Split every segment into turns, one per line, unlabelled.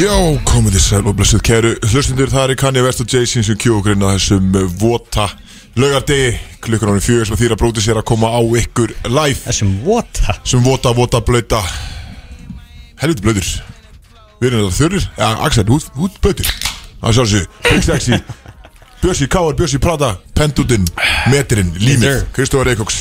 Já, komið þið sæl og blessuð kæru Hlustundur, það er Kanye West og Jason sem kjókurinn á þessum eh, vota laugardegi klukkan ánum fjögur sem þýra bróti sér að koma á ykkur live
Þessum vota
sem vota, vota, blöta helviti blöður við erum þetta þurrir, ja, Axel, hút, hút blöður það er sjálfsög, Big Sexy Bjössi Káar, Bjössi Prada Pendutinn, Metirinn, Límið
Yes, sir.
Kristófar Eikóks,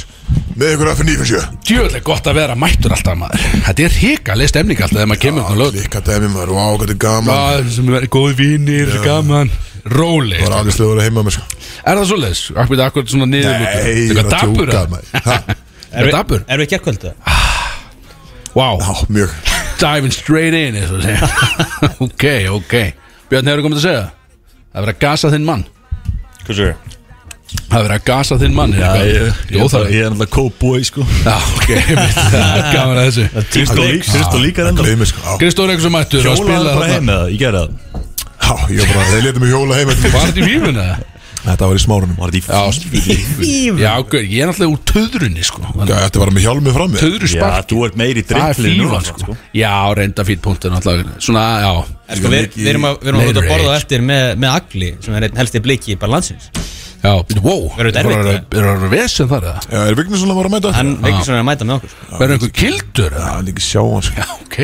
með ykkur að fyrir nýfum sjö
Djöðlega gott að vera mættur alltaf maður Þetta er hrikalið stemning alltaf þegar maður kemur upp á lög
Líka dæmi maður, vá, hvað þetta er gaman
Það sem er góð vinir, gaman Róli
Það var
Er
alveg slöður að heima mér sko
það svoleiðis? Akkur þetta akkur svona niður
Nei, ég er að
dapur
djóka,
það?
maður. Ha,
Er það dapur?
Erum við gerkvöldu?
Wow,
Já, mjög
diving straight in eins og að segja. Ok, ok Björn, hefur þú komið að segja? Það er verið að gasa þinn mann
Hversu?
Það er verið að gasa þinn mann
Já, ég, ég,
Jó, það
ég er náttúrulega co-boy sko
Já, ok, einmitt. Það er gaman að þessu
Kristó Kristó líka er enda
Gleimi sko Já,
Kristóður eitthvað sem mættur að
Hjólaði
spila
bara heim
þarna
með það, ég gerði það
Já, ég var bara, þeir letum mig hjóla heim eftir.
Var þetta í fífuna?
Þetta var í smárunum
Var þetta
Já,
í
spil- Já, ok, ég er náttúrulega úr töðrunni sko
Já, Þetta var með hjálmi fram með
Töðru
Já,
spark
þú ert meiri
Það er
drikkli
fílan sko Já, reynda fýt punktur náttúrulega Svona, já
Sko, við, við erum að, við erum að út að
Meiri
borða á
sko.
rage.
eftir með, með Agli sem er einn helsti bliki í balansins
Já, býttu, wow
Verður þetta erfitt,
erfitt? Er það vesen þar eða?
Já, er Vignisson að vara að mæta?
Hann veikur svona að mæta með okkur sko.
Verður einhver kildur
Já,
eða?
hann ekki sjá hann sko
Já, ok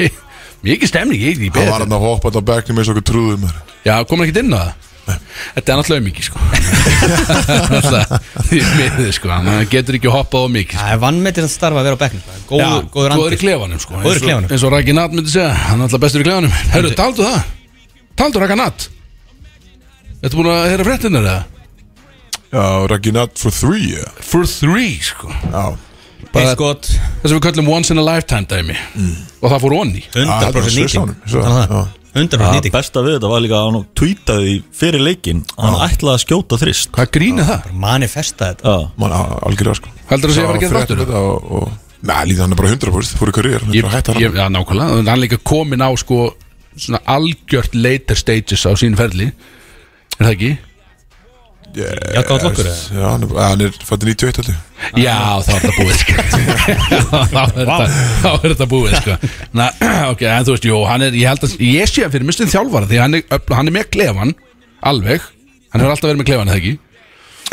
Mikið stemning, ég er í
Hann var
beð
hann að hoppa þetta á bekknum eins og okkur trúðum þar
Já, komur ekkert inn á það? Þetta er náttúrulega mikið sko Því miðið sko Hann getur ekki hoppað á mikið
Það er vannmetið að starfa að vera á bekknum sko.
Já,
Góð, Góður
góður í
andir
klefanum sko
Góður í
Eins og-
klefanum.
Eins og Raki Natt myndi segja, hann er alltaf bestur í klefanum Herru, taldu það? Taldu Raki Natt? Þetta búin að heyra fréttinnar eða?
Já, Raggi Nut for three já.
For three sko
Já,
Eitt skot
Það sem við kallum once in a lifetime dæmi Og það fór onni
100%
Já, hann
nýting
er á sviðsánum,
Þannig að
svo,
það, 100%
Það
nýting
besta við þetta var líka að hann tweetaði fyrir leikin Hann ætlaði að skjóta þrist
Hvað grínið það?
Manifesta þetta
Já,
mann á- algjörlega sko
Heldur þú að sé að vera að gera
fréttum
þáttur?
þetta og- og- Nei, líka hann er bara 100% fór í karriér, hann
Ég,
er bara hætt að
ég,
hætta
já, nákvæmlega Þannig hann líka komin á sko Svona algjört later stages á sín ferli Er það ekki?
hann
Já, gátt okkur eða?
Já, hann er- hann er fættið 91 heldur
Ah. Já, þá er þetta búið sko. Þá er þetta- þá er þetta búið sko. Na, ok, en þú veist, jú, hann er, ég held að ég sé hann fyrir mistin þjálfara því hann er, öfl- hann er með klefan, alveg hann hefur alltaf verið með klefan, eða ekki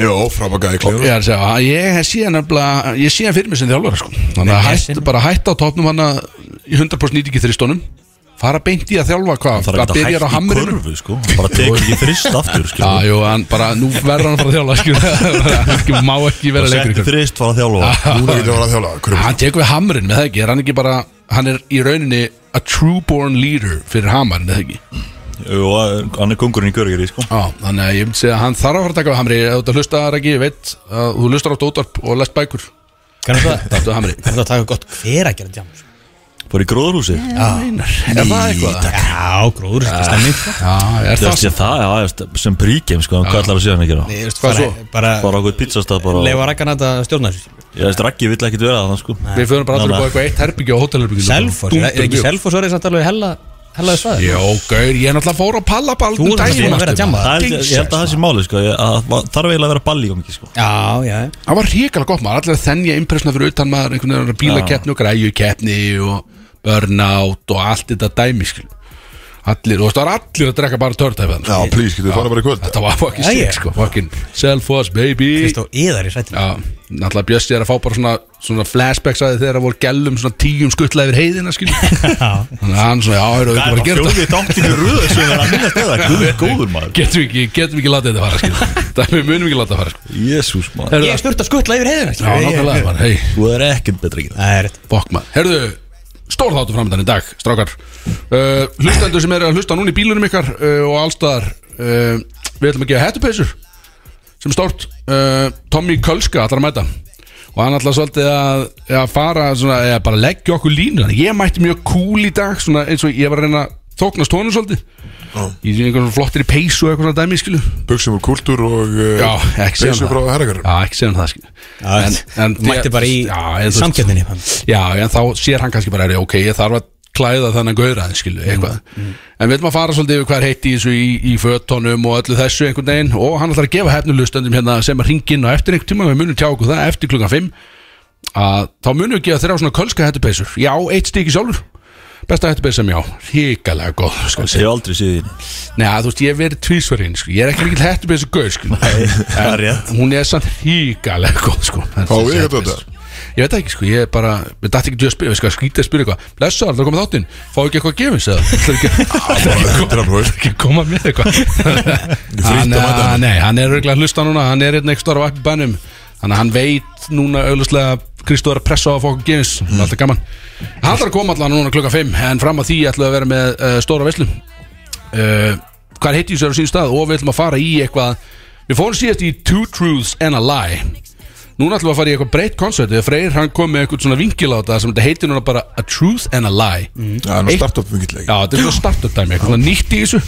Jó, frábækkaði
ég,
klíður
er að segja, hann- ég sé hann nefnilega, ég sé hann fyrir mistin þjálfara sko. þannig að
Nei,
hætt,
hesin.
bara hætta á topnum hann að í 100% nýtingi þristunum fara beint í að þjálfa hvað,
það er
hvað
ekki
byrjar
að
á
hægt í
hamrinu
körfu sko Hann bara tekur ekki þrist aftur sko
Já, jú, hann bara, nú verður hann að fara að þjálfa sko. Hann ekki- má ekki vera
Og
leikur í
setti
körfu.
þrist, fara að þjálfa
Núna getur hann að þjála
Hann tekur við hamrin með það ekki Er hann ekki bara Hann er í rauninni A true born leader Fyrir hamarinn eða ekki
Og uh, hann er kongurinn í körgeri sko
Já Þannig að ég myndi segja að Hann þarf að fara að taka við hamri Ef þú ert að hlusta það ekki Ég veit að Þú hlustar átt ótarp Og lest bækur
Kannu það
Þetta er hamri
Kannu það taka gott hver að gera djám sko.
Fór í gróðurhúsi
Já Einar Er það eitthvað?
Já, gróður þetta stemning sko.
Já Er
Það
það
sé það, já, veist, sem príkjum sko Hann kallar að sé hann ekki
Ég
á
veist,
Hvað
bara-
svo?
Bara
Bara okkur pizzastað bara
leifa rakkan að stjórna þessu
Ég veist, Raggi vill ekkit vera það sko
Við förum bara allir upp
Nei,
á
nei.
eitthvað eitt herbyggja og hótelherbyggja
Selfoss, er- er ekki Selfoss orðið samt alveg hella hellaði staðið?
Jó, gaur, ég er náttúrulega fór á pallaball
Þú ert náttúrulega að vera að djamma
Það er- Ég held að það sé máli sko ég- að það Þarf eiginlega að vera balli um ekki sko
Já, já
Það var hrikalega gott maður, allir að þennja impressna fyrir utan maður einhvern veginn bílakeppni og græjukeppni og burnout og allt þetta dæmi skil. Allir, og þú veist, það var allir að drekka bara törtæfi
Já, please, getur þú farið bara í kvöld
Þetta var fucking
Já,
sick
já.
sko, fucking self-hoss baby
Kristó, yðar í sættin
Já, náttúrulega Bjössi er að fá bara svona, svona flashbacks að því þegar það voru gælum svona tíum skuttla yfir heiðina skil Þannig að hann svona, já, höru, við getum bara
Það er
að gera
bara
þetta
fjóðið dáttinni röð sem er að minnast eða Guð góður maður
Getum við ekki, getum við ekki látið þetta fara skil Það við munum ekki látið það fara sko. skil
Jésús maður
Herðu,
Ég sturt að skuttla yfir heiðina
Já, nákvæmlega, bara, hei
Þú er ekkert betra ekki það
Það er rétt
Bokk maður, herðu, stór þáttu framöndan í dag, strákar uh, Hlustendur sem eru að hlusta núna í bílunum ykkar uh, og allstaðar uh, Við ætlum að gefa hættupeysur sem stórt uh, Tommy Kölska allar að mæta og hann allar svolítið að, að fara svona, eða bara leggja okkur línu ég mætti mjög cool í dag svona, eins og ég var að reyna að þóknast honum svolítið
Já.
í einhvern svona flottir í peysu og eitthvað svona dæmi skilu
Buxum úr kultúr og
Já, ekki segja um
Beisu
það.
frá herrakar
Já, ekki segja um það skilu
Þú mætti bara í samkeppninni
Já, en þá sér hann kannski bara er, ok, ég þarf að klæða þannig að gauðra skilu, eitthvað en við ætlum að fara svolítið yfir hvað er heitt í þessu í, í fötunum og öllu þessu einhvern veginn og hann ætlar að gefa hefnulustendum hérna sem að ringa inn á eftir einhvern tíma við munum tjá okkur það eftir klukkan 5 að þá munum við gefa þrjá svona kölska hættupeysur já, eitt stíki sjálfur Besta hættu beir sem ég á, ríkalega góð sko,
Ég hef aldrei séð því
Neða, þú veist, ég hef verið tvísverðin sko. Ég er ekki mikill hættu beir sem gauð sko.
það er rétt.
Hún er samt ríkalega góð sko.
Fá við þetta þetta?
Ég veit það ekki, sko, ég er bara Við dætti ekki til að spyrja, við sko, skrítið að spyrja eitthvað Blessaðar, það komið þáttinn, fá ekki eitthvað að gefa sér Það er ekki að
Þetta er alveg
ekki að koma með eitthvað hann,
að mæta
að-
hann.
nei, hann er örgulega að hlusta núna hann er einn ekstra á appi bænum þannig að hann veit núna auðvitað Kristóður er að pressa á að fá okkur geins það
Mhm.
er alltaf gaman hann þarf að koma allan núna klukka 5 en fram að því ætlum við að vera með uh, stóra veslu uh, hvað heitir þessu er á sín stað og við ætlum að fara í eitthvað við fórum síðast í Two Truths and a Lie núna ætlum við að fara í eitthvað breytt koncert þegar Freyr hann kom með eitthvað svona vingil á þetta sem þetta heitir núna bara A Truth and a Lie
Það er nú startup mingillega
Já, þetta er svona startup dæmi, eitthvað svona nýtt í þessu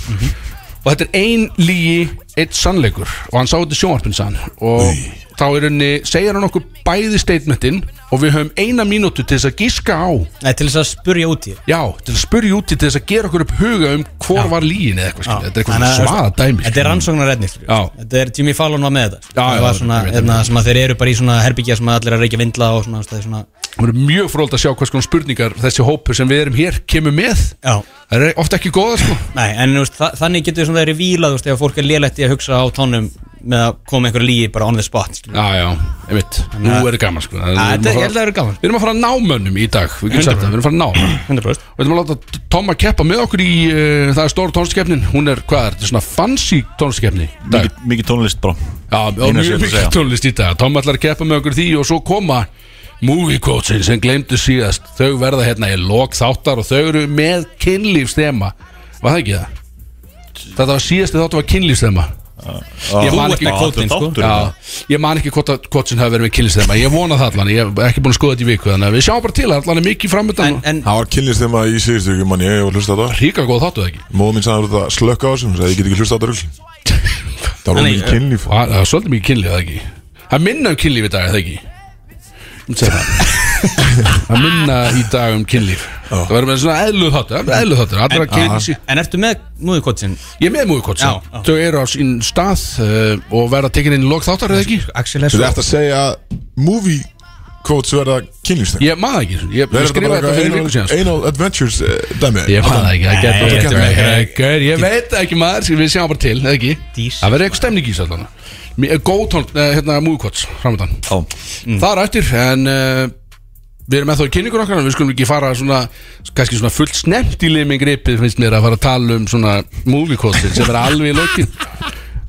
Og þetta er ein lígi, eitt sannleikur Og hann sá þetta í sjónvarpinu sann Og þá er henni, segir hann okkur bæði statementin Og við höfum eina mínútu til þess að giska á
Nei, til þess að spurja út í þér.
Já, til að spurja úti til þess að gera okkur upp huga um Hvor var lígin eða eitthvað skil Þetta er eitthvað
Þannig að-
svona svaða dæmi
Þetta er rannsóknarreðni
Já.
Þetta er Jimmy Fallon var með þetta
Já,
Það
já,
var svona,
ég veit
hérna, sem að þeir eru bara í svona herbyggja sem að allir er að reykja vindla og svona, það er svona
Það er mjög fróld að sjá hvers konar spurningar Þessi hópur sem við erum hér kemur með
Já,
Það er ofta ekki góða sko
nei, en þú veist, þa þannig getur svona þeirri vílað, þú veist, ef fólk er lélegt í að hugsa á tónum með að koma einhverju lígi bara on the spot, skilur
Já, já, einmitt, nú er þetta gaman sko Það-
Að
við erum að
þetta- ég
fara-
held að það eru gaman.
Við erum að fara að ná mönnum í dag Við getum sagt það, við erum að fara að ná mönnum
100%
Við ætlum að láta Tom að keppa með okkur í uh, Það er stóra tónlistkefnin Hún er, hvað er, þetta er svona fancy tónlistkefni í dag.
Mikið- Mikið tónlist bara
Já, og
eina sem ég ætla
mjög
að
mikið
segja.
tónlist í dag Tom ætlar að keppa með okkur í því og svo koma Movie quotesin sem glemdu síðast Þau verða hérna í lok þáttar og þau eru með kynlífstema Var það ekki það? Þetta var síðasti þáttu var kynlífstema Ég man ekki
kvótin
sko.
Já, ég man ekki hvort að kvotsin hafi verið með kynlífstema Ég vona það allan, ég hef ekki búin að skoða þetta í viku Þannig að við sjáum bara til að allan er mikið
En,
framöndan
en
Það var kynlist þeim að ég segist ekki mann Ég var hlusta á það
Ríka góð þáttu það ekki
Móð mín sagði þetta slökka á þessum Ég get ekki hlusta á þetta rugl Það var
Nei,
eh,
mikið kynlíf
Og Það það er svolítið mikið kynlíf, það ekki Það er minna um kynlíf í dag, er það ekki Ég myndi segja Það Það er minna í dag um kynlíf Það verður með svona eðluð þáttur Eðluð þáttur, allra kynlíf sér
En ertu með múðukotsin?
Ég er með múið
Já, já.
sem Þau eru á sín stað uh, og verða tekin inn í lok þáttar, er það ekki
Axel er
Þú
svo
ert að segja að movie quotes verða kynlist þeim
Ég maður ekki, ég,
Það
ég
er þetta bara
skrifa þetta fyrir viku
eitthvað
síðan sko.
anal- anal adventures eh, dæmi
Ég maður ekki, það
Nei,
getur
þetta er
verið-
ekki-
Nei, gaur, Ég veit það ekki maður, við sjáum bara til, eða ekki
Dís.
Það verður eitthvað stemning í þessu allan Mér- Góð tón, eh, hérna múið framöndan mm. Það er eftir en uh, við erum ennþá í kynningur okkar en við skulum ekki fara svona kannski svona fullt snemt í limingripið finnst mér að fara að tala um svona movie-kostin sem er alveg í lokin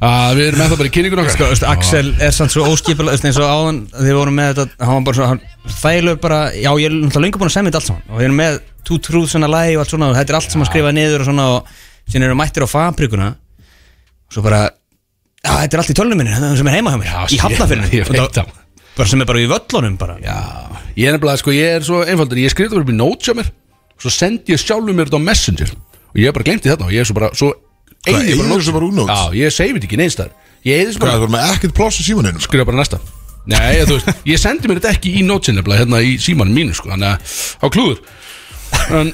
að við erum ennþá bara í kynningur okkar ah,
Sko, veist, Axel er samt svo óskipulega veist, eins og áðan þegar við vorum með þetta hann var bara svona þælur bara já ég er náttúrulega lengur búin að semja þetta allt saman og við erum með two truths and a lie og allt svona og þetta er allt sem að skrifa niður og svona og síðan erum við mættir á fabrikuna og svo bara já þetta er allt í tölunum minni þetta er það sem er heima hjá mér
Já,
í
ég- ég
hafnafyrinu
veit það.
bara sem er bara í völlunum bara
Já, ég er nefnilega sko, ég er svo einfaldur ég skrifði bara upp í notes hjá mér svo sendi ég sjálfur mér þetta á Messenger og ég hef bara glemt þetta og ég er svo bara svo eyði ég
eyðir
notes.
þessu bara úr notes?
Já, ég save þetta ekki neins þar ég eða
Hvað,
bara
það var með ekkert pláss í sko. símaninu
skrifa bara næsta Nei, þú veist, ég sendi mér þetta ekki í nótsin nefnilega hérna í símanum mínu sko, þannig að á klúður en,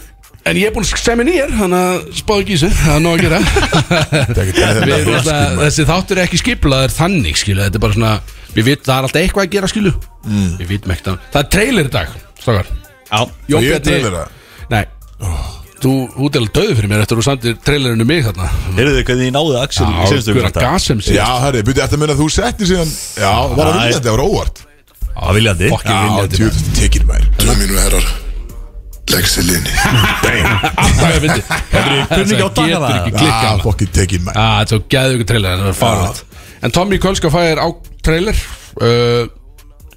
en ég er búinn að semja nýjar þannig að spáðu ekki í þessu, það er nóg að gera
Þetta er ekkert-
Við,
þetta er
þetta, Þessi þáttur er ekki skiplaður þannig skilu, þetta er bara svona við vitum, það er alltaf eitthvað að gera skilu við vitum ekkert að, það er trailer í dag stakar,
já
Ég er trailera
Nei, þú út er alveg döðu fyrir mér eftir að þú samtir trailerinu um mig þarna
Heyrðu þið hvernig ég náði Axel í síðustu viku
Hver að um
samt að-
gasem sér
Já, herri, byrju, eftir að minna að þú setti síðan Já, var að
Æ.
vilja þetta, var óvart
Á viljandi
Fokkin
Já,
viljandi
djúð, tekir mær
Döðu mínu herrar Leggst í linni
Alltaf að fyndi
kunni ekki á daga
Getur
það.
ekki
Já,
klikkað
fokkin tekir mær
Ah, þetta var gæðugur trailer Það var farvægt En Tommy Kölska fæðir á trailer uh,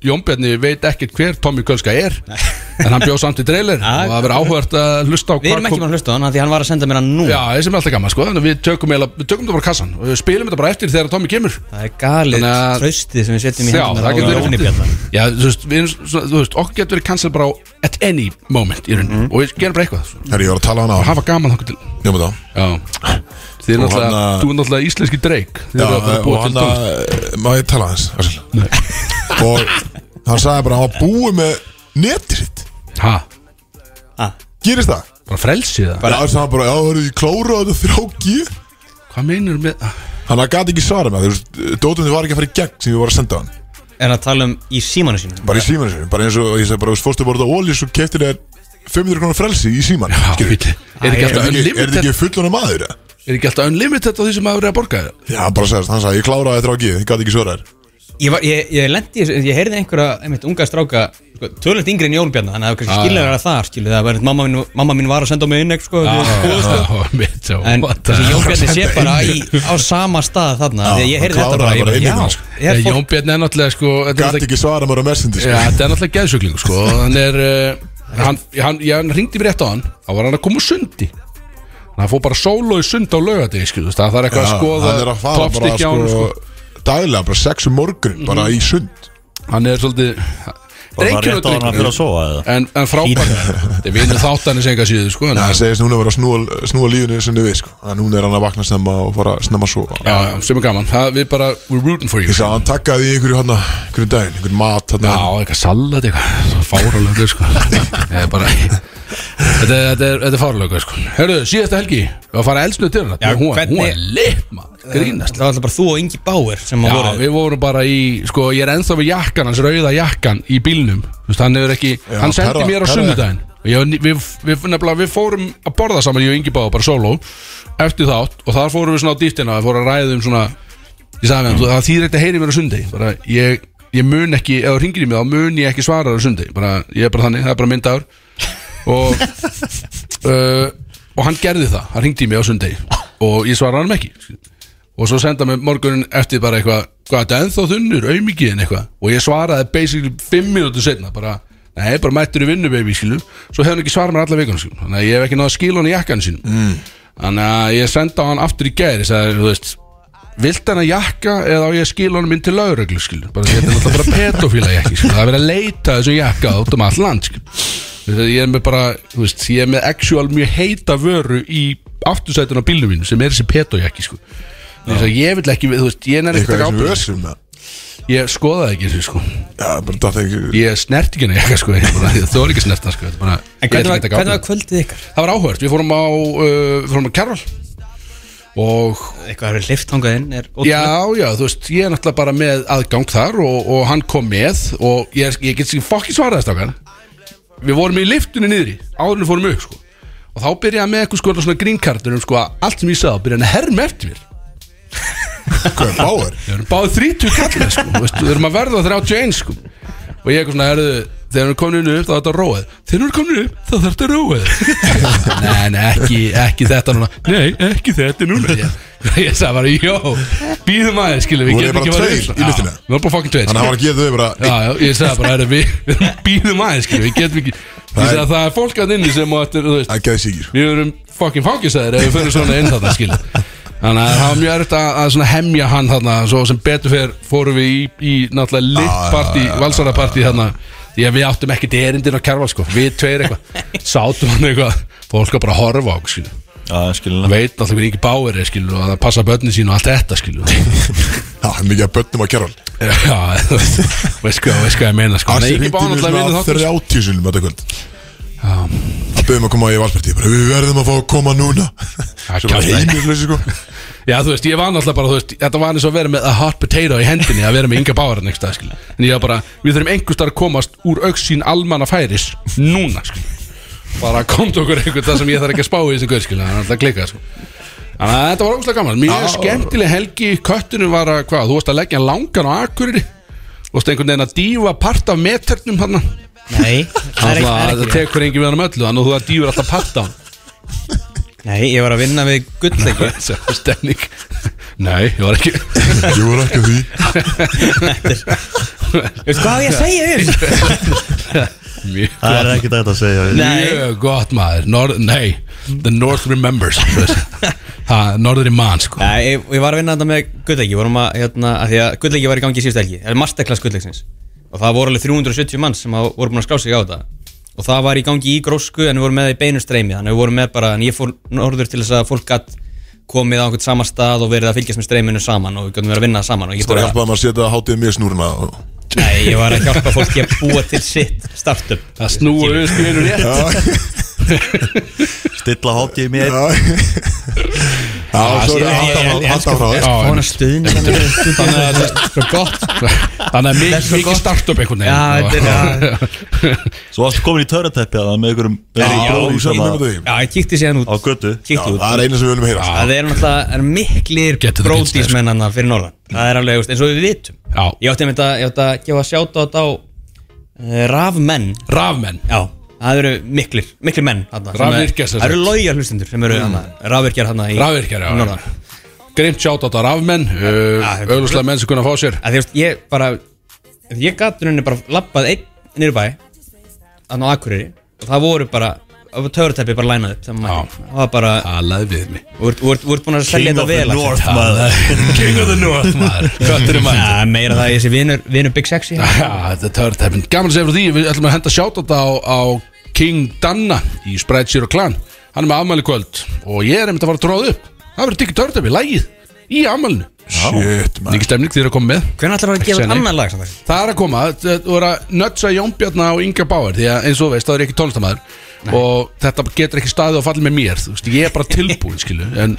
Jónbjarni veit ekkert hver Tommy Kölska er En hann bjóð samt í trailer
Ah,
Og það verður áhört að hlusta á
við erum ekki
kom-
búin að hlusta á hann af því hann var að senda mér hann nú
Já, það sem er alltaf gaman sko Þannig að við tökum, eiginlega- við tökum þetta bara á kassan Og við spilum þetta bara eftir þegar Tommy kemur
það er galið
Þannig að-
traustið sem við setjum í
Já,
hendurnar
það
á
getur verið
Jóhanni
fyndið.
Bjarna.
Já, þú veist, við erum svona, þú veist, okkur getur verið cancel bara á at any moment í rauninni
Mhm.
Og við gerum bara eitthvað svona.
Herri, ég var að tala hann á um
Og hafa gaman þangað til
Njóma þá
Já Þið er
Og
náttúrulega,
hann, uh,
þú er náttúrulega íslenski dreik Þið
Já,
er að
og
um búa til
hann
tónlist
að Má ég tala hans, Axel Og hann sagði bara að hann var búið með netið sitt
Ha,
Gerist það?
bara frelsið það
Já, þess að hann bara, já, hörru, ég klóraði þetta þrjóki
Hvað meinur með Ah,
Hann gæti ekki svara með, þú veist, dótunni var ekki að fara í gegn sem ég var að senda hann
er hann að tala um í símanu sínum
Bara í símanu sinni, bara eins og, ég segi bara, þú veist, fórstu bara út á ólís og keftir þér 500 krónar frelsi í síman
Já, bíddu. Er
Er
ekki alltaf
þetta ekki, er þetta
unlimited
ekki fullunum maður? eða?
Er ekki alltaf unlimited á því sem maður er að borga það?
Já, bara sagðist, hann sagði, ég kláraði þetta á ekki, ég gæti ekki svörað þér
Ég, var, ég, ég lendi, í þessu- ég heyrði einhverja einmitt unga stráka, sko, tölvöld yngri en Jólbjarnar þannig að það var kannski
Ah,
skiljaðar að það skilju það var einmitt mamma mín, mamma mín var að senda á mig inn ekki, sko, ah,
Já, mitt, já,
en
oh, what the-
þessi Jólbjarnar sé
Senda
bara í, á sama stað þarna
Já,
því að ég heyrði
hann
þetta
kláraði
bara,
bara inn í
ég bara,
það,
já,
sko.
Nei,
er fólk
Jón Bjarni er náttúrulega sko Þetta er
Gæti
náttúrulega-
ekki svarað maður á messendi
Já, þetta er náttúrulega geðsugling sko Hann er, uh, hann, hann, ég, hann ringdi mér rétt á hann Þá var hann að koma úr sundi Hann fór bara solo í sund á lögadegi sko Það er eitthvað að skoða
Hann er að fara bara
toppstykki á hann
sko
sko Mhm.
Dælega, bara sex um morgun, bara í sund
Hann er svolítið
Bara
Drengjur
rétt á hann að fyrir að sofa eða
En, en frábær Þetta er vinur þáttanir sem eitthvað síðu sko en,
Það
já,
segist núna að vera að snúa, snúa lífinu sinni við sko En núna er hann að vakna snemma og fara snemma að sofa
já, sem er gaman það, Við bara, we're rooting for you
Ég sagði að hann takkaði í einhverju hann einhverju daginn, einhverju mat hérna, hann
Já, eitthvað salat eitthvað Fáralögur sko Ég er bara Þetta er, þetta er, þetta er fáralögur sko Herru, síðasta helgi Við að fara elsnöð til hérna
Já,
Hún, hún
hvernig-
er lit, maður Grínast
það var alltaf bara þú og Ingi Báir sem að
Já,
voru
við vorum bara í Sko, ég er ennþá við jakkan Hans rauða jakkan í bílnum Þú veist, hann hefur ekki
Já,
Hann sendi
perra-
mér á
perra-
sunnudaginn Og ég, við, við, nefnilega, við fórum að borða saman Ég og Ingi Bá, bara solo Eftir þátt Og þar fórum við svona á dýttina Við fórum að ræða um svona Ég sagði með hann, þú- það þýðir ekki að heyri mér á sundi bara, ég, ég mun ekki, ef þú ringir í mig þá mun ég ekki svara þér á sundi bara, ég er bara þannig, það er bara minn dagur og uh, og hann gerði það, hann ringdi í mig á sundi og ég svaraði hann ekki og svo senda mig morgunin eftir bara eitthvað hvað þetta er ennþá þunnur, auðmikiðin eitthvað og ég svaraði basically fimm mínútur setna bara, nei, bara mættur í vinnu baby skilu, svo hefur hann ekki svarað mér alla vikuna skilu þannig að ég hef ekki náða að skila hann í jakkan sín mm. þannig að ég senda á hann aftur í gæri sagði, þú veist, Vilt hann að jakka eða á ég að skila honum inn til lauruglu skil bara þetta er náttúrulega bara pedofíla jakki skil það er verið að leita þessu jakka út um all land skil Þú veist, ég er með bara þú veist ég er með actual mjög heita vöru í aftursætun á bílnum mínu sem er þessi pedojakki sko Þess að ég vil ekki, þú veist, ég nær ekki
Eitthvað sem
að
við
ábyrða
össum með
Ég skoðaði ekki þessu, sko
Já, bara datt ekki
Ég snert ekki henni jakka, sko Ég bara- ég þori ekki að snerta, sko Þetta er bara-
en
ég ætla ekki að
hvernig var,
taka
hvernig var
ábyrgð.
kvöldið ykkar?
Það var áhört, við fórum á, uh, við fórum á Kjarval Og
eitthvað að vera lift hangað inn er ótrúlegt.
Já, já, þú veist, ég er náttúrulega bara með aðgang þar og, og hann kom með og ég, ég get sér fokkin svaraðist okkar Við vorum í liftunni niðri áður en við fórum upp, sko og þá byrjaði hann með eitthvað sko svona grínkartunum, sko, að allt sem ég sagði, byrjaði hann að herma eftir mér
Hvað er báður?
Við erum báðið 30 kallar, sko, þú veist, við erum að verða 31, sko og ég eitthvað svona, herðu, þegar við erum komin upp, þá er þetta róið þegar við erum komin upp, þá þarf þetta róið nei, nei, ekki, ekki þetta núna nei, ekki þetta núna ég, ég sagði bara, jó, býðum aðeins skilum, við
Voru þið
getum ekki
bara
farið
tveir í lyftunni?
upp. Já, við erum bara fokkin tveir
Þannig að hann
skilur.
var að gefa þau bara
já, já, ég sagði bara, herðu, við við erum býðum aðeins skilum, við getum ekki ég sagði að það er fólk að inni sem á eftir, þú veist
Það geði sig ekki
Við erum fucking fangisæðir ef við fyrir svona inn þarna skil Þannig að það var mjög erfitt að, að svona hemja hann þarna Svo sem betur fyrir fórum við í, í
Já,
náttúrulega lit
já,
partí,
já, já,
valsara partí þarna Því að við áttum ekkert erindin á kærval sko Við tveir eitthvað Sátum hann eitthvað Fólk var bara að horfa á okkur skil
Já, skilinlega
Veit náttúrulega hver ekki báir er skil Og að það passa börnin sín og allt þetta skil
Já, hann mikið að bönnum á kerral
Já, þú veist veist hvað, veist hvað ég meina sko Nei,
Assi
ekki báir
ringdi mér
náttúrulega vinnu
svona
þáttur
30
sko.
sinum þetta kvöld
Já.
Það byrðum að koma í valspartíð bara Við verðum að fá að koma núna Svo bara
kjaftaði.
heimilisleysi sko
Já, þú veist, ég var náttúrulega bara, þú veist, þetta var eins og að vera með a hot potato í hendinni, að vera með Inga Báar next dag, skil. En ég var bara, við þurfum einhvers staðar að komast úr auksín almanna færis núna, skil. Bara komdu okkur einhvern það sem ég þarf ekki að spá í þessu gaur, skil, það er alltaf klikað, sko. Þannig að þetta var ógustlega gaman, mjög skemmtileg helgi, köttunum var að, hvað, þú varst að leggja langan á akkurri, þú varst einhvern veginn að dífa part af meternum hann,
nei, það er ekki- það er
það
ekki rétt.
tekur engin við hann um öllu, þannig að þú að dífur alltaf part af hann.
nei, ég var að vinna við gullleik
Þessi stemning. Nei, ég var ekki
Ég var ekki að því
hvað á ég að segja um? þér?
Mjög
Það er ekkert þetta að segja
nei,
Mjög gott maður Norð, Nei, the north remembers þú veist. ha, Norðri mann sko
Nei, ég, ég var að vinna þetta með gullleiki vorum að, hérna, að því að gullleiki var í gangi síðust helgi eða masterclass gullleiksins og það voru alveg 370 manns sem að, voru búin að skrá sig á þetta og það var í gangi í grósku en við vorum með það í beinu streymi þannig að við vorum með bara, en ég fór norður til þess að fólk gatt komið á einhvern sama stað og verið að fylgjast með streyminu saman og við gætum verið að vinna saman og ég
Það
bara,
hjálpaði maður að setja hátíð mér snúruna og-
nei, ég var að hjálpa fólki að búa til sitt startup
Það snúa við spilur rétt
Já,
Stilla hátíð mér
já Já, svo er
ég- ég-
það
ég elska
alltaf frá þér
Já,
Fá hana
einmitt.
stuðning
Þannig að það er
Svo gott
sko. Þannig að
Það er
mikið,
svo
mikið
gott.
startup einhvern
Já, þetta er
veginn
já.
Svo varstu komin í törrateppi að það með einhverjum einhverjum bróður
Já,
sem
ég
að-
myndi því
Já, ég kíkti síðan
á
út
götu
Já,
Kíkti út
Það er eina sem við viljum heyra
Það er náttúrulega er miklir
Getur það pizza, sko.
bróðísmennanna fyrir norðan Það er alveg, þú veist, eins og við vitum
Já.
Ég átti einmitt að, ég átti að gefa sjáta á þetta á eh, rafmenn
Rafmenn
Já, það eru miklir, miklir menn hana,
Rafvirkjar, sem
Það eru
sagt.
lója hlustendur sem eru mm. rafvirkjar hana í
Rafvirkjar, já.
norðan
Greimt sjátt á þetta rafmenn
Já, þetta er-
Öðluslega menn sem kunna fá sér
að því að ég bara ef ég gat henni bara lappað einn niður í bæ þannig á Akureyri og það voru bara töfrateppi bara lænað upp sem mætti.
Já.
það var bara
Talaði við mig
og þú ert- þú ert búin að selja
King
þetta
of the
vel Axel.
North maður
King of the North maður Köttur er mætt
Já, meira það að ég sé vinur, vinur Big Sexy
Já, þetta er törtæfin Gaman að segja frá því Við ætlum að henda sjátt á þetta á, á King Danna Í Sprite Zero Clan Hann er með afmæli í kvöld Og ég er einmitt að fara að tróða upp Það verður tikið törtæfi, lægið Í afmælinu
Shit, maður
Nikki stemning þér að koma með
hvernig ætlar það að
Ekki
gefa
segja
út
nei.
annan lag samt að?
Það er að koma, þú er að nötsa Jón Bjarna og Inga Bauer Því að eins og þú veist, það er ég ekki tónlistamæður Og þetta getur ekki staðið og fallið með mér Þú veist, ég er bara tilbúin, skilu En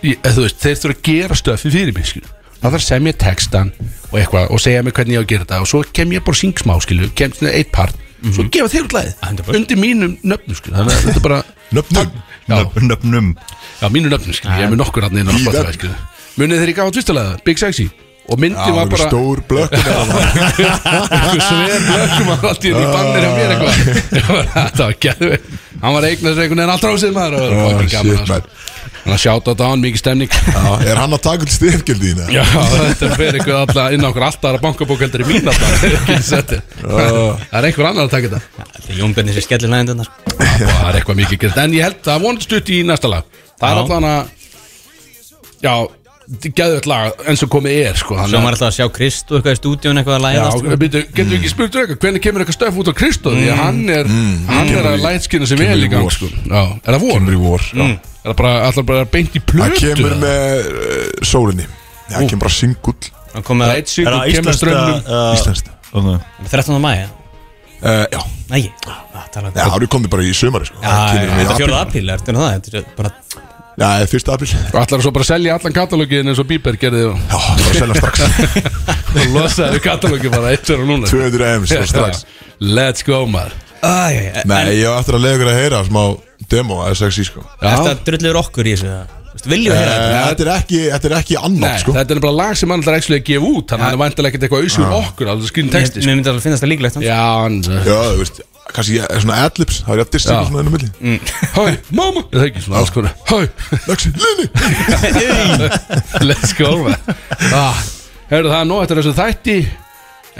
ég, þú veist, þeir þurfa að gera stöfi fyrir mig, skilu Það þarf að semja textan og eitthvað Og segja mig hvernig ég á að gera þetta Og svo kem ég bara að syng smá, skilu Kem til eitt part
Mhm.
Svo gefa þér út
Ah,
lagið Undir mínum nöfnum, skilu Þannig að þetta er bara
Nöfnum
Já,
Nöfn- Nöfnum
já mínu nöfnum, skilu Ég er
Ah.
með nokkur um hann inn á
Í
Spotify,
nöfn.
skilu Munið þeir ekki á tvistalega, Big Sexy Og myndin
Já,
var bara
stór blökk
einhver sver blökkum að allt í enn í bannir hjá mér eitthvað Ég
Ah.
var- þetta var gæðu hann var eignast einhvern veginn allra á sig maður og það var fucking gaman
Oh, Shit,
að-
maður
hann að sjáta þetta á hann mikið stemning
Já, Er hann að taka til styrkildin?
já þetta fer eitthvað alltaf inn á okkur alltaf aðra bankabókveldur í mín alltaf Ekki sett.
Oh.
það er einhver annar að taka þetta
Þetta er Jón Bjarni sem skellir lagin þarna sko.
það er eitthvað mikið gert en ég held að vonast stutt í næsta lag það er
Já.
alltaf að já gæðvett lag eins og komið er sko þannig
Svo
að-
maður alltaf að sjá Krist og eitthvað í stúdíun eitthvað að sko.
Já,
læðast
byrju, getum við ekki spurt um eitthvað Hvernig kemur eitthvað stöf út á Kristó Því að hann er, hann er að lætskina sem vel
Mm. kemur
í
í
gang
vor.
sko. Já, Er það vor?
Kemur í vor
Já. Er það bara, allar bara beint í
Það
plötu
kemur
eða?
með uh, sólinni Það kemur bara singull
og komið
Læt sig,
Er það
kemur
íslenskt
strömmum
Íslenskt
að
13. mæja
Eh, Já,
Nei, það tala um
Já, það komið bara í sömari sko.
Já,
Kemur í
þetta er
apríl.
fjórað apíl, ertu nú það? Þetta er bara
Já, fyrsta april Já,
Og allar svo bara að selja allan katalógin eins og Bíber gerði og
bara selja strax
og losaði katalógin bara eitt fyrir núna
200 ems og sko, strax
Let's go maður
Æ, æ, æ,
Nei, ég á eftir að leiða ykkur að heyra smá demo að sexi sko
Já.
Þetta drullur okkur í þessu eða? Þú veist, Viljum
Eh,
við heyra þetta?
Þetta er ekki, þetta er ekki annað
Nei,
sko
Þetta er bara lag sem hann er actually að gefa út Þannig að hann er vantilega ekkert eitthvað auðsum okkur Alveg skýrin texti
Mér
sko.
myndi alveg finnast það líklegt
Já, hann
Já, þú veist, kannski ég er svona adlibs Það er ég að dissa
Já. Mm.
ykkur svona ennum milli
Hæ, mamma Er það ekki svona alls konar Hæ,
Lexi, Lini
Let's go man. ah, Herðu það er nóg eftir þessu þætti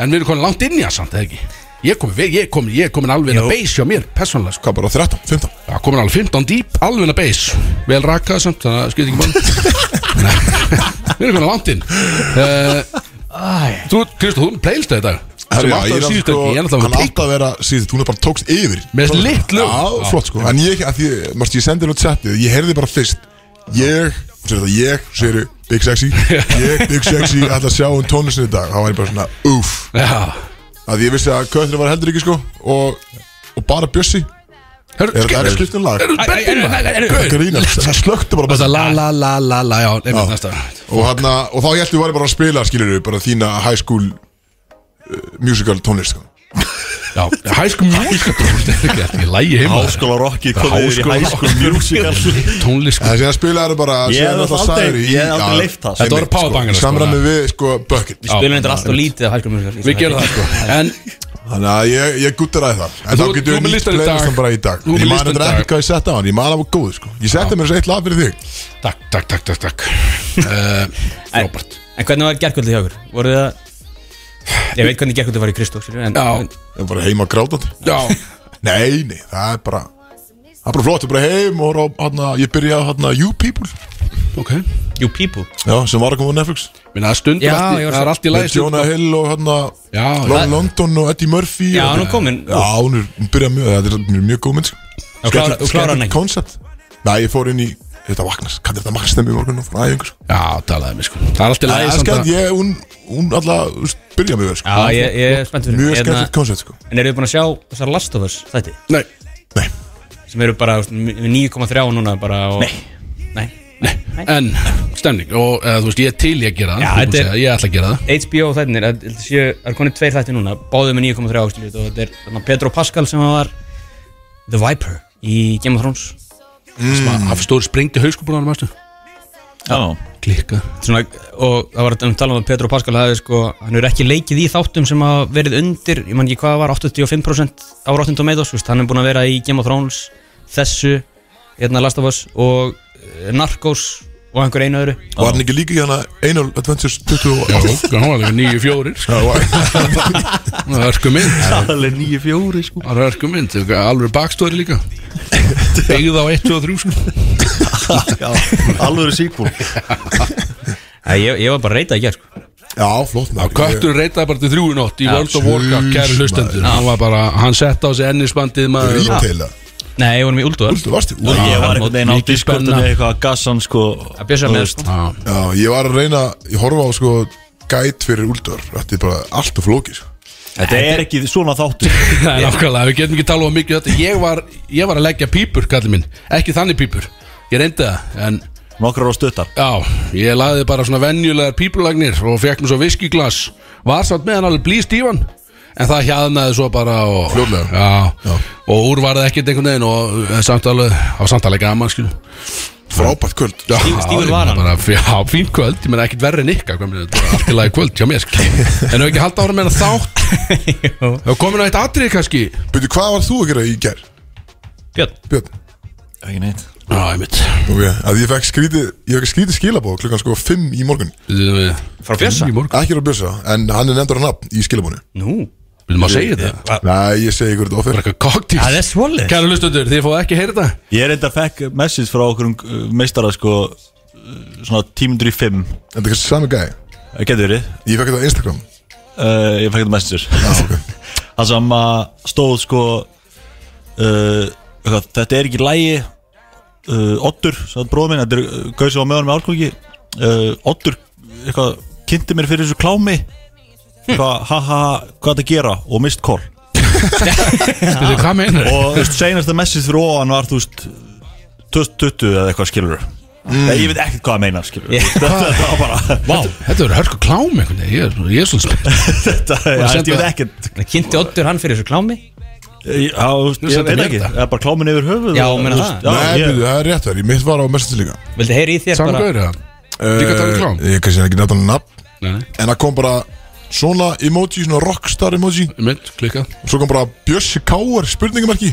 En við erum komin langt inn í það samt eða ekki Ég er komin, við- ég er komin, ég er komin alveg inn að base hjá mér Persónulega sko
Hvað bara 13, 15
Það komin alveg 15 dýp, alveg inn að base Vel rakað samt, þannig að skipti ekki mann Við erum komin langt inn uh, Þú, Kristof, þú erum playlist þetta
Herru,
Sem
já,
alltaf
ég
er
er
síðust
sko,
ekki Ég er alltaf
hann
með
átti að vera síðust, hún er bara tókst yfir
Mér finnst litt lög. Já.
Já, flott sko, en ég, að því, mást ég sendi hérna chatið, ég heyrði bara fyrst Ég, hún segir það, ég, segir Big Sexy, ég, Big Sexy, ætla að sjá um tónlistinu í dag Þá var ég bara svona, uff
pick Já,
Að því ég vissi að Köllin var heldur ekki sko Og, og bara Bjössi,
herru,
er það er skiptum um lag
skipti
Grína, það slökti bara
Það
bara
la la la la la, já, nefnir næsta
Og, hana, og þá hjælti við varum bara að spila, skilur við, bara þína high school uh, musical tónlist sko.
Já, hæskum mjög Þetta er ekki lægi heima
Háskóla rocki komið yfir
Háskóla-
í Háskóla musical
tónlist
Það sé að spila eru bara
Ég
síðan
hef
alltaf
aldrei-
sagðir í-
ég hef aldrei
Já,
leyft það.
Þetta voru
einmitt, sko,
powerbangar, sko,
Í samræmi við sko bucket
Við spilum þetta alltaf lítið af Hælgrum
Við gerum það sko En
Þannig að ég, ég guttir aðeins það En
Þú-
þá
þú
getur
ert
við
með
nýtt
listann í dag.
playlistan bara í dag
Þú ert með
Ég man
listann í
þetta
dag.
ekki hvað ég setti á hann Ég man að það var góð sko Ég setti mér þessu eitt lag fyrir þig
Takk, takk, takk, takk, takk Eh, Robert
En hvernig var gerkvöldið hjá okkur? Voru það Ég veit hvernig gerkvöldið var í Kristó skilur, en,
Já,
en-
Ég var bara heima grátandi
já
Nei, nei, það er bara Það er bara flott, ég er bara heim og á- hana, ég byrjaði hana You People
Ok Minna
You people
Já, sem var að koma á Netflix
það er stundur
Já,
allt í-
ég var
Það er
svo-
allt í
Með
lægi
Jonah Hill og hérna, hana
Já,
Lon London og Eddie Murphy
Já,
og-
nú komin
Já, hún er, hún byrjaði mjög, þetta er mjög, mjög góð mynd sko.
Og klára- og klára hann ekki?
Koncept Nei, ég fór inn í, þetta vaknas, hvað er þetta vaknas stemmi í morgun og fór æfingu sko
Já, talaði mig sko Það er allt í
Það
lægi
er
samt
skemmt,
að-
ég, hún, hún alltaf byrja mjög vel, sko
Já, ég, ég er spennt fyrir
Mjög
Hérna-
skemmtilegt koncept, sko
En eru við búin að sjá þessar Last of Us þætti
Nei
Nei,
Sem eru bara þú veist, 9,3 núna bara og, Nei Nei
En, stemning Og eða, þú veist, ég er til ég að gera það
Já,
Þú búin að
þetta er-
segja, Ég ætla að gera það
HBO þættinir, það er- það eru konið tveir þættir núna Báðið með 9,3 ástulít og þetta er þarna, Pedro Pascal sem var The Viper í Game of Thrones
mm. Hafstóri springti hauskúpunum Mástu
Já,
Klikka
svona, og það var um talað um að Petru Pascal hafi sko, hann er ekki leikið í þáttum sem hafa verið undir, ég man ekki hvað það var 85% á Rotten Tomatoes, þú veist, hann er búin að vera í Game of Thrones, þessu hérna Last of Us og eh, Narcos og einhver einu öðru
Var hann ekki líka í hana Anal Adventures 28
Jókan, hún var alveg nýju fjórir
Já, var-
Það er örku mynd
það er nýju fjóri sko
Það er örku mynd Það er alveg bakstóri líka Begð á 1, 2 og 3 sko
Já, alveg síkvúl
Æ, ég, ég var bara að reyta í gerð sko.
Já, flott maður.
Köttur reytaði bara til þrjú í nótt Í World of Warcraft, kæri
Jesus,
hlustendur
maður.
Hann var bara, hann sett á sig ennisbandið maður og-
Retaila
Nei, ég vorum í Ulduar
Þú varst í
Og ég var
móti-
einhvern veginn á
mikil
Discord
spenna.
með eitthvað að gassan sko
að bjösa
þú
með
veist,
sko.
Já.
Já, ég var að reyna Ég horfa á sko Gæt fyrir úldar Þetta er bara allt sko. og flókis
Þetta er ekki svona þáttur
Það er nákvæmlega, við getum ekki talað um mikið þetta ég var, ég var að leggja pípur, kallið minn Ekki þannig pípur, ég reyndi það En
Nokkrar á stöttar
já, ég laði bara svona venjulegar pípulagnir Og fekk mér svo viskiglas Var satt með hann alveg blý stífan En það hjaðnaði svo bara og,
Fljótlega.
já, Og úr var það ekkert einhvern veginn Og eh, samt alveg, á samt alveg gaman skil
Frábært kvöld Já,
stífur
Já,
var hann?
bara, Já, fín kvöld, ég menn ekkert verri en ykkar hvað meina, þetta var Allt í lagi kvöld, já mér skil En ef ekki halda ára meina þátt Það er komin á eitt atrið kannski
Byrju, hvað var þú að gera í gær?
Björn,
Björn
Ekki neitt
Já, ég mitt
Ok, að ég fekk skrítið Ég fekk skrítið skilabóð klukkan sko 5 í morgun
Frá
Bjössa?
Í morgun
Ekki er að bjösa En hann er nefndur að nafn í skilabónu
nú
Vil maður segja þetta?
Nei, ég segi ykkur þetta
Það
ofir
er eitthvað koktís
Það er svolítið
Kæra hlustundur, þið fóðu ekki að heyra þetta
Ég er enda fekk message frá okkur um, uh, meistara sko uh, Svona tímundur í fimm
En þetta er sami gæ
Það getur verið
Ég fekk þetta á Instagram
uh, Ég fekk þetta message
Já, ok
Það sem að stóð sko uh, eitthvað, Þetta er ekki lægi uh, Oddur, sagði bróð minn Þetta er uh, gauð sem var með honum með álkóki uh, Oddur, eitthvað Kynnti mér fyrir þessu klámi Hvað, ha, ha, ha, hvað þetta gera Og mist kól
Þú veist, hvað meinar
Og þú veist, seinasta message fyrir ofan var Þú veist, 2020 eða eitthvað skilur mm. Ég veit ekkert hvað það meina skilur Þetta þetta var bara
Vá Þetta verður hörku klám einhvern veginn Ég er- Ég er svona spennt
Þetta, ég,
senda-
ég veit ekkert
Kynnti Oddur hann fyrir þessu klámi
Ég, á, þú veist, ég
senda
veit
mér
ekki,
þetta.
það er bara klámin yfir höfuð
Já,
og-
meina
þú veist,
það.
Nei,
já,
byrju,
ég-
það er rétt þar Ég mitt var á message líka
Vildi heyri í þér
Saman
bara
gauður eða? Líka að tala um klám?
Eh, Ég kannski ekki nefndan nafn
Nei, nei
En það kom bara svona emoji, svona rockstar emoji
Ég mynd, klikkað
Og svo kom bara Bjössi Káar spurningamarki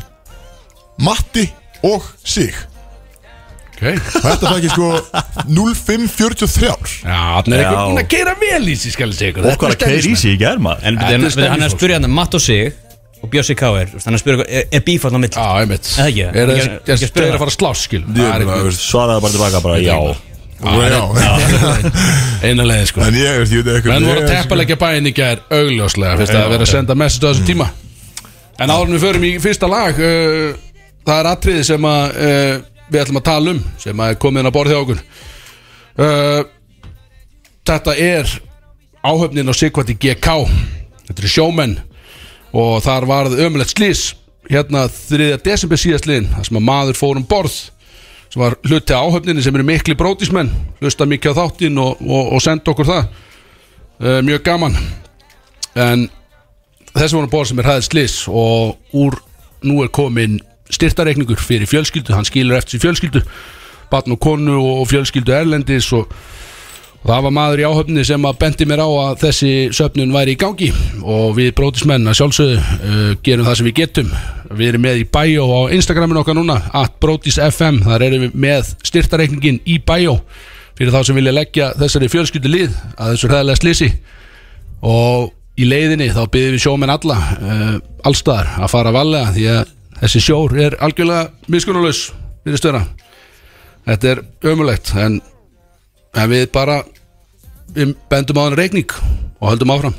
Matti og Sig
Ok
Þetta fækki sko 0543
Já, þannig er
Já.
eitthvað búin að keira vel í sig, skal ég segja ykkur
Og hvað er keir í sig í gær maður
En
Þetta er
byrju, hann- hann er sko. að
stemningsfólk.
spyrja hann Matt og sig og Bjössi K.R. Þú veist, Hann er að spyrja er, er bífarn á milli
Já, ég mynd
Eða ekki?
Er
Ég- ég- ég
það
spurði
stöður
það.
að fara að slás, skil
Ég er bara, veist
Svaraði bara tilbaka bara já
Já,
Eina leiði, sko
en ég, veist, ég veit ekki
Menn voru að teppalegja bæinn í gær augljóslega fyrst að vera að senda message á þessum tíma En áður en við förum í fyrsta lag uh, Það er atriði sem að uh, við ætlum að tala um sem að er komið inn að borðið okkur uh, Þetta er áhöfnin á Sigvati GK Þetta eru sjómenn og þar varð ömulegt slís hérna 3. desember síðastliðin þar sem að maður fór um borð sem var hluti af áhöfninni sem eru mikli brótismenn hlusta mikið á þáttinn og, og, og senda okkur það uh, mjög gaman en þessi voru bóð sem er hæðið slis og úr nú er komin styrtareikningur fyrir fjölskyldu hann skilur eftir sér fjölskyldu batn og konu og fjölskyldu erlendis og, og það var maður í áhöfni sem að benti mér á að þessi söfnun væri í gangi og við brótismenn að sjálfsögðu uh, gerum það sem við getum við erum með í bæjó á Instagraminu okkar núna at brótisfm, þar erum við með styrtareikningin í bæjó fyrir þá sem vilja leggja þessari fjölskyldu lið að þessu hræðilega slisi og í leiðinni þá byrðum við sjómenn alla uh, allstaðar að fara valega því að þessi sjór er algjörlega miskunnalaus við stöðna þetta er ömulegt en, en við bara við bendum á hann reikning og höldum áfram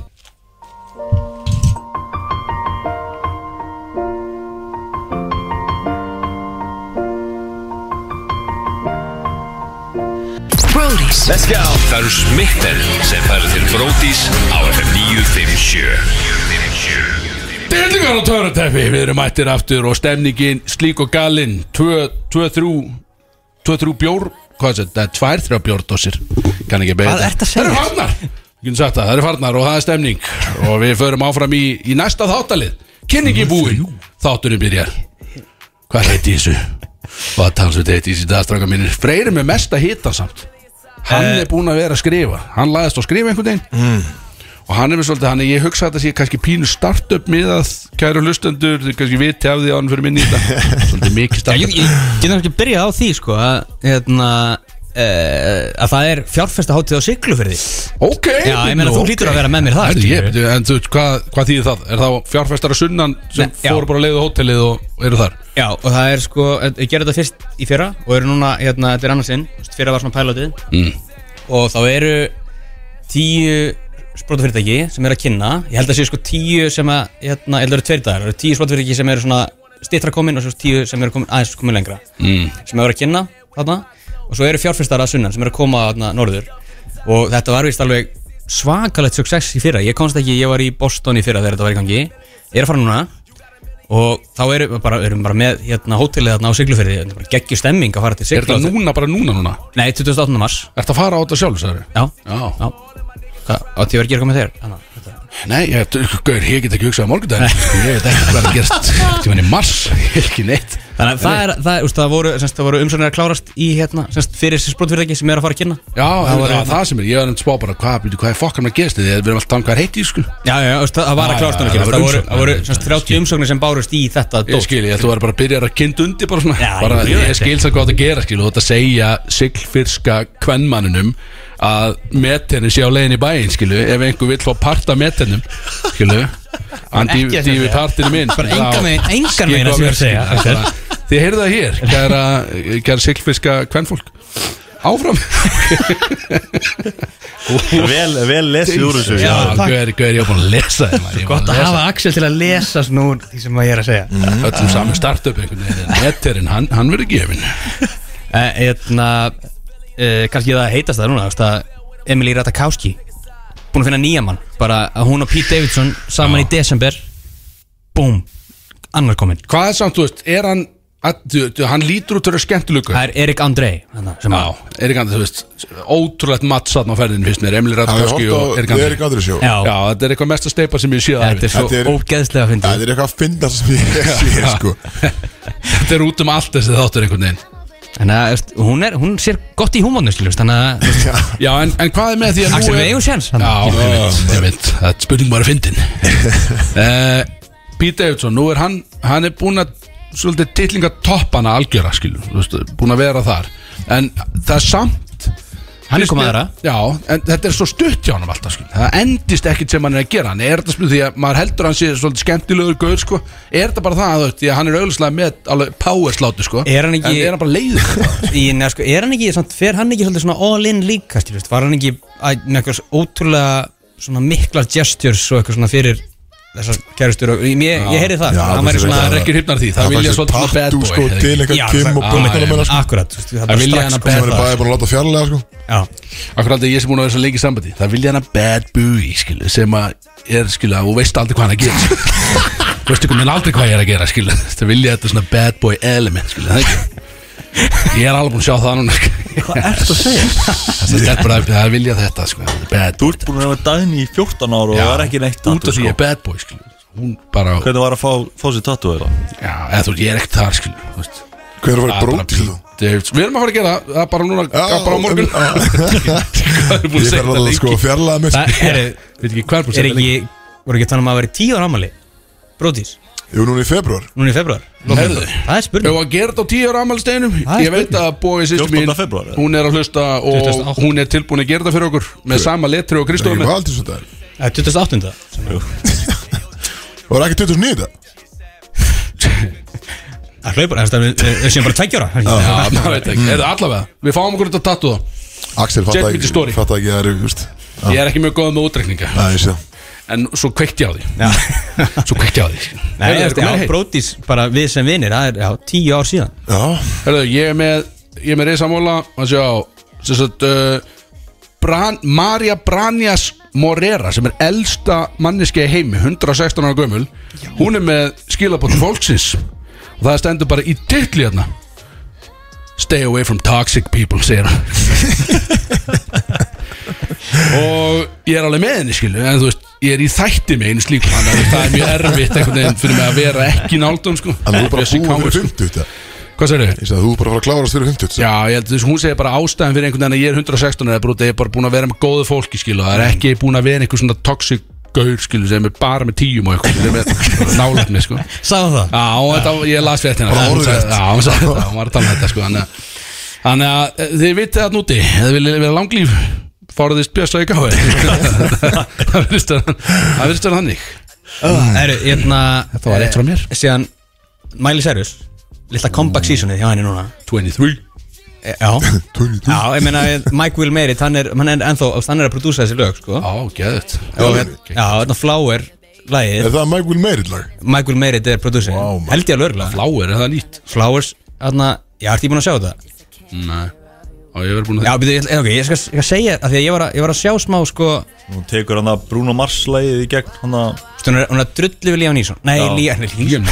Brody's
Það eru smitten sem færa til Brótis á FM 957
Dillingar og törutæfi, við erum mættir aftur og stemningin slík og galinn 2-3 2-3 bjór, hvað hvað er þetta, tvær, þrjá bjórdósir kann ekki beita
Hvað ertu að segja?
það eru farnar, Við getum sagt það, það eru farnar og það er stemning og við förum áfram í, í næsta þáttalið kynningi búin, þáttunum byrjar hvað heiti þessu og það talsveit heiti þessi dagstráka mínir Freyr er með mesta hita samt hann
Eh.
er búin að vera að skrifa hann lagðist á að skrifa einhvern veginn
Mm.
og hann er með svolítið, hann er, ég hugsa að þetta sé kannski pínu startup miðað, kæru hlustendur þið kannski viti af því án fyrir minni í þetta svolítið mikið
Já, ég,
startup
ég getur ekki byrjað á því sko að, hérna, e, að það er fjárfesta hátíð á siglu fyrir því
ok,
Já, ég meina þú
ok.
hlýtur að vera með mér það
Herri, ég,
skilurðu.
byrju, en þú veist, hvað, hvað þýðir það? Er það fjárfæstara sunnan sem
Nei, já.
fóru bara leiðu hótelið og eru þar?
Já, og það er sko, ég gerði þetta fyrst í fyrra og eru núna, hérna, þetta er annarsinn fyrra var svona pælótið
Mm.
og þá eru tíu sprótafyrirtæki sem eru að kynna ég held að séu sko tíu sem að hérna, ég held að eru tveir dagar, það eru tíu sprótafyrirtæki sem eru svona stittra komin og svo tíu sem eru komin, aðeins komin lengra
Mm.
sem eru að kynna þarna og svo eru fjárfyrstar að sunnan sem eru að koma þarna norður og þetta var vist alveg svakalegt success í fyrra, ég komst ekki, ég var í Boston í fyrra þegar þetta var í gangi, ég er að fara núna og þá erum við bara, erum bara með hérna hótelið þarna á Siglufyrði þetta er bara geggjur stemming að fara til
Er þetta
Siglufyrði
núna, bara núna núna?
Nei, 28. mars,
Er þetta að fara á þetta sjálf, sagður?
já,
Já.
já. Hvað, átti ég verið að gera komið þér? Anna, þetta.
Nei, ég, gaur, ég get ekki hugsað á morgundaginn. Ég veit ekki hvað er að gerast. Ég menn í mars, ekki neitt.
Þannig að það, er, það, úst, það voru, semst, það voru umsönir að klárast í hérna, semst, fyrir þessi sprótfyrirtæki sem er að fara að kynna
Já, það,
var-
var, það sem er, ég var nefnt spá bara, hvað, býtu, hvað er fokkan að gerast? Þegar við erum alltaf að tala um hvað er heiti, sko.
Já, já, já, úst, það það var
Já,
að klárast
já,
núna,
já,
skilur, það
það
voru,
voru umsóknir.
það voru semst, 30 umsóknir sem bárust í þetta
Ég
dót.
skil, ég ætla bara að byrja að kynna undir bara svona
Já,
bara,
ég
Ég,
veit
ég skil það hvað það gera, skil, og þetta segja siglfyrska kvennmanninum að metinni sé á leiðin í bæinn, skilu ef einhver vill fá parta metinnum skilu, hann
Ekki að
dýfi
segja.
partinu minn
Bara engan
þá-
veginn- engan
skil
veginn að sem ég er að
hvað mér,
segja,
skil,
Axel.
bara, Þið heyrðu það hér, kæra, kæra siglfyrska kvennfólk Áfram
Vel, vel lesið úr þessu
Já,
já.
gauður, gauður, ég var búin að lesa þeim Ég var búinn
Gott
að
að
lesa
hafa Axel til að lesa snúr því sem að ég er að segja mm.
öllum saman startup einhvern veginn en Metirinn, hann, hann verður gefin
Eðna, e, Eh, kannski það heitast það núna þú veist að Emily Ratajkowski búin að finna nýja mann bara að hún og Pete Davidson saman í desember búm, annar kominn
Hvað er samt, þú veist, er hann að, þú, þú, Hann lítur út fyrir skemmtilugur
það er Erik Andrei þarna, sem
Já,
að
Erik Andri, þú veist Ótrúlegt mattsatn á ferðinu, finnst mér Emil
Það er
Ratkowski og
hótt
Erik
á
Andri
Erik Andri sjó
Já.
Já, þetta er eitthvað mesta steipa sem ég sé að
þetta er svo
Þetta er-
ógeðslega að
Það
fyndi
er eitthvað að finna sem ég sé sko
Þetta er út um allt þessi þáttur einhvern veginn
en að, veist, hún, er, hún sér gott í húmónu skilur, þannig að veist,
Já, en, en hvað er með því að
Axel
nú
við
er
eigum séns
Já,
þarna.
ég veit, ég veit Það er spurning bara að fyndin uh, Pete Davidson, nú er hann Hann er búinn að Svolítið titlinga toppana algjöra skilur þú veist, Búinn að vera þar En það er samt
hann er eh? komað aðra
Já, en þetta er svo stutt hjá hann alltaf skil Það endist ekkit sem hann er að gera Hann er þetta spil því að maður heldur að hann sé svolítið skemmtilegur gaur sko Er þetta bara það að þú veist Því að hann er auðvitað með alveg power slátu sko
Er hann ekki-
En er hann bara leiður
Í, neða, sko, er hann ekki, samt, fer hann ekki svolítið svona all in líka, skilur, veist, var hann ekki að, með eitthvað ótrúlega svona miklar gestures og eitthvað svona fyrir þessar kærustur og ég, ég, ég heyri það,
Já,
hann væri
þú veist
svona að
það.
rekja
Ekki hrifnar því, það
fær
vilja
sér
svolítið svona bad
tattoo,
boy,
sko,
eða ekki?
Til
Já,
eitthvað kim og
það-
bönnum sko,
akkurat, þú veist, það er
Það
bara
vilja
strax
hann
sem hann
komið
að
er
það.
bæði bara að láta fjarlæga sko
Já,
Akkur aldrei ég sem búin að vera svo lengi í sambandi Það vilja hann að bad boy, skilu Sem að er, skilu, að þú veist aldrei hvað hann er að gera skilu. Þú veist ekki minn aldrei hvað ég er að gera, skilu Það vilja þetta svona bad boy element, skilu Það er ekki Ég er alveg búin að sjá það núna Hvað ert að segja? Það stelpur að það vilja þetta, sko þetta er Bad
Þú ert búin að vera daginn í 14 ára og það er ekki neitt
Út af því ég er
sko.
bad boy, skilu Hún bara,
Hvernig var að fá, fá sér tattu eða?
já, eða þú veist, ég er ekkert þar, skilu Þú veist
Hver var
Það er bara
brótið þú?
Pete Davidson. Við erum að fara að gera það, það er bara núna,
Já,
bara á morgun
já.
Hvað er búin að
Ég
segja
fer
þetta
alveg sko
lengi?
að fjarlæga mig
það er,
Veit ekki hvað er búin
er
að segja þetta lengi?
ekki, voru ekki þannig að maður verið tíu ára ámali, bróðís,
Jú, núna í februar
núna í februar,
Herðu.
það er
Ef
spurning,
að gera þetta á 10 ára ammælsteginum
Það er
Ég veit að bóið sýstu
14.
mín
febrúar, eða?
Hún er að hlusta og
28.
hún er tilbúin að gera þetta fyrir okkur Með sama letri
Það
og
er
Kristóð
ekki
með
valdið svo þetta
Það er 28.
Það var ekki 29 þetta
Það hlaupar, það er- við við séum bara tveggjóra,
Já, maður veit ekki
Mm.
Er það allavega? Við fáum okkur þetta tattu þá
Axel
Jet
fatt
with the
ekki
story.
Fatt ekki að það eru, veist
Ég er ekki mjög góð með útrekninga
Það er sér
En svo kveikti ég á því Svo kveikti ég á því
Nei,
Heyrðu,
þú veist,
er komið
já,
heim?
bróðís, bara við sem vinir, það er, já, tíu ár síðan
Já,
Herðu, ég er með Ég er með reysamóla Að sjá Sem sagt uh, Bran, Maria Branjas Morera Sem er elsta manneski í heimi 116 ára gömul Hún er með skilabótt fólksins Og það stendur bara í titli hérna Stay away from toxic people, segir hann Og ég er alveg með henni, skilu En þú veist, ég er í þætti með einu slíku Þannig að það er mjög erfitt einhvern veginn fyrir mig að vera ekki náldum, sko
Þannig að þú bara
Bjössi
búið
Káur,
fyrir
sko.
50 þetta.
Hvað segir
Ég sagði að þú bara fara að klárast fyrir 50 þetta.
Já, ég held þess að hún segir bara ástæðan fyrir einhvern veginn að ég er 116 eða brúti, ég er bara búin að vera með góðu fólki skilu, það
Mm.
er ekki búin að vera einhver svona toxic gaur skilu sem er bara með tíum og eitthvað, sem er með nálætni sko Já,
Sáðu það?
og þetta, ég las fyrir hérna
Bara
Hún sagði-
orðrétt.
Já, hún sagði þetta, hún var að tala um þetta sko Þannig að, þannig að eh, þið vitið það núti, eða viljið vera langlíf Fáraðist bjösa í gáði Það virðist vera- það virðist vera þannig
Heru, hérna, eh,
Þetta var rétt frá mér.
Síðan Miley Cyrus Lilla comeback seasonið hjá henni núna
23
E- Já,
22.
já ég meina Mike Will Merit Hann er, hann er ennþá Hann er að prodúsa þessi lög sko.
Á, geðut
Og hérna- Já, þetta Flower Lægið
Er það Mike Will Merit lag?
Mike Will Merit er prodúsin
Vá, maður.
Held ég alveg örgulega
Láir, er það nýtt?
Flowers Þarna Já, ertu ég búin að sjá þetta?
Nei, á ég verið búin að
Já, byrju, ég, ætla- ok, ég skal, ég skal segja að Því að ég var að, ég var að sjá smá sko
Hún tekur hann að Bruno Mars lægið í gegn hann að
veistu, Hún er, hún er að drullu við Liam Neeson Nei,
Já.
Liam Neeson
Liam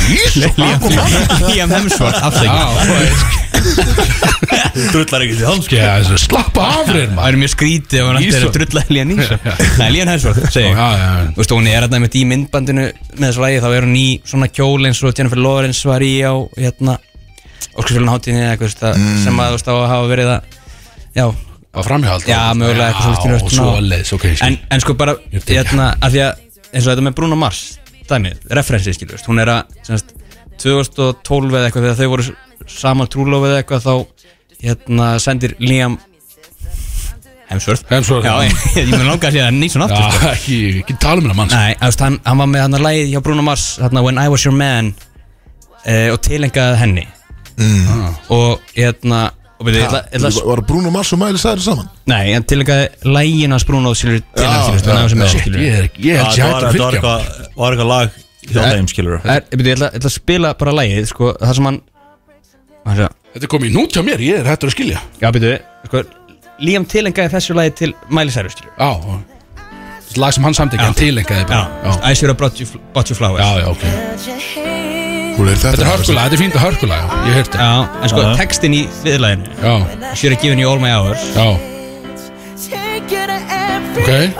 Neeson
Liam Hemsworth Afsækjum
Já,
drullar ekki til sko. hans
þessu slappa afrið
Það
maður
er mjög skrítið ef hann ætti að
Neeson.
drulla Liam Neeson Nei, Liam Hemsworth, segi
Já,
ég
já, já.
Þú veist, hún er hérna með í myndbandinu með þessu lagi, þá er hún í svona kjól eins og Jennifer Lawrence var í á hérna, Óskarsfjölun hátíðinni eða eitthvað, þú veist, að- sem að þú veist á að hafa verið að já,
Að framhjáld
já, mögulega eitthvað
Já,
svolítið
svo leðs, ok
en, en sko bara,
Ég tek.
hérna, af því að eins og þetta með Bruno Mars, dæmi, referensi skilur, veist, hún er að, semst 2012 eða eitthvað, þegar þau voru saman trúlofið eða eitthvað, þá hérna, sendir Liam Hemsworth,
Hemsworth,
já,
já.
ég, ég, ég mun langa að sé það nýsson aftur, sko.
Já, ekki, ekki tala um það manns
Nei, þú veist, hann, hann var með hann að lægið hjá Bruno Mars hérna, When I Was Your Man uh, og tilengaði henni mm. og hérna og byrja, ég ætla, ég ætla, að-
Var Bruno Mars og Miley Cyrus saman?
nei, hann tilengaði lægin hans Bruno skilur tilengaði skilur, þannig að hann um sem er
Shit,
skilur
ég er ekki, ég er ekki hægt
Það
að
var var
fylgja
eitthvað var eitthvað lag í þá dagum skilur
Það er- ég byrja, ég ætla, ég ætla að spila bara lægið sko, það sem hann hann sé,
Þetta er komið í nút hjá mér, ég er hægt að skilja
já, byrju, sko Liam tilengaði þessu lægi til Miley Cyrus skilur
Já, þetta er lag sem hann samtækja, hann tilengaði bara Já,
I should have brought you, brought you flowers
já, já, ok
Hún er þetta
Þetta er hörkulag, þetta er fínt að hörkulag, já, ég heyrti
Já, en sko,
Já.
textin í viðlæginu
Já,
I should have given you all my hours
já,
Okay.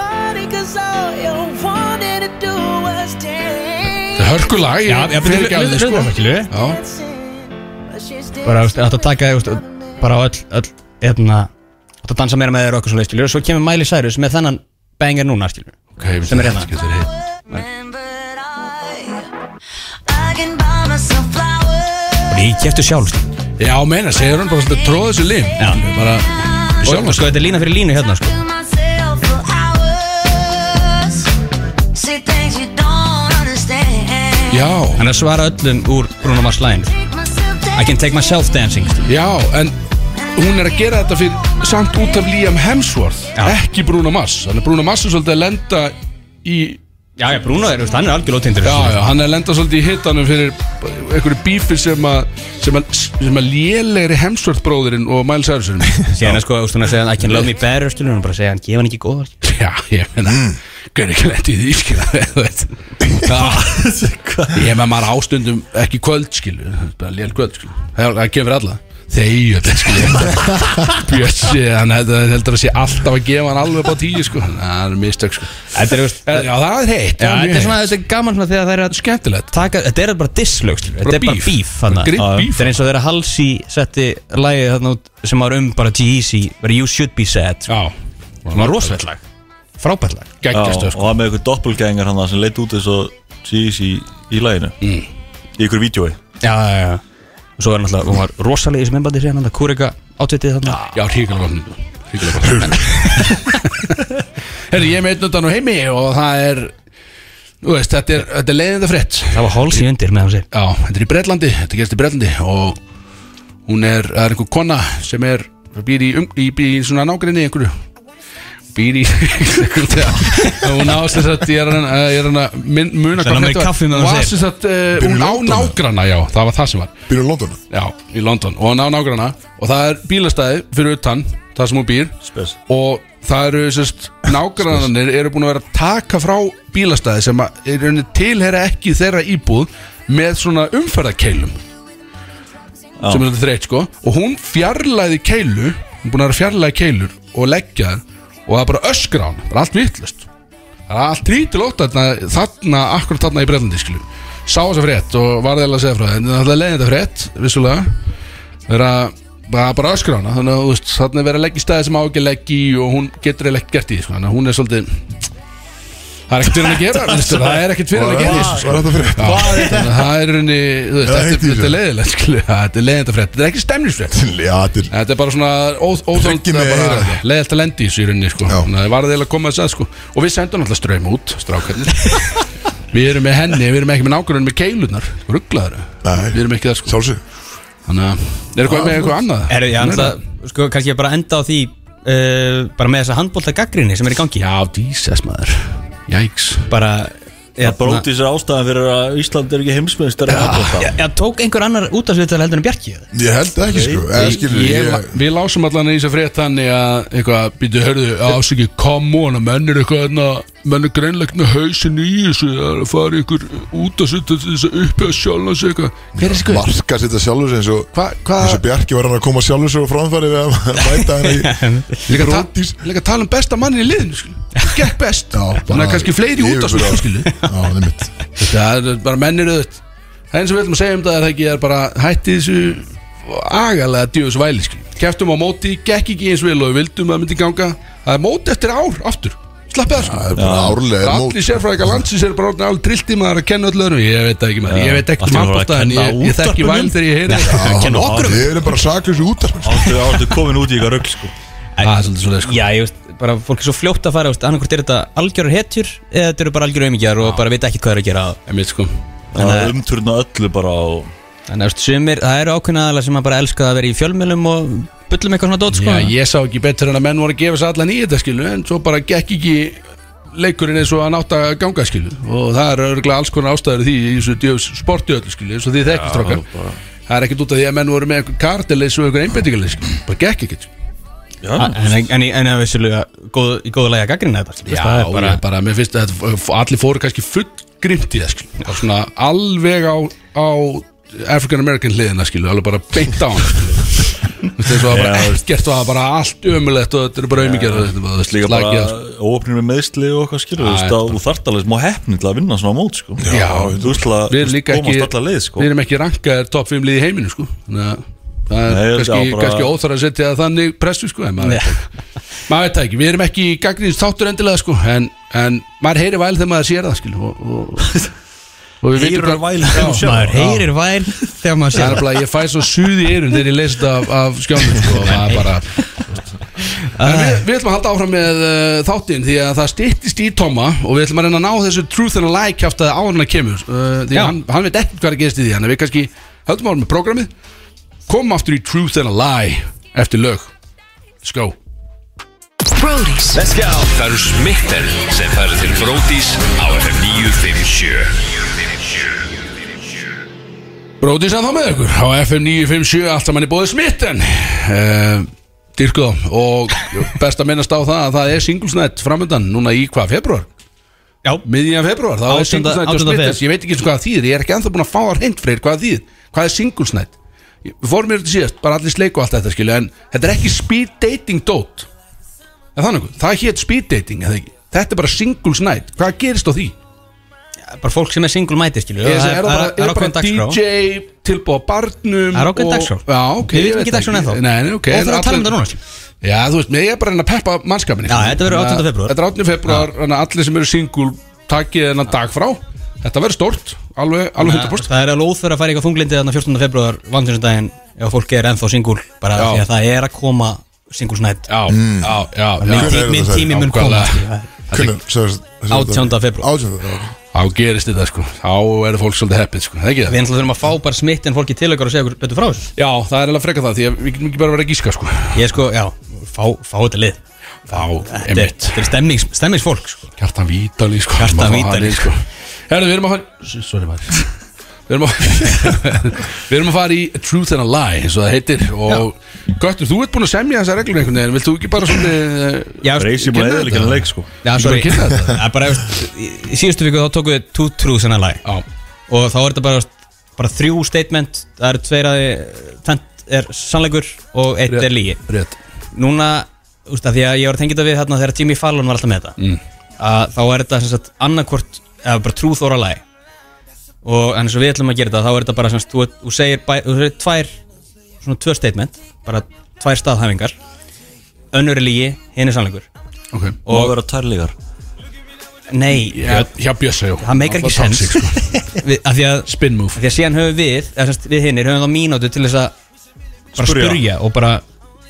þetta er hörkulag
Já, já, byrju,
fyrirgefðu
hlutu
þér,
það skilur við
Já,
bara þú veist, átt að taka þú veist, bara á öll, öll hérna, átt að dansa meira með þér og okkur svoleið skiljur svo kemur Miley Cyrus með þennan banger núna skiljur
ok, ég
Sem er hérna.
þetta er hitt
bara ég kæftu sjálf skilurðu.
Já, meina, segir hann bara svolítið tróða þessu lim
Já.
Bara,
og, og
sjálf
sko þetta er lína fyrir línu hérna sko
Já,
hann er að svara öllum úr Bruno Mars lægin I can take myself dancing skilurðu.
Já, en hún er að gera þetta fyrir samt út af Liam Hemsworth
Já.
ekki Bruno Mars, þannig að Bruno Mars er svolítið að lenda í
já já Bruno er, þú veist, hann er algjör ótindur
já, já, hann er að lenda svolítið í hitanum fyrir einhverju bífi sem að sem að, sem að lélegri Hemsworth bróðurinn og Miles Harrison
síðan er sko, þú veist, hún er að segja I can love me better skiljur hann bara segja hann gefa hann ekki góða skilurðu.
Já, ég meina Hvernig ekki lendi í því, skilja þú veit. Já, Ég með maður ástundum ekki kvöld, skilju Bara lél kvöld, skilju Það það gefur alla Þegju þetta, skilju Bjössi, hann heldur heldur að sé alltaf að gefa hann alveg bara tíu, sko Það er mistök, sko
þetta er, þú veist,
Já, það er heitt
já,
það
þetta
mjög
er svona
heitt.
þetta er gaman svona þegar það er að
skemmtilegt
taka, þetta er bara disslög skilurðu. þetta er bara bíf þarna.
Grip bíf
Þetta er eins og þeirra Halsey setti lagið þarna út sem var um bara G-Eazy bara You Should Be Sad sko.
Já,
sem var rosalegt lag frábært lag
geggjast,
og
sko
það með eitthvað doppelgengar hann sem leit út eins og síðis í, í læginu í
Mm.
ykkur vídjói
Já, já, já og svo er náttúrulega hún var rosalega í sem einbandi síðan hann Kurika átvitið þarna
Já, hríkilega gott Hríkilega gott Herri, ég er með einn undan á heimi og það er Þú veist, þetta er, þetta er leiðinda frétt
það var Halsey undir með hann sér
Já, þetta er í Bretlandi, þetta gerst í Bretlandi og hún er, það er einhver kona sem er, býr í, um, í, býr í svona nágrinni einhverju býr í hún á sem sagt, ég er hann að- ég er hann að mun- muna
Sennan með kaffi meðan
hún
hún
á
segir.
sem sagt, uh,
Býr í
hún á
London, eða?
nágrana, já, það var það sem var
Byrjun London
já, í London, og hún á nágrana og það er bílastæði fyrir utan það sem hún býr
Spes.
og það eru sérst, nágrannanir eru búin að vera að taka frá bílastæði sem að er rauninni tilheyra ekki þeirra íbúð með svona umferðakeilum sem er þetta þreitt sko og hún fjarlæði keilu hún er búin að vera að fjarlæði keilur og leggja þær og það er bara öskra á hana, bara allt vittlust það er allt rítilótt þarna, þarna akkurat þarna í brellandi skilju sá þess að frétt og varði alveg að segja frá það en það er leiðin þetta frétt, vissulega vera bara, bara öskra á hana þannig að þú veist, þarna er verið að leggja í staði sem á ekki að leggja í og hún getur eiginlega ekki gert í því, sko. þannig að hún er svolítið það er ekkert fyrir hann að gera veistu, það er ekkert fyrir hann að gera í þessu, sko.
Var þetta frétt?
Já, þannig að það er raunni þú veist,
Já,
þetta,
heitt í
þetta,
þessu.
er leiðilegt skilju, já, þetta er leiðilegt að frétt þetta er ekki stemnisfrétt
Já, þetta er
þetta er bara svona óþ- óþolandi-
Hryggir mig
það er
að
bara
heyra þetta.
leiðilegt að lendi í þessu í rauninni sko.
Já.
Þannig að það var það eiginlega að koma þess að sko. og við sendum alltaf ströym út strákarnir við erum með henni, við erum ekki með nákvæmlega með keilunar rugglaður,
Nei.
við erum ekki það sko.
sjálfsög
þannig að er eitthvað með eitthvað annað
Er, já,
Meira?
það, sko, kannski bara enda á því uh, bara með þessa handbólta gaggrinni sem er í gangi
já, dísess maður jæks
bara
Það bróti sér ástæðan fyrir að Ísland er ekki heimsmyndstar
Já, já, tók einhver annar út af sviðtal heldur en Bjarki eða?
Ég held ekki sko Eða skilur
Ég-
ég
Við lásum allan í þessu frétt þannig að eitthvað, býtu, hörðu, ásiki come on, að menn er eitthvað þarna menn er greinlegt með hausin í þessu það er að fara ykkur út að setja þess að uppi að sjálfa sig eitthvað Hver er þessi guð?
Marka sétta sjálfur eins og
Hva, hva,
Þessu Bjarki var hann að koma sjálfur sér á framfæri við að mæta hann í
líka, ta
Brodís.
líka tala um besta mannin í liðinu skilu. gekk best,
Já, bara-
þannig að kannski fleiri út að
Yfirburða.
svona skilu
Já, nefnitt
þetta er bara mennir auðvitað það eins og við ætlum að segja um það er það ekki er bara hætti þessu agalega djöfus væli skil. keftum á móti, gekk ekki eins vel og við vildum að myndi ganga það er móti eftir ár aftur slappið það
Það
sko
er bara
Það
árlega
er
mót sko.
Allir sérfræðingar landsins er bara orðin alveg drillti maður að kenna öll öðrum Ég veit það ekki maður, ég veit ekki um
allt í einu voru
handbólta
að
En
kenna
ég, ég þekki væl
útvarpinu.
þegar ég heyri þetta
Já,
Kenna okkur um.
Við erum bara saklausu útarpmenn
Áttu, áttu komin út í ykkar rögl sko
Það er svolítið svolítið sko
Já, ég veist, bara fólk er svo fljótt að fara annarkvort er þetta algjörar hetjur eða þetta eru bara algjörar aumingjar og bara veit ekki hvað það er að gera
Ég veit sko
Það umturna öllu bara og
Þannig að veist, sumir, það eru ákveðnaðalega sem að bara elska að vera í fjölmjölum og bullum eitthvað svona dót sko
Já, ég sá ekki betur en að menn voru að gefa sér allan í þetta skilu En svo bara gekk ekki leikurinn eins og hann átt að ganga skilu Og það er örgulega alls konar ástæður í því í þessu djöfus sporti öllu skilu Svo því þekkist okkar Það er ekkert út af því að menn voru með einhver kartileis og einhver einbendingarleis skilu Bara gekk ekkert
En, en, en, en að vissulega góð, í góðu lagi að gaggrina þetta skilur,
Já,
það er bara,
bara, bara mér finnst að þetta- allir fóru kannski full grimt í það skil Það var svona alveg á, á African American hliðina skilu alveg bara beint á hann skilu. Þú veist, þessu var bara ekkert og það var bara allt ömulegt og þetta er bara ömingjar og þetta var
líka
slagið
bara
og sko.
óöfnir með meðsli og eitthvað skilur þú veist að þú þart alveg smá heppni til að vinna svona mót sko
Já,
þú veist að
Við erum líka ekki,
komast alla leið sko
við erum ekki rankaðir top 5 lið í heiminu sko Þannig að það er
Nei, ég-
kannski,
já, bara-
kannski óþar að setja það þannig pressu sko en maður, veit það ekki. maður veit það ekki, við erum ekki í gagnins þáttur endilega sko en, en maður heyri væl þegar maður sér það skil og, og, og við vitum
Heyrir
hvað-
væl þegar þú
um Já.
sérð það.
maður heyrir vær þegar maður
Það er
sér
bara, ég fæ svo suð í eyrun þegar ég leist af, af skjánum sko, og það er bara En við, við ætlum að halda áfram með uh, þáttinn því að það styttist í Toma og við ætlum að reyna að ná þessu truth and a lie kjáft að áhörna kemur uh, því að hann, hann veit ekkert hvað er að gerist í því þannig að við kannski höldum áfram með prógramið komum aftur í truth and a lie eftir lög Let's go
Brody's
Það eru smitten sem færi til Brótis á FM 957
Bróðins að þá með ykkur á FM 957 allt saman í bóði smitten uh, Dyrku þá og best að minnast á það að það er singlesnætt framöndan núna í hvað, februar?
Já.
Miðjan februar, það er
Átjánda-
singlesnætt og
átjánda
smitten
febrúar.
ég veit ekki eins og hvað það þýðir, ég er ekki anþá búin að fá að reynd freyr hvað það þýðir, hvað er singlesnætt Við fórum mér til síðast, bara allir sleik og allt þetta skilja en þetta er ekki speed dating dót Er það nokkuð? Það hétt speed dating, eða ekki? Þetta er bara singlesnætt, hvað gerist á því?
bara fólk sem er single mæti skilur,
Ég
og
segi, er það bara,
það
er bara
ákveðin dagskrá.
DJ tilbúið á
Það
barnum
er ákveðin
og-
dagskrá.
Já, ok
Við
ég
vitum
veit
ekki dagskrána ennþá.
Nei, nei, ok
Og
en
það er að tala um
allir-
þetta núna, skil.
Já, þú veist, ég er bara að reyna að peppa mannskapin
Já, þetta verður 18. febrúar.
Þetta er 18. februar, þannig að allir sem eru singul Takkið þennan dag frá Þetta verður stórt, alveg, alveg 100%
Það er alveg óþverð að fara í eitthvað þunglindi þannig 14. februar vandinsdaginn ef fólk er ennþá singul bara
Já.
því að það er að koma singlesnætt
Já, já, já,
Hvenær er
minn, tí,
þetta,
minn
sagði?
tími mun koma skilur,
Nákvæmlega.
það-
Hvernig, sagði- sagði-
18. febrúar.
18. febrúar,
Þá gerist þetta sko, þá er fólk svolítið heppið sko, það er ekki það
Við ætlum þurfum að fá bara smitt en fólki til okkar og segja okkur betur frá þessu
Já, það er alveg freka það, því að við getum ekki bara verið að gíska sko
Ég sko, já, fá, fá þetta lið
Þá,
Þetta er,
emitt
þetta er stemnings, stemningsfólk sko.
Kjartan Vítali sko
Kjartan
Maður fá hann
Vídalí,
í, sko. Herru, við erum að fara Sorry maður Við erum, að, við erum að fara í Truth and a Lie eins og það heitir og Göttur, þú ert búin að semja þessa reglur einhvern veginn vilt þú ekki bara svona eh,
Já,
reysi
Kynna
bara eða líka
þetta.
leik sko
já,
Þú
sorry
bara kynna þetta.
Það er bara, veist, í í síðustu viku þá tókum við Two Truths and a Lie
Já,
og þá er þetta bara veist, bara þrjú statement það eru tveir að tvent er sannleikur og eitt er lígi
Rétt
núna, úst, að því að ég var að tengja þetta við þarna þegar Jimmy Fallon var alltaf með þetta mm. að þá er þetta sem sagt annarkvort eða bara trúþóra lagi og en eins og við ætlum að gera þetta þá er þetta bara sem sagt, þú, þú segir, bæ, þú segir tvær svona tvö statement, bara tvær staðhæfingar önnur er lígi, hinn er sannleikur
Ok
Má vera tærlegar
nei,
Já, hjá Bjössi já.
það meikar ekki
Alltaf
sens
toxic, sko.
við, af því að
Spin
Af
move
Því að síðan höfum við, eða semst við hinnir höfum þá mínútu til þess að bara
Spurja.
spurja, og bara,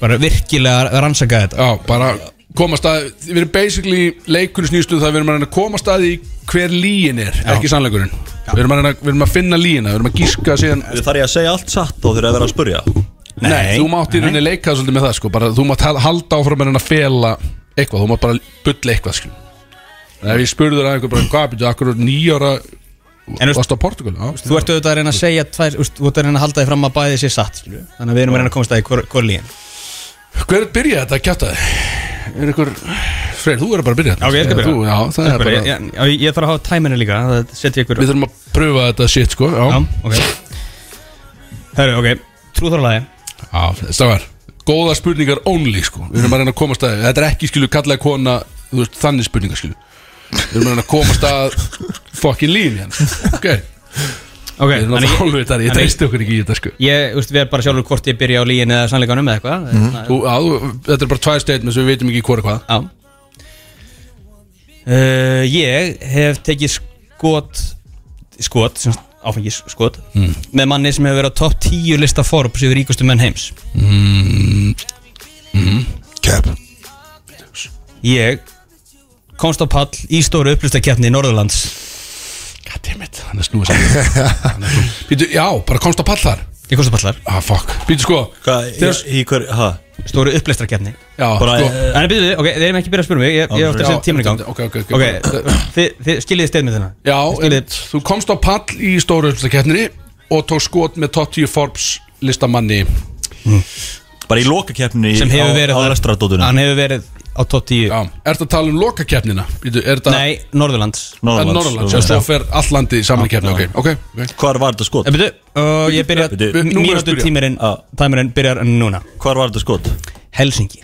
bara virkilega rannsaka þetta
Já, bara komast að Við erum basically leikunni snýslu það að við erum að reyna að komast að því hver líin er ekki sannleikurinn við erum, að reyna, við erum að finna líina, við erum að gíska síðan
Þarf ég að segja allt satt þá þegar ég að vera að spurja
Nei, þú mátt í rauninni leika svolítið með það sko bara, Þú mátt hal- halda áfram en að fela eitthvað Þú mátt bara bulla eitthvað sko En Ef ég spurði þér að einhver bara Hvað byrjuðu, akkur nýjára
En veist-
Varst á Portugal? Já,
Þú ert auðvitað að reyna að segja tvær, úst, þú ert að reyna að halda þig fram að bæði sér satt skilju. Þannig að við erum að reyna að komast að í hvor, hvor líðin
Hver byrjaði þetta að kjáta þig? Er einhver Freyr, þú er að bara byrja þetta
Já, ég skal byrja.
Þú, Já, það er bara
ég, ég, ég þarf að hafa tæminu líka það setja ykkur
Við þurfum að pröfa þetta shit sko Já,
Já, ok Herru, ok, trúþorlaði
já stafar Góða spurningar only sko Við erum að reyna að komast að Þetta er ekki skilu kallaði kona Þú veist, þannig spurningar skilu Við erum að reyna að komast að Fucking lín hérna Ok,
Ok,
við erum að
þannig
fálu
ég,
þetta Ég
þannig-
treysti okkur ekki í þetta sko
ég úst, við erum bara sjálfur hvort ég byrja á líðin eða sannleikanum eða eitthvað mm.
Þú, á, þú- þetta er bara tvær statements við veitum ekki hvora hvað
Já uh, Ég hef tekið skot skot, sem sagt, áfengis skot
Mhm.
með manni sem hefur verið á topp 10 lista Forbes yfir ríkustu menn heims
Cap
Ég komst á pall í stóru upplýstakeppni í Norðurlands
Goddammit, hann er snúið saman Býtu, já, bara komst á pall þar
Ég komst á pallar,
Ah, fuck Býtu sko
Hvað,
Þegar-
í, í hver, hæ?
stóru upplýstakeppni
Já,
Bara,
sko
eh,
En byrjuðu, ok, þeir eru ekki byrjað að spyrja um mig Ég, ég átti að
Já,
setja tíman í gang
ok, ok, ok.
Ok, þið, þið skiljiði stefnið þennan
Já,
Skiljiði-
en, þú komst á pall í stóru uppstakettinni og tók skot með top 10 Forbes listamanni
Bara í lokakeppni
sem hefur verið
á, á
þar-
restradótunum
Hann hefur verið á topp 10
Já, ertu að tala um lokakeppnina? Býtu, er þetta
Nei, Norðurlands
Eh, Norrlands, já, svo fer all landi saman í keppni, ok, ok, ok
Hvar var þetta skot?
Ég byrju, og uh, ég byrja
Bíddu,
nú erum við að
Mínútu
spyrja.
tímirinn,
Já.
tímirinn byrjar núna
Hvar var þetta skot?
Helsingi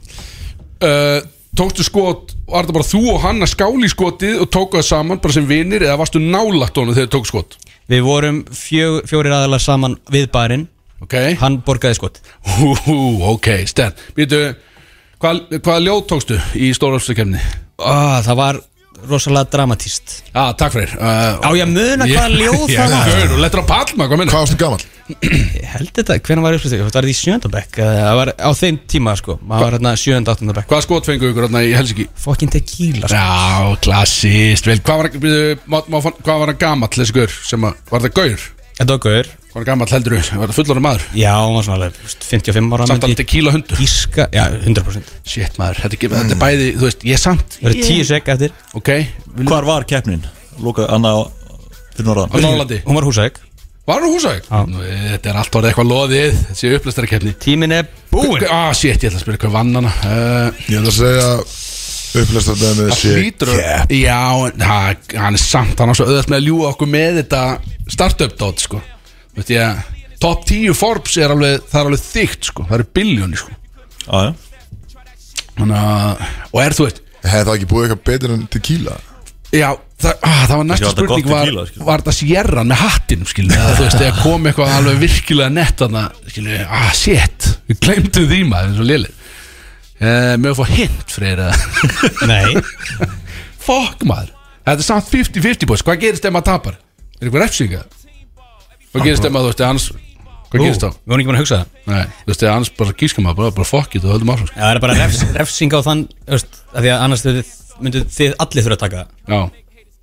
uh, Tókstu skot, var þetta bara þú og hann að skáli skotið og tóku það saman bara sem vinir eða varstu nálagt honum þegar þau tóku skot?
Við vorum fjö, fjórir aðalar saman við barinn
Ok
Hann borgaði skot
Hú, ok, Sten Býtu, hvað, hvaða ljóð tókstu í stórafstakefni?
ah, Það var rosalega dramatíst
Ah, takk fyrir
Á
uh,
ég að muna hvaða ljóð það var
Gaur, og lettur á palma, hvað meina?
Hvað varstu gammal?
Ég held þetta, hvernig var uppslutu? Það var í sjöndabekk Það var á þeim tíma sko Það var hérna sjönda áttundabekk
Hvaða skot fengu ykkur hérna í Helsingi?
Fokkin tequila sko
Já, klassist, vel Hvað var, býtu, má, má, hvað var hann gamall þessi gaur sem að, var þetta gaur?
Þetta var gaur
Hvað var hann gamall heldur við? Var þetta fullorðan maður?
Já, hann var svona alveg, þú veist, 55 ára
Samt
myndi
alveg tequila hundur
Gíska, já, 100%
Shit maður, þetta, ekki, þetta er bæði, þú veist, ég er samt
Það eru 10 sek eftir
Ok, vil,
Hvar var keppnin? Loka, anna á fyrir
á
norðan
Norrlandi
Hún var húsæk
Var hann á húsæk?
Já.
Þetta er allt orðið eitthvað loðið Þessi upplæstara kefni
Tímin er búinn
Ah, shit, ég ætla að spyrja hvað vann hana uh,
Ég ætla að segja Upplæstar með með
Það hlýtur
Cap
Já, en það- hann er samt Hann er svo auðvitað með að ljúa okkur með þetta Startup dot, sko Þú Veit ég, top 10 Forbes er alveg Það er alveg þygt, sko, það eru biljóni, sko
Já, já
Þannig að, og er þú veit
Hefði það ekki búið eitthvað betur en tequila?
Já, það, ah, það var næsta
var þetta
spurning
gott
var,
tequila, skilur.
var þetta sérran með hattinum skilur eða þú veist, þegar kom eitthvað alveg virkilega nett þarna, skilur, ah, shit við glemtum því maður, eins og lili eh, með að fá hint freyr að
Nei
fuck maður, þetta er samt 50-50 boys, hvað gerist ef maður tapar? Er eitthvað refsinga? Hvað gerist ef maður, þú veist, ef hans hvað gerist þá?
Við vorum ekki búin að hugsa það
Nei, þú veist, ef hans bara gíska maður, bara, bara fuck it og höldum áfram, sko
Já, það er bara refs, refsing á þann þú veist, af Því að annars þið, myndu þið allir þurfa að taka það
Já,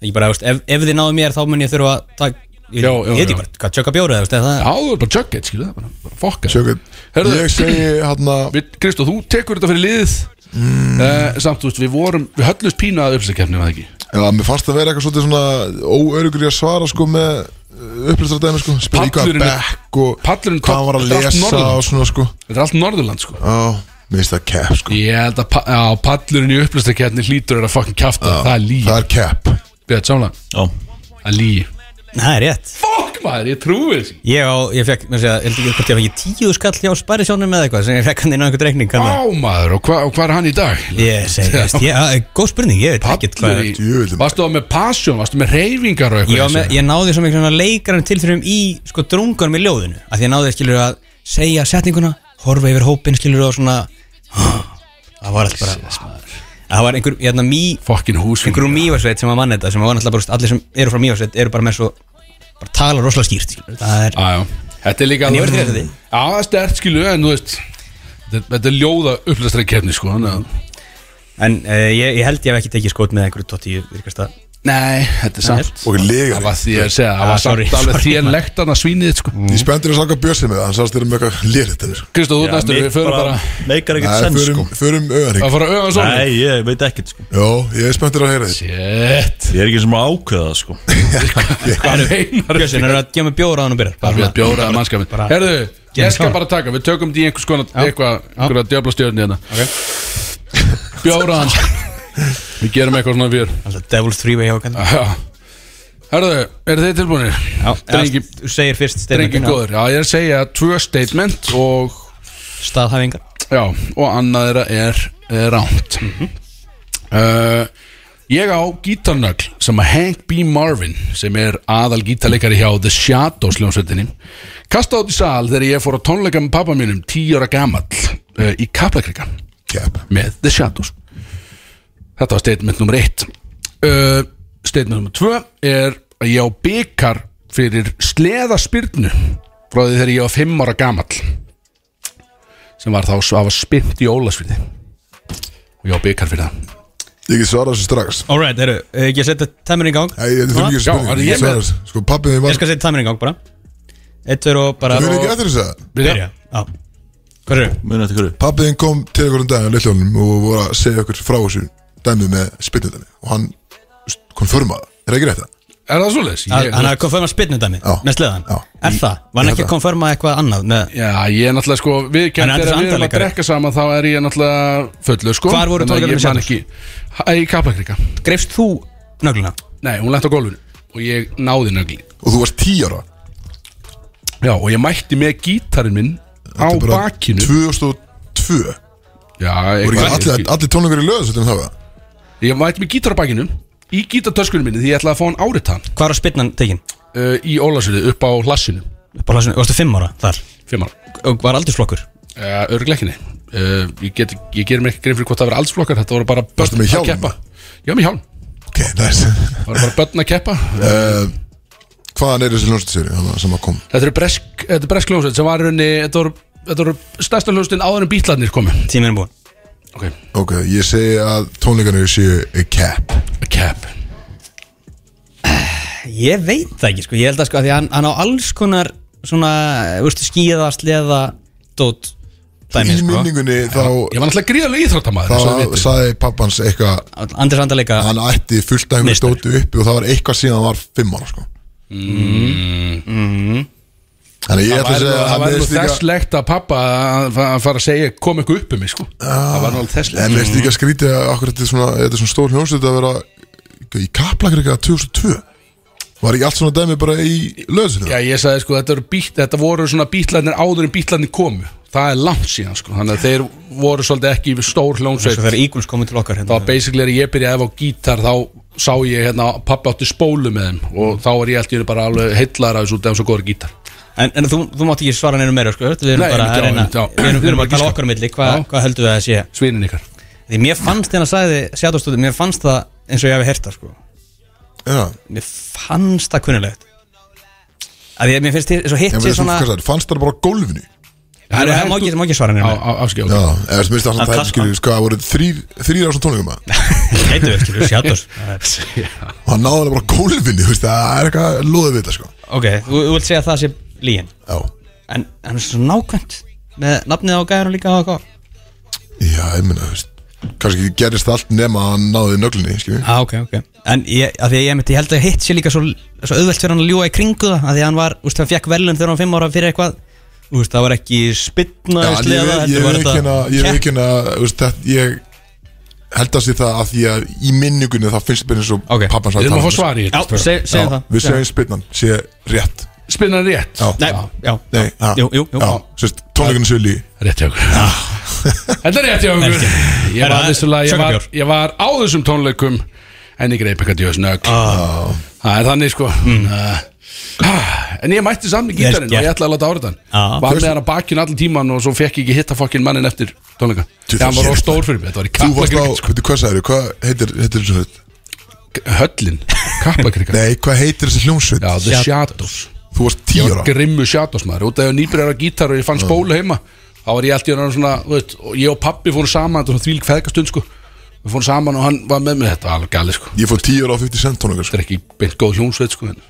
Ekki bara, þú veist, ef, ef þið náðu mér þá mun ég þurfa að taka Ég
Já, já,
ég veit
já.
ekki bara, hvað tjöka bjóra það, það
já, þú er bara juggett, skilur bara, bara fuck it
Sjökkur
Herðu-
Ég segi hérna
Við- Kristó, þú tekur þetta fyrir liðið mm. Samt, þú veist, við vorum Við höllust pínu að uppstakefni, var það ekki?
Já, mér fannst það vera eitthvað svolítið svona óöryggur í að svara sko með upplæstar dæmi sko Spyrir í hvað
Pallurinn er-
bekk og
Pallurinn
hvað hann var að
þetta er allt
lesa
Norðurland.
og svona sko
Þetta er allt Norðurland, sko
Já, mér finnst það cap sko
Ég held að pa á, pallurinn í upplustakefni hlýtur er að fucking kjafta Það er líi,
Það er cap
bjöðt samla
Já,
Það er líi
það er rétt
Fuck maður, ég trúi þessi
Ég, á, ég fekk, mér sé að, held ekki hvort ég fekk tíu skall hjá Sparisjónum eða eitthvað sem ég fekk hann inn á einhvern reikning
Á
kannar.
maður, og hva- og hvað er hann í dag?
Ég segi, veist, ég, að, góð spurning, ég veit ekkert hvað
Pallur í-
Djöfullinn.
Varstu á með passion, varstu með reyfingar og
ég, var
eitthvað
með, ég náði svo mikið svona leikarinn tilþrjum í sko drungunum í ljóðinu að ég náði skilur að segja setninguna horfa yfir hópin skilur og svona það var allt bara það var einhver, hérna mý
Fokkin húsfingur
einhver úr mývarsveit sem var mann þetta sem var náttúrulega bara, þú veist, allir sem eru frá mývarsveit eru bara með svo bara tala rosalega skýrt skilur. það er
Jájá, þetta er líka
En ég verð til því.
Já, það er stert skilu, en þú veist Þetta, þetta er ljóða upplýstari kefni sko þannig að-
en uh, ég, ég held ég hef ekki tekið skót með einhverju tóttíu virkast að
Nei, þetta er samt
Og lega
Það var því að segja, það
Ah,
var
sorry,
samt alveg
sorry,
því en
maður.
lektan að svínið þitt, sko
Ég spenntur að slaka bjössi með það Hann sást þeir eru með eitthvað lérið Það
Kristó, þú ert næstur, við förum bara
meikar ekkert
Nei,
sens
förum,
sko
förum
að
auðanrygg
fara að öfa svona
Nei, ég veit ekkert sko
Jó, ég er spenntur að heyra þig
Shit,
Ég er ekki sem að ákveða það sko
hvað meinar
Björnsson eru að gefa mig bjóra á hann og byrjar
Það er við
bara,
að bjóra að mannskapin
Bara-
Herðu,
Gerum
ég skal
svona.
bara taka, við tökum því einhvers konar eitthvað, einhverja djöfla stjörni hérna
Ok.
Bjóra hann Við gerum eitthvað svona fyrir
alltaf devil three way hjá okkur
Herðu, eru þið tilbúinir?
já,
Drengi-
þú segir fyrst hérna,
Drengi
statement, já.
góður, já ég er að segja tvö statement og,
staðhæfingar
já, og annað þeirra er, er rámt uh, Ég á gítarnögl sem að Hank B. Marvin sem er aðal gítarleikari hjá The Shadows ljónsveitinni kasta át í sal þegar ég fór að tónleika með pappa mínum 10 ára gamall uh, í Kaplakrika
Jep.
með The Shadows Þetta var statement nummer eitt uh, Statement nummer tvö er að ég á byggar fyrir sleðaspyrnu frá því þegar ég var fimm ára gamall sem var þá að var spyrnt í Ólasfyrði og ég á byggar fyrir það
Ég get svarað þessu strax
Alright, eru, eh, ég setja tæmur í gang
Nei, Þetta er fyrir mikið
Já, er
spurning
ég
Ég
með-
svara þessu Sko, pappið þið
Ég
var
skal setja tæmur í gang bara Eitt, tveir og bara
Þú er
og
ekki eftir þess að
Byrja Já Hvað eru?
Muna eftir hverju
Pappið þið kom til einhverjum daginn á Lilljónum og voru að segja okkur frá þessu dæmið með spynnendami og hann konfirma það, er ekki rétt það?
Er það svoleiðis?
Hann
Ég-
hann hafði konfirmað spilnum dæmi
Já.
Með sleðan
Já.
Er það? Var hann ekki að konfirma eitthvað annað með
Já, ég er náttúrulega sko Við
Hann er
kemdur að
þessi
við erum að
andalikari.
drekka saman þá er ég náttúrulega fullur sko
Hvar voru
Þannig að
tónleikarnir
ég man
sjálfs?
ekki- Æ, Í Kaplakrika
Greifst þú nögluna?
Nei, hún lent á gólfinu og ég náði nögli
Og þú varst 10 ára
Já, og ég mætti með gítarinn minn á
Þetta er bara
bakinu
2002
Já,
Voru ekki
eitthvað
allir, allir tónleikar í löðu þetta um það var?
Ég mætti með gítar á bakinu í gítartöskunum minni því ég ætlaði að fá hann áritan
Hvað var spilnan tekin?
uh, í Ólasölu upp á hlassinu
Upp á hlasinu Varstu fimm ára þar?
fimm ára
Og var aldursflokkur?
uh, Örgleikinni uh, ég, get- ég gerir mér ekki grein fyrir hvort það verið allsflokkar þetta voru bara
Varstu
börn
með hjálm?
að keppa Já, með hjálm
Ok, næst
Það voru bara börn að keppa
uh, Hvaðan er þessi ljónstasýri sem að kom?
Þetta er bresk, þetta er bresk hljómsveit sem var í rauninni þetta voru, þetta voru stærsta hljómsveitin áður en bítlarnir komu
Tíminn er búin
Ok,
Ok, ég segi að tónleikarnir séu a cap
a cap
Ég veit það ekki sko Ég held að sko að Því að hann, hann á alls konar Svona, eh, veistu, skíða, sleða, dót
Í
Dæmi sko
minningunni
Ég
þá
var náttúrulega gríðarlega íþróttamaður eins og
þá
þið vitið.
saði pappans eitthvað
Andri Sandarleika
að hann ætti fullt af einhverju
Meistari.
stóti uppi og það var eitthvað síðan hann var fimm ára sko. Þannig að ég ætla að
Mhm. Það væri nú-
segja
það
að
væri
mér
nú
veist líka
þesslegt að pappa að fa- að fara að segja kom eitthvað upp um mig sko Það var náttúrulega
en
þesslegt
mér
Mm.
veist líka að skrítið að okkur þetta er svona, þetta er svona stór hljómsveit að vera í kaplakrika 2002 var ekki allt svona dæmi bara í löðsinu
Já ég sagði sko þetta, eru bít, þetta voru svona bítlarnir áður en bítlarnir komu Það er langt síðan sko Þannig að þeir voru svolítið ekki yfir stór hljómsveit
Svo þegar Eagles komið til okkar hérna.
Það var basically er ég byrjaði að hafa á gítar Þá sá ég hérna pappa átti spólu með þeim
Mm.
Og þá var ég alltaf bara alveg heillar af þessu út af þessu góður gítar
En, en þú, þú mátt ekki svara neina meira sko Við erum
Nei,
bara að
einmitt, já,
reyna
einmitt,
Við
já.
erum, við erum bara að
Giska.
tala okkar á milli Hva,
Já.
Hvað heldur við að það sé
Svinin ykkar
Því mér fannst þeirna sagði Sjátastúti Mér fannst það eins og ég hafi heyrt það sko
já,
Mér fannst það kunnilegt Að því að mér finnst þið svo hitt
en
sér
veist þú
svona
hvað það er, fannst það bara á gólfinu
Það er- það má ekki- má ekki svara neina meira
Afskjáð
já, eða veist minnst það
Að
alltaf
kasta.
dæmi skilur sko, það voru þrýr þrýr á svona tónleikum að-
Heitu við skilur sjátast
og hann náði það bara á gólfinu, þú veist, það er eitthvað loðið við þetta sko,
Ok, þú, þú vilt segja að það sé líin
já
En hann er svo nákvæmt Með nafnið á gæðan líka á hvað
já, ég meina, þú veist, kannski gerist allt nema að hann náði nöglinni, skilur
ah, ok, ok En ég, að því að ég, myndi, ég held að hitt sér líka svo, svo auðvelt fyrir hann að ljúa í kringu það að því að hann var, úst, hann fekk velun þegar hann var fimm ára fyrir eitthvað úst, það var ekki spytna
Já,
í
en ég
sleða,
veit-
heldur
ég
var þetta
veikina ég hérna,
kepp.
veikina ég held að sé það að því að í minningunni það finnst mér eins og
Ok.
pappan
Við
sagði
erum að
tala
fá
um
svar í
Já,
þetta sko.
seg,
Já,
segjum það
við
segjum
segjum spinnan, sé rétt
spinna hann rétt
Já.
Nei, já,
Nei, já.
Jú, jú, jú.
Já, sérst, tónleikunum sölu í
Rétt hjá okkur Þetta er rétt hjá okkur Ég var,
Herra,
vissulega, ég, var,
sökabjór.
ég var á þessum tónleikum En ég greip eitthvað djöðs nögg Það er þannig sko uh, En ég mætti samt með gítarinn og ég ætlaði að láta árið hann
Já.
Var með hann á bakinu allan tíman og svo fekk ég ekki hitta fokkin mannin eftir tónleika
Þú
Þegar hann var
varst-
of stór fyrir mig, þetta var í
Þú varst á,
kaplakrikk sko.
veitir, hvað sagður, hvað heitir, heitir þessu höll?
Höllin, kaplakrikk
Nei, hvað heitir þessi hljómsveit?
Já, The Shadows
Þú varst
Ég
tíu
var
ára
grimmu Shadows maður Út af að nýbyrjar á gítar og ég fann spólu heima Þá var ég allt í hann svona þú veit, og Ég og pappi fórum saman, þetta var því lík feðgastund sko Við fórum saman og hann var með mig Þetta var alveg gali sko
Ég fór tíu ára á 50 cent tónleikar sko.
Þetta er ekki beint góð hjónsveit sko en.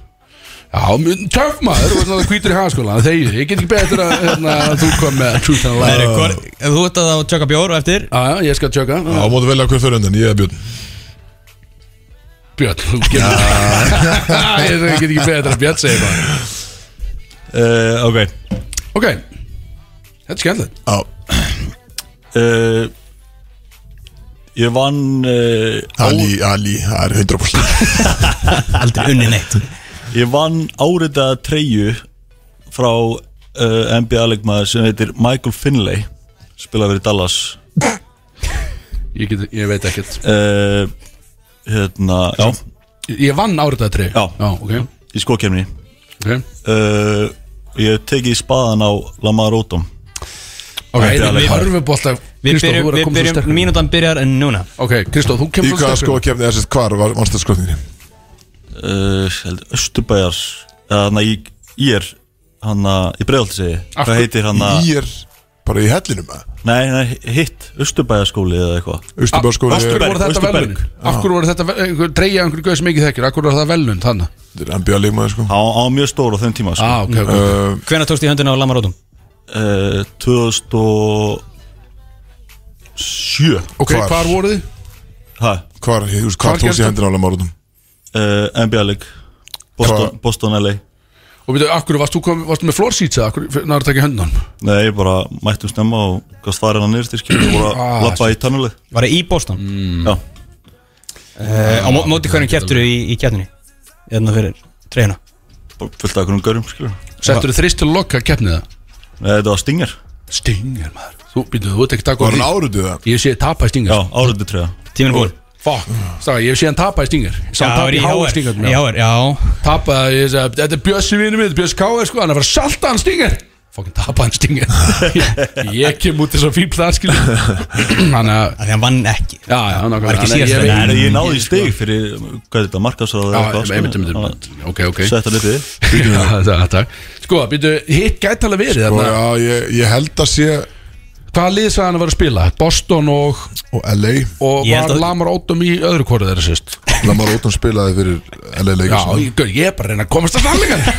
Já, mjög töf maður og svona hvítur í hagaskóla Þegar ég get ekki betur að hérna, þú kom með Truth and
Herri,
Lie
hvor- ef Þú ert að það að tjöka bjór og eftir
Já, já, ég skal tjöka
Já, mótu velja hver fyrir undan, ég er Björn
Björn, þú getur Ég get ekki betur að Björn segja bara
uh, Ok
Ok, þetta er skemmtilegt
Já,
uh, Ég vann uh, á,
Ali, Ali, það er 100%
Aldrei unni neitt
Ég vann áritaða treyju frá uh, NBA-leikmaður sem heitir Michael Finlay spilað fyrir Dallas
Ég, get, ég veit ekkert
uh, hérna, já,
Ég vann árið þetta treyju
Já.
já ok,
í skókjæmni
okay.
uh, Ég hef tekið spaðan á Lamar Odom
Ok,
Þetta er
þetta er
alveg hart.
hörfubólta
Við byrjum,
Kristóf, þú er
við
að koma svo
byrjum
sterkur
mínútan byrjar en núna
Ok, Kristóf, þú
Í
kemur svo
hvaða
sterkur
skóakefni, eða sérst, hvar var mannstæðskotninginni?
uh, held- Östurbæjar þannig í, í er hann að, í bregðaldi segi ég.
Af
hvað
hver-
heitir hann
Ah.
að,
Í er bara í hellinum, eða?
nei, nei, hitt Östurbæjarskóli eða eitthvað
Austurbæðarskóli
Af hverju
Vesturberg,
voru þetta
Vesturberg.
velun?
Ah.
Af hverju voru þetta einhver, dreigja einhverju gauð sem ekki þekkir? Af hverju voru það velun þannig?
er NBA leikmaður,
Ah.
sko
hann hann var mjög stór á þeim tíma sko.
Ah, ok, ok
Uh,
Hvenær tókst í höndina á Lamarótum?
uh, 2007
Ok,
hvar?
hvar voru þið?
ha,
Hvar, þú veist, hvar
Hvar
tókst
gerðist
ég hendur á Lamarótum?
uh, NBA-leik Boston,
Hvað?
Boston LA
Og veitu, af hverju varst þú kom, varst með floor seats eða? Af hverju náður þetta ekki höndan?
Nei, ég bara mættum snemma og gafst farið hann nýrst í skilur og voru
Ah,
að lappa í tannuleg
Var það í Boston? Eh,
Já,
Á mó- móti hvernig keftur í, í kefninni? Eðna fyrir treyna
bara fullt af einhvern görum skilur
Settur þið þrist til að lokka keppnið það?
Nei, þetta var Stinger
Stingar maður Þú býtu, þú ert ekki takk á
Var
því
hann áruðu það?
Ég sé þið tapa í
Já,
stingar
áröndu treða
Tíminu búin
Fuck, stakkar, ég sé hann tapa í stingar Sá
Já, það
hann
var
tapa
í
í háa stingar
HR Í HR, já
Tapaði, ég sagði, þetta er Bjössi vinnu minn, Bjössi Káir sko, hann er að fara að salta hann stingir Fokkin tapa hann stingir Ég- Ég kem út þess að fíl þar skil Þannig að,
Þannig að hann vann ekki
já, já, nákvæmlega
Var ekki
Þannig
síðasta
að ég veit-
Nei, nei, ég náði í stig fyrir, hvað er þetta, markaðsráð sko?
Já, einmitt,
Ah,
einmitt, einmitt Ok, ok
Sett hann upp í
Já, það- það- Sko, býtu, hitt gæti alveg verið
Sko,
Og
þarna.
já, ég, ég held að sé
Hvaða lið sagði hann að vera að spila? Boston og,
Og LA,
og
Ég held
var
að-
Lamar Ótum í öðru kvorið þeirra sérst
Lamarótum spilaði fyrir LA
Já,
sko.
leikar
ég, gaur, ég er bara að reyna að komast að þannleika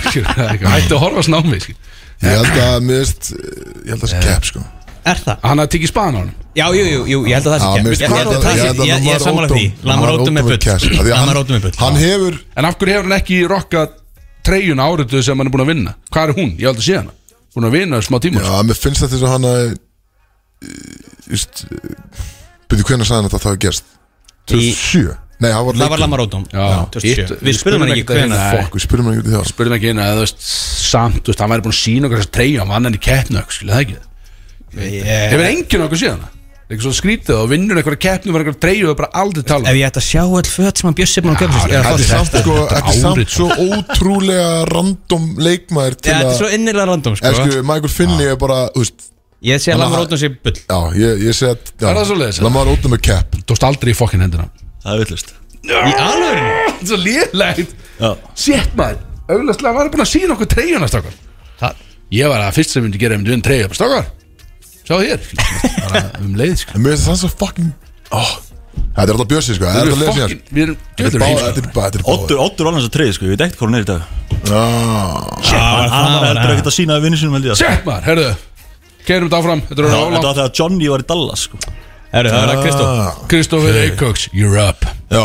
Hætti að horfa snámi skil.
Ég held að, mér veist, ég held að sé kepp, sko
Er það?
Hann hafði tekið spaðan á hann
Já, jú, jú, jú, ég held að
Já,
það
mér finnst
sé kepp Ég held
gott
að það
ég
sé,
held að
ég- ég
Lamar
er sammála því
Odom- Lamar
Lamarótum er
Odom
bull
cash. Af því að hann-
Lamarótum er bull
Hann hefur,
En af hverju hefur hann ekki rokkað treyjun áriðu sem hann er búin að vinna? Hvað er hún? Ég held að sé hana Búin að vinna smá tíma sko.
já, mér finnst þetta þess að hann að eh, Just eh, Byrju, hvernig sagði hann að það hafi gerst? 2007? Nei, það var
Það var
leikur
Lamarótum
hitt-
2007 Við spurðum hann ekki hvenær
Nei.
Fokk, við spyrum hann ekki út í það
Spurðum ekki eina að þú veist Samt, þú veist, hann væri búin að sína okkur þessi treyju Hann vann hann í keppnu, okkur, skilja það ekki
Ég-
Hefur enginn okkur séð hana? Eitthvað svo skrítið og vinnur einhverja keppnu Var einhverja treyju og bara aldrei tala
Ef
um.
ég ætti að sjá all föt sem hann Bjössi búin að köpa sér
Þetta er samt sko,
þetta er
þetta er
árit.
samt svo ótrúlega random leikmaður til
Þetta er svo
að
innilega random
En
sko
sko, Michael Finney er bara, þú veist
Ég sé að
Hann-
Lamarótum sé bull
Já, ég, ég segi að já,
Er það svoleiðis?
Lamar Odom er cap
Þú veist aldrei í fokkin hendina
Það er villist
Í alvöru
Svo liðlegt
Já,
Sétt maður, auglastlega var hann búin að sína okkur treyjuna stakar
Það-
Ég var að fyrst sem myndi gera myndi vinn treyja Stakar, sjá hér Bara um leið, skilja
En mér finnst það svo fucking oh, Þetta er alltaf bjössi sko, þetta er
Við
að
erum
lesa hér
fokkin, við erum
Þetta er
djöður
báða,
heimsko
þetta er báða, þetta er báða
Oddur, Oddur var hans að treyja sko, ég veit ekkert hvað hann er í dag
Já,
Hann hann var heldur ekkert að sína að vinni sínum held ég
Sjætt maður, herðu Keirum þetta áfram, þetta er
Já,
rála
Þetta var þegar Johnny var í Dallas sko
Herru, það var að Kristó
Ah.
Kristoffer Eikóks, you're up
já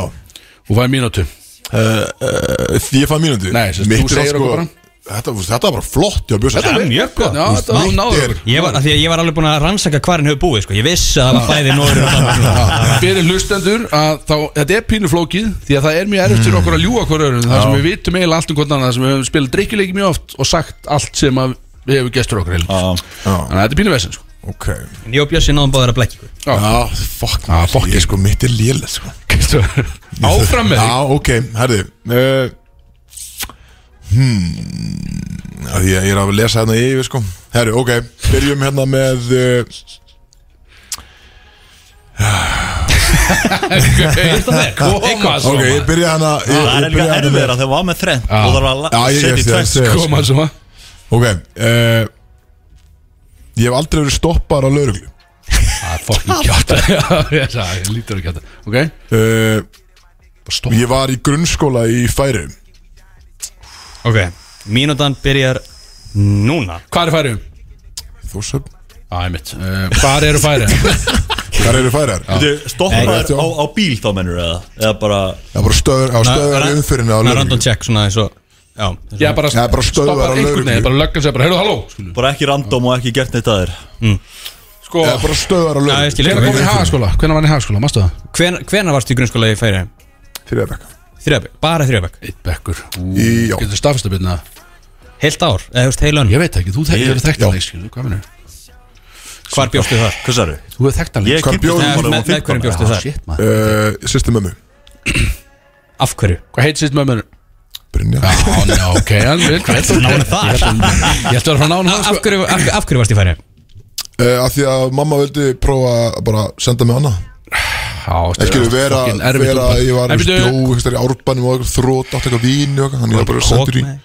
Þú fæði mínútu
Því Eh, ég fann mínúti
Nei, sem sagt, þú segir okkur bara.
sko Þetta, þetta var bara flott hjá Bjössi
Þetta er mjög gott Já, þetta var náður
Ég var, af því að ég var alveg búin að rannsaka hvar hann hefur búið sko. Ég vissi að það var bæði Nóri og Danmörk sko.
Fyrir hlustendur að þá, þetta er pínu flókið Því að það er mjög
Hmm.
erfitt fyrir okkur að ljúga okkur öðrum Það sem við vitum eiginlega allt um hvort annað Það sem við höfum spilað drikkileiki mjög oft Og sagt allt sem að við hefum gestur okkur eiginlega.
Já.
Þannig að þetta er pínu vesend sko.
Ok
En Ég og Bjössi náðum báðar að blekja ykkur
Já, fuck ah, Fuck, ég sko, mitt er léle sko.
Áfram með
Já,
þig
ok, herði uh, Hmm að Ég, ég er að lesa hérna yfir sko Herri, ok, byrjum hérna með uh,
Koma
Ok, ég
svo Ah,
byrja hérna ég- ég
Það er
byrja
líka
hérna með-
erfiðar að það var með þrenn og það var
Já,
að
ég-
setja í sko.
ég-
tvenns
ég-
Koma svo
Ok uh, Ég hef aldrei verið stoppar á lauruglu
Það er fokkin kjáta Það lítur að kjáta Ok
uh,
Stopp.
Ég var í grunnskóla í færi
Ok Mínútan byrjar núna
Hvað er færið?
Þórsöfn
Æ, mitt Hvað eru færið?
Hvar eru færiðar?
Stoppar
Nei.
á, á bíl þá mennur eða Eða bara
Það er bara stöður á stöður
ra-
umfyrinni á
svona
lauruglu
Random check svona eins og Já eins og-
Ég er bara
Já, bara stöðvar á
stoppar einhvern
lögreglu.
veginn Bara löggan segir bara Heyrðu, halló skilur.
Bara ekki random og ekki gert neitt að þér
Sko
Það er bara stöður á
Já, ég skil.
lauruglu
Hvernig kom í hagaskóla? Hvernig var hann í hagaskóla? Mástu það?
Hven- Hvenær varstu í grunnskóla í færi?
Þrjabæk
Þrjöfbæk Bara þrjöfbæk
Eitt bekkur
Í- já.
Getur staðfesta byrna
Heilt ár Eða þú veist heilan
Ég veit ekki Þú þekkt hefur
já.
þekkt hann leik skilur Hvað minnur?
Hvar bjóstu þar?
Hvað særðu?
Þú hefur þekkt hann
Ég
leik
Hvar bjó-
kynntist
Nei,
honum
með-
þegar
með
ég var
hverjum bjóstu
15 ára.
þar?
Ah, Shit maður
uh, Sýsti mömmu
Af hverju?
Hvað heit sýst með mér?
Brynja
Já, njá, ok hann vil- Hvað er nána það? Ég ætti að vera frá nána það
Af
sko
hverju, af, af hverju varstu í færi?
uh, Af því að mamma vildi prófa að bara senda mig annað
Já,
Það skilur vera,
fucking erfitt
vera
útbúið.
ég var í
En byrju,
stjó, eitthvað í árbanum og eitthvað þrót, átt eitthvað vín og eitthvað, þannig ég var bara sendur í,
Kók, nei.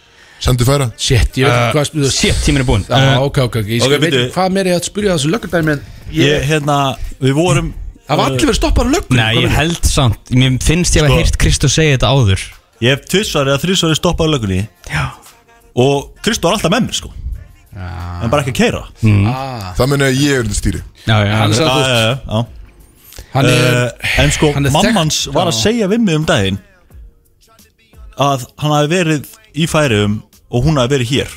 sendur færa.
Shit, ég veit ekki hvað spyrðu
Shit, tíminn er búinn
Já,
Eh,
ok, ok, ok, ég
Ok,
okay, veit
bíddu.
ekki hvað mér er að spyrja þessu löggardæmi en
Ég, hérna, við vorum
það var allir verið stoppar á löggunum
Eh, Nei, ég held samt Mér finnst ég að
Sko-
heyrt Kristó segja þetta áður
Ég hef tvisvar eða þrísvar stoppað á lögunni
Já
Og Kristó var alltaf með mér sko En bara ekki að keira
Það meni að ég er undir stýri.
Já, já,
Hann
já
sagði- þú
Já,
veist.
já, já
Hann er
Eh, En sko,
hann er þekkt-
mammans var að
Já.
segja við mig um daginn Að hann hafi verið í færiðum Og hún hafi verið hér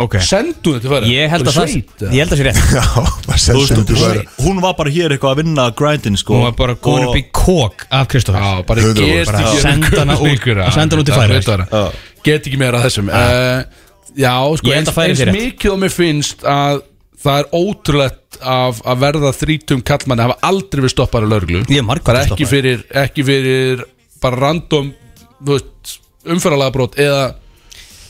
Ok
sendu þetta fyrir
Ég held að það Ég
Ég
held að það sé rétt
Já, bara
Þú
sendur
veist,
sendur
hún,
færa.
hún var bara hér eitthvað að vinna grindin sko
Hún var bara komin upp í kók af Kristófer
Já, bara
Hundrað
get
prósent.
ekki
Bara senda hana út- senda hana út í Færeyjar.
færi Get ekki meira að þessum Eh, Já, sko,
Ég held
eins,
að Færeyjar
eins
sé rétt.
mikið og mér finnst að það er ótrúlegt af að verða þrítum kallmanni hafa aldrei við stoppar á lögreglu
Ég er margoft
Bara ekki
stoppaður.
fyrir, ekki fyrir bara random þú veist, umferðalega brot eða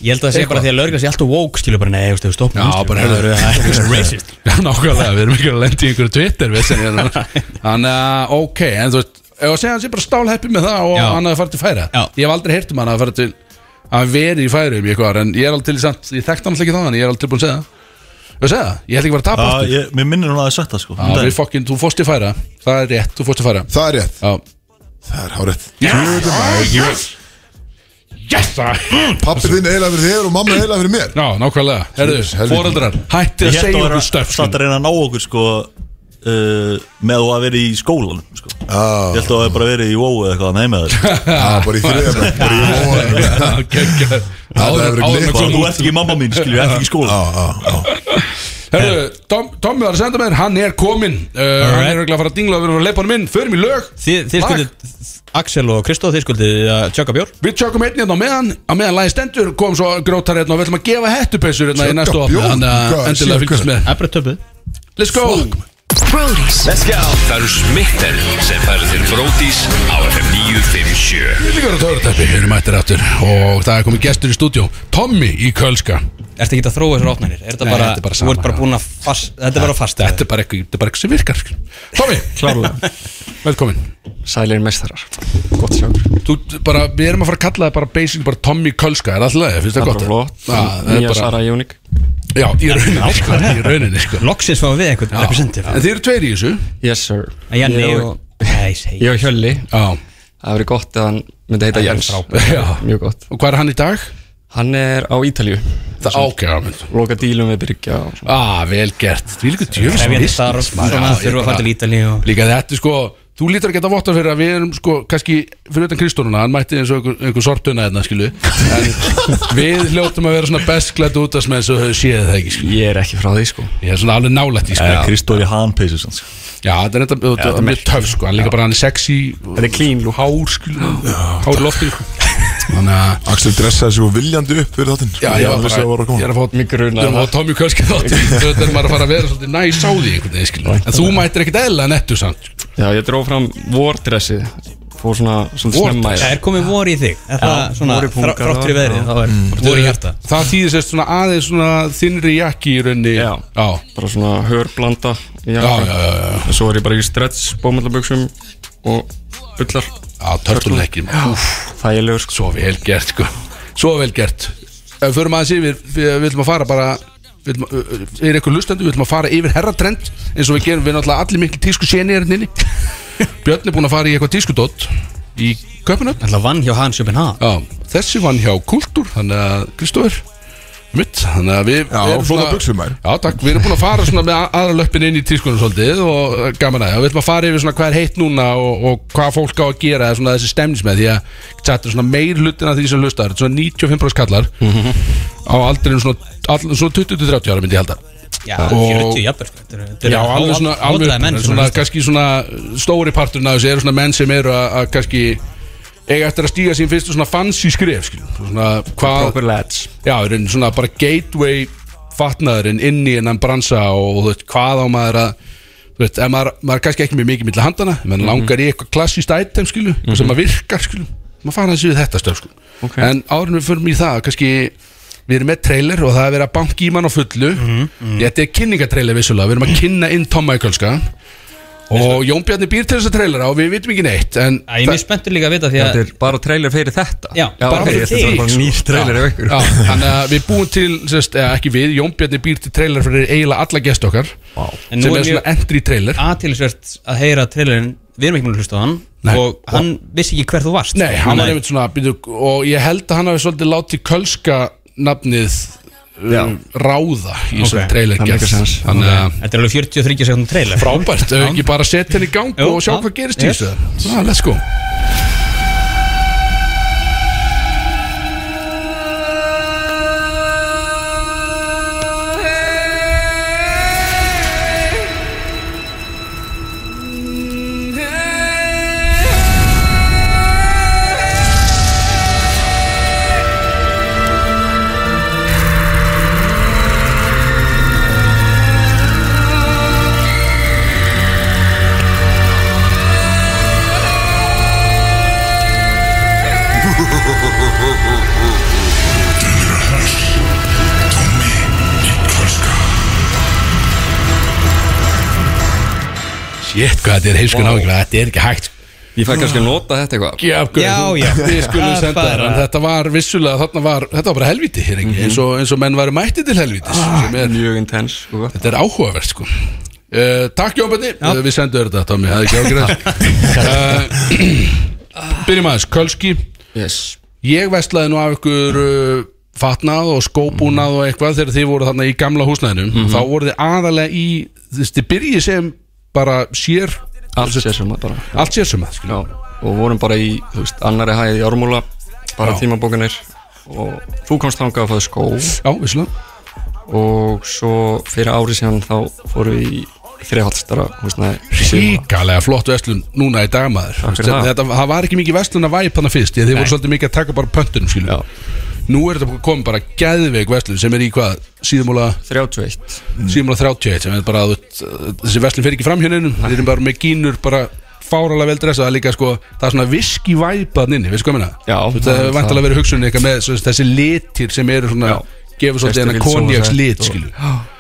Ég held að það sé
Eitthvað.
bara því að lögregla sé alltaf woke skilur bara nei, þú veist, þú stopp
Já, bara heyrðu.
racist
Já, nákvæmlega, við erum ekki að lenda í einhverju Twitter við sem hérna Þannig að, ok, en þú veist Ef að segja hans ég bara stálheppi með það og
Já.
hann hafði farið til færa
Já.
Ég hef aldrei heyrt um hann að fara til að veri í færum í eitthvað En ég er alveg til í samt, ég þekkti hann alltaf ekki þannig Ég er alveg tilbúin að segja það Ég að segja það, ég held ekki að vera að tapa
Já,
aftur
ég, mér minnir hún að það sagt það sko um
Já,
daginn.
við fokkin, þú fórst í færa Það er rétt, þú fórst í færa
Það er rétt,
Já
það er hárétt.
Yes, yes, yes.
Pappi þinn er eiginlega fyrir þér og mamma er eiginlega fyrir mér.
Já, nákvæmlega, herðu,
Jesus, helviti.
foreldrar Hætti að
Ég held
segja
að
okkur
vera
stöf
satt að reyna að ná okkur sko uh, Með þú að vera í skólanum sko
Já,
Ég held að það hafi bara verið í WoW eða eitthvað, nei með þér
já, Ah, bara í þriðja bekk, bara í óa. Það hefur verið glitt.
Bara Sko, þú ert ekki mamma mín, skilju, ég ert ekki í skóla
Já, já, já.
Herru, Tom, Tommi var að senda mér, hann er kominn uh, Hann er örugglega að fara að dingla og við erum að leipa hann inn Förum í lög,
Þið þið
Lag.
skuldið Axel og Kristó þið skuldið uh, að tjöka bjór
við tjökkum einn hérna á meðan Á meðan lagi stendur, kom svo grótar hérna Og við ætlum að gefa hettupessur hérna í
Tjökka
næstu opni
bjór,
Þannig
hvað,
að endilega
síðan
fylgist með
Ebra töpuð
Let's go
Brody's.
Það eru smitten sem færir til Brótis á FM 957
Við líka að törutæpi, við erum mættir aftur Og það er komið gestur í stúdjó Tommi í Kölska
Ertu ekki að þróa þessar opnænir? Er þetta
Nei,
bara,
þetta er
þú
bara
ert
sama,
bara
já.
búin að fast, þetta er bara fast
Þetta er bara eitthvað, þetta er bara eitthvað sem virkar Tommi,
Klárlega.
velkomin
Sælir mestarar Gott sjá ykkur.
Þú, bara, Við erum að fara að kalla það bara basic bara Tommi Kölska, er alltaf leið, finnst
Það
það
er
gott
bara flott
Já, það er
Nýja
bara-
Sara Jónik
Já, í rauninni, sko, í rauninni sko.
Loksins fáum við eitthvað representative
En þið eru tveir í þessu
Yes sir
Janni
Ég
og Nei, segi
Ég og Hjölli
Já
Það verið gott að hann myndi heita Jens
Já.
Mjög gott
Og hvað er hann í dag?
Hann er á Ítalju
Það ákjæða mynd
Loka dílum við Byrgja og svona
Ah, vel gert Því líka djöfis
Krefjandi starf Svona þurfa að fara til Ítali og
Líka þetta er sko Þú lítur ekki að votta fyrir að við erum sko, kannski, fyrir utan Kristónuna, hann mætti eins og einhver, einhver sortuna hérna, skilu en við hljóttum að vera svona bestklætt út af sem eins og þau séð það ekki, skilu
Ég er ekki frá því sko
Ég er svona alveg nálætt í,
Sko,
skilu Já,
Kristóri Hanpeysu sko.
þetta er þetta, þetta er mjög töf, sko, hann líka bara hann er sexy
Þetta er clean lúk
Hár, skilu, hár í lofti sko. Þannig að,
Axel dressaði sig og viljandi upp fyrir þáttinn
já, ég var
vissi að það var
bara,
að koma
ég er að fá
Mig
Við erum á
grunar
Tommy Kölski þáttum Þetta er maður að fara að vera svolítið næs á því einhvern veginn skilur En þú mættir ekkert eðla nettu samt sko.
Já, ég dró fram vordressið Fór svona, svona snemma
Það
í-
er komið vor í þig Er Það
Já,
svona
vor í
þrá-
punga,
þrátt fyrir veðrið Þá er vor í hjarta
Það þýðir sérst svona aðeins svona þinnri jakki í raunni
Já.
já,
Bara svona hörblanda í
já,
jakkann.
já, já, já.
En Svo er ég bara í stretch bómallaböksum Og ullar
já Törtulnekki,
Þægilegur sko
svo vel gert sko Svo vel gert Ef við förum aðeins yfir, við við viljum að fara bara við viljum að- ö- ö- er eitthvað lustandi, við viljum að fara yfir herratrend eins og við gerum, við erum náttúrulega allir miklu tísku séni er hérna inni Björn er búinn að fara í eitthvað tískudótt í köpunöfn
Það vann hjá Hans Jöpinn Hag
Já, þessi vann hjá Kultúr Þannig að Kristóður Mitt, þannig að við
Já,
við erum
flottar
svona-
buxur, maður.
Já, takk, við erum búin að fara svona með a- aðra löppin inn í tískunum svolítið og eh, gaman að, og við ætlum að fara yfir svona hvað er heitt núna og, og hvað fólk á að gera eða svona þessi stemnismið því að þetta er svona meir hlutin af því sem hlustar, þetta er svona 95% kallar á aldrinum svona, all, svona 20-30 ára myndi ég halda
Já,
Og-
40 jafnvel sko. Þetta eru- þetta eru
Já, alveg svona,
há-
alveg,
hávaxnir menn sem
svona,
hlusta.
kannski svona stóri parturinn af þessu eru svona menn sem eru að, að kannski eiga eftir að stíga sín fyrstu svona fancy skref, skiljum, svona hvað,
Proper lads
já, er einn svona bara gateway fatnaðurinn inn í hennan bransa og, og þú veit, hvað á maður að þú veit, ef maður, maður er kannski ekki með mikið milli handana, menn
Mhm.
langar í eitthvað klassíst item, skiljum, sem maður virkar, skiljum maður fara þessu við þetta stöf, skiljum
Ok.
en áður en við förum í það, kannski við erum með trailer og það er verið að banki í mann á fullu
Mhm,
þetta er kynningatrailer vissulega við erum að kynna inn Tom Michaelska og Jón Bjarni býr til þessa trailera og við vitum ekki neitt en
Æ, Ég er mjög spenntur líka að vita því
Þetta
að
er bara trailer fyrir þetta
Já, bara
ok,
fyrir
þetta
þig,
er bara nýr trailer af ykkur
Já, þannig að við búum til, sérst, eða ekki við, Jón Bjarni býr til trailer fyrir eiginlega alla gest okkar
En
sem
nú
er
er
svona entry trailer
aðtilsvert að heyra trailerinn Við erum ekki múin að hlusta á hann
Nei.
Og hann vissi ekki hver þú varst
Nei, hann var
Nei.
einmitt svona býtu, og ég held að hann hafi svolítið látið kölska nafnið um, ráða í þessum
Ok,
trailer
það
gerð.
make sense.
þannig að
Þetta er alveg 43 sekundum trailer
frábært, ef ekki bara setja henni í gang
Jú,
og sjá
já,
hvað gerist í
yes.
þessu Svona, let's go
Tommi í Kölska
Shit, hvað þetta er heilskun áhengjum, þetta er ekki hægt sko.
Ég fæ kannski að nota þetta eitthvað
Já,
Já, já.
Við skulum
Það er
senda
bara- Mhm.
það en Þetta var vissulega, þarna var, þetta var bara helviti hér, mm eins, og, eins og menn varu mætti til helvitis
Ah.
sem er
Mjög intense sko.
Þetta er áhugavert sko uh, Takk Jón Bjarni, uh, við sendum þér þetta Tommy, það er ekki ágræð uh, Byrjum aðeins, Kölski
yes.
Ég veslaði nú af ykkur uh, fatnað og skóbúnað og eitthvað þegar þið voru þarna í gamla húsnæðinu
Mhm.
þá voru þið aðalega í þú veist, þið byrjið sem bara sér
Allt sé sem að bara
allt sér sem að skilja
Já, og vorum bara í þú veist, annari hæði í Ármúla bara tímabókinir og þú komst þangað að fæða skó
Já, vissulega
og svo fyrir ári síðan þá fórum við í þriðhaldstara
Ríkalega flott verslun núna í dagmaður
Takk fyrir það.
Þetta það var ekki mikið verslun að væp hana fyrst því að Þið voru svolítið mikið að taka bara pöntunum skilja
Já.
Nú er þetta komið bara gæðveik verslun sem er í hvað síðumúla
31
síðumúla 31 sem er bara þú veist, þessi verslun fyrir ekki fram hérna innum Þeir eru bara með gínur bara fáralega vel dressað það er líka sko það er svona viski væpað inni veistu hvað minna
Já,
þetta
það
hefur
er
vantilega verið hugsunin eitthvað með svo, þessi litir sem eru svona
Já.
gefur svolítið
Gestir
hennar
vilja sofa
konjaks
sætt
lit
og-
skilju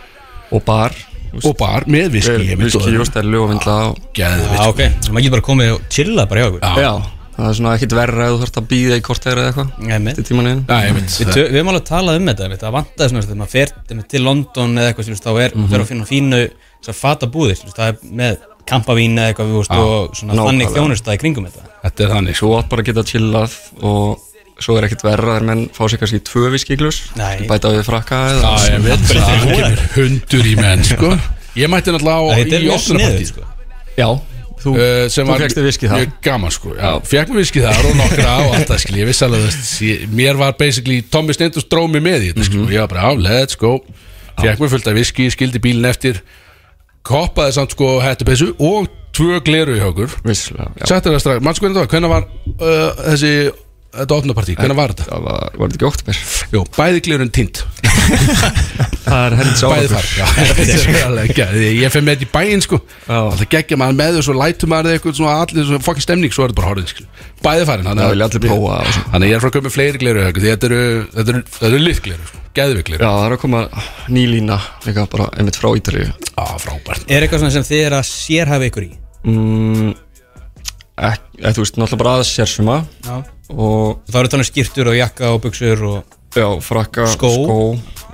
og bar þú
og
veist,
bar með viski
vel- viski og stærlu og vindla og
gæðveikt
Já, ok, sem maður getur bara komið og chillað bara hjá ykkur
Já.
Já, það er svona ekkit verra ef þú þarfst að býða í kortæri eða eitthvað
Nei,
Þetta er tíman einu
Já, ég veit
Við, tö- við höfum alveg talað um þetta, einmitt, það vantaði svona þegar maður fer einmitt, til London eða eitthvað, skilurðu, þá er
Mhm.
maður fer að finna fínu þess að fata búðir, skilurðu, það er með kampavín eða eitthvað, við veist, og svona
nákvæmlega.
þannig þjónusta í kringum þetta.
Þetta er þannig sko
Svo átt bara að geta chillað og svo er ekkit verra þegar menn fá sér kannski tvö viskiglus
Nei.
Bæta við frakka eða
Já, ég veit það kemur hundur í menn sko Ég mætti náttúrulega á í
Þetta er mjög
opnunarpartí.
sniðið, sko.
Já, Þú-
Eh, sem
þú
var
fékkst þér viskið þar.
mjög gaman sko, já, fekk mér viskið þar og nokkra á allt það, skil, ég vissi alveg veist, ég, mér var basically, Tommy Stendus dróð mér með í þetta,
Mhm.
sko, ég var bara, á, let's go fekk mér fullt af viski, skildi bílinn eftir koppaði samt sko hættupessu og tvö gleru hjá okkur
Visslega, já
settir það strax, mannsku hvernig það var, hvernig var uh, þessi, þetta opnapartí, hvernig var þetta?
Það var, var þetta ekki óttubér
Jú, bæði glerun tínt
Það er heldur
bæði þar já, þetta er svo alveg geggjað. ég fer með þetta í bæinn sko það geggja maður með þau svo lætur maður eitthvað svona allir svona fokkin stemning svo er þetta bara horfið sko. bæði farin þannig
Það
að-
vilja allir prófa og svona.
þannig að ég er frá að koma með fleiri gleru sko, því þetta eru þetta eru, þetta eru litgleru sko geðvigleru
Já, það er að koma nýlína líka bara einmitt frá Ítalíu
á Ah, frábært
Er eitthvað svona sem þið er að sérhæfa ykkur í?
mm, ek, ek, Þú veist, náttúrulega bara aðeins sérsuma
Já.
og
Það eru þannig skýrtur og jakka og buksur og
já, frakka,
Skó.
skó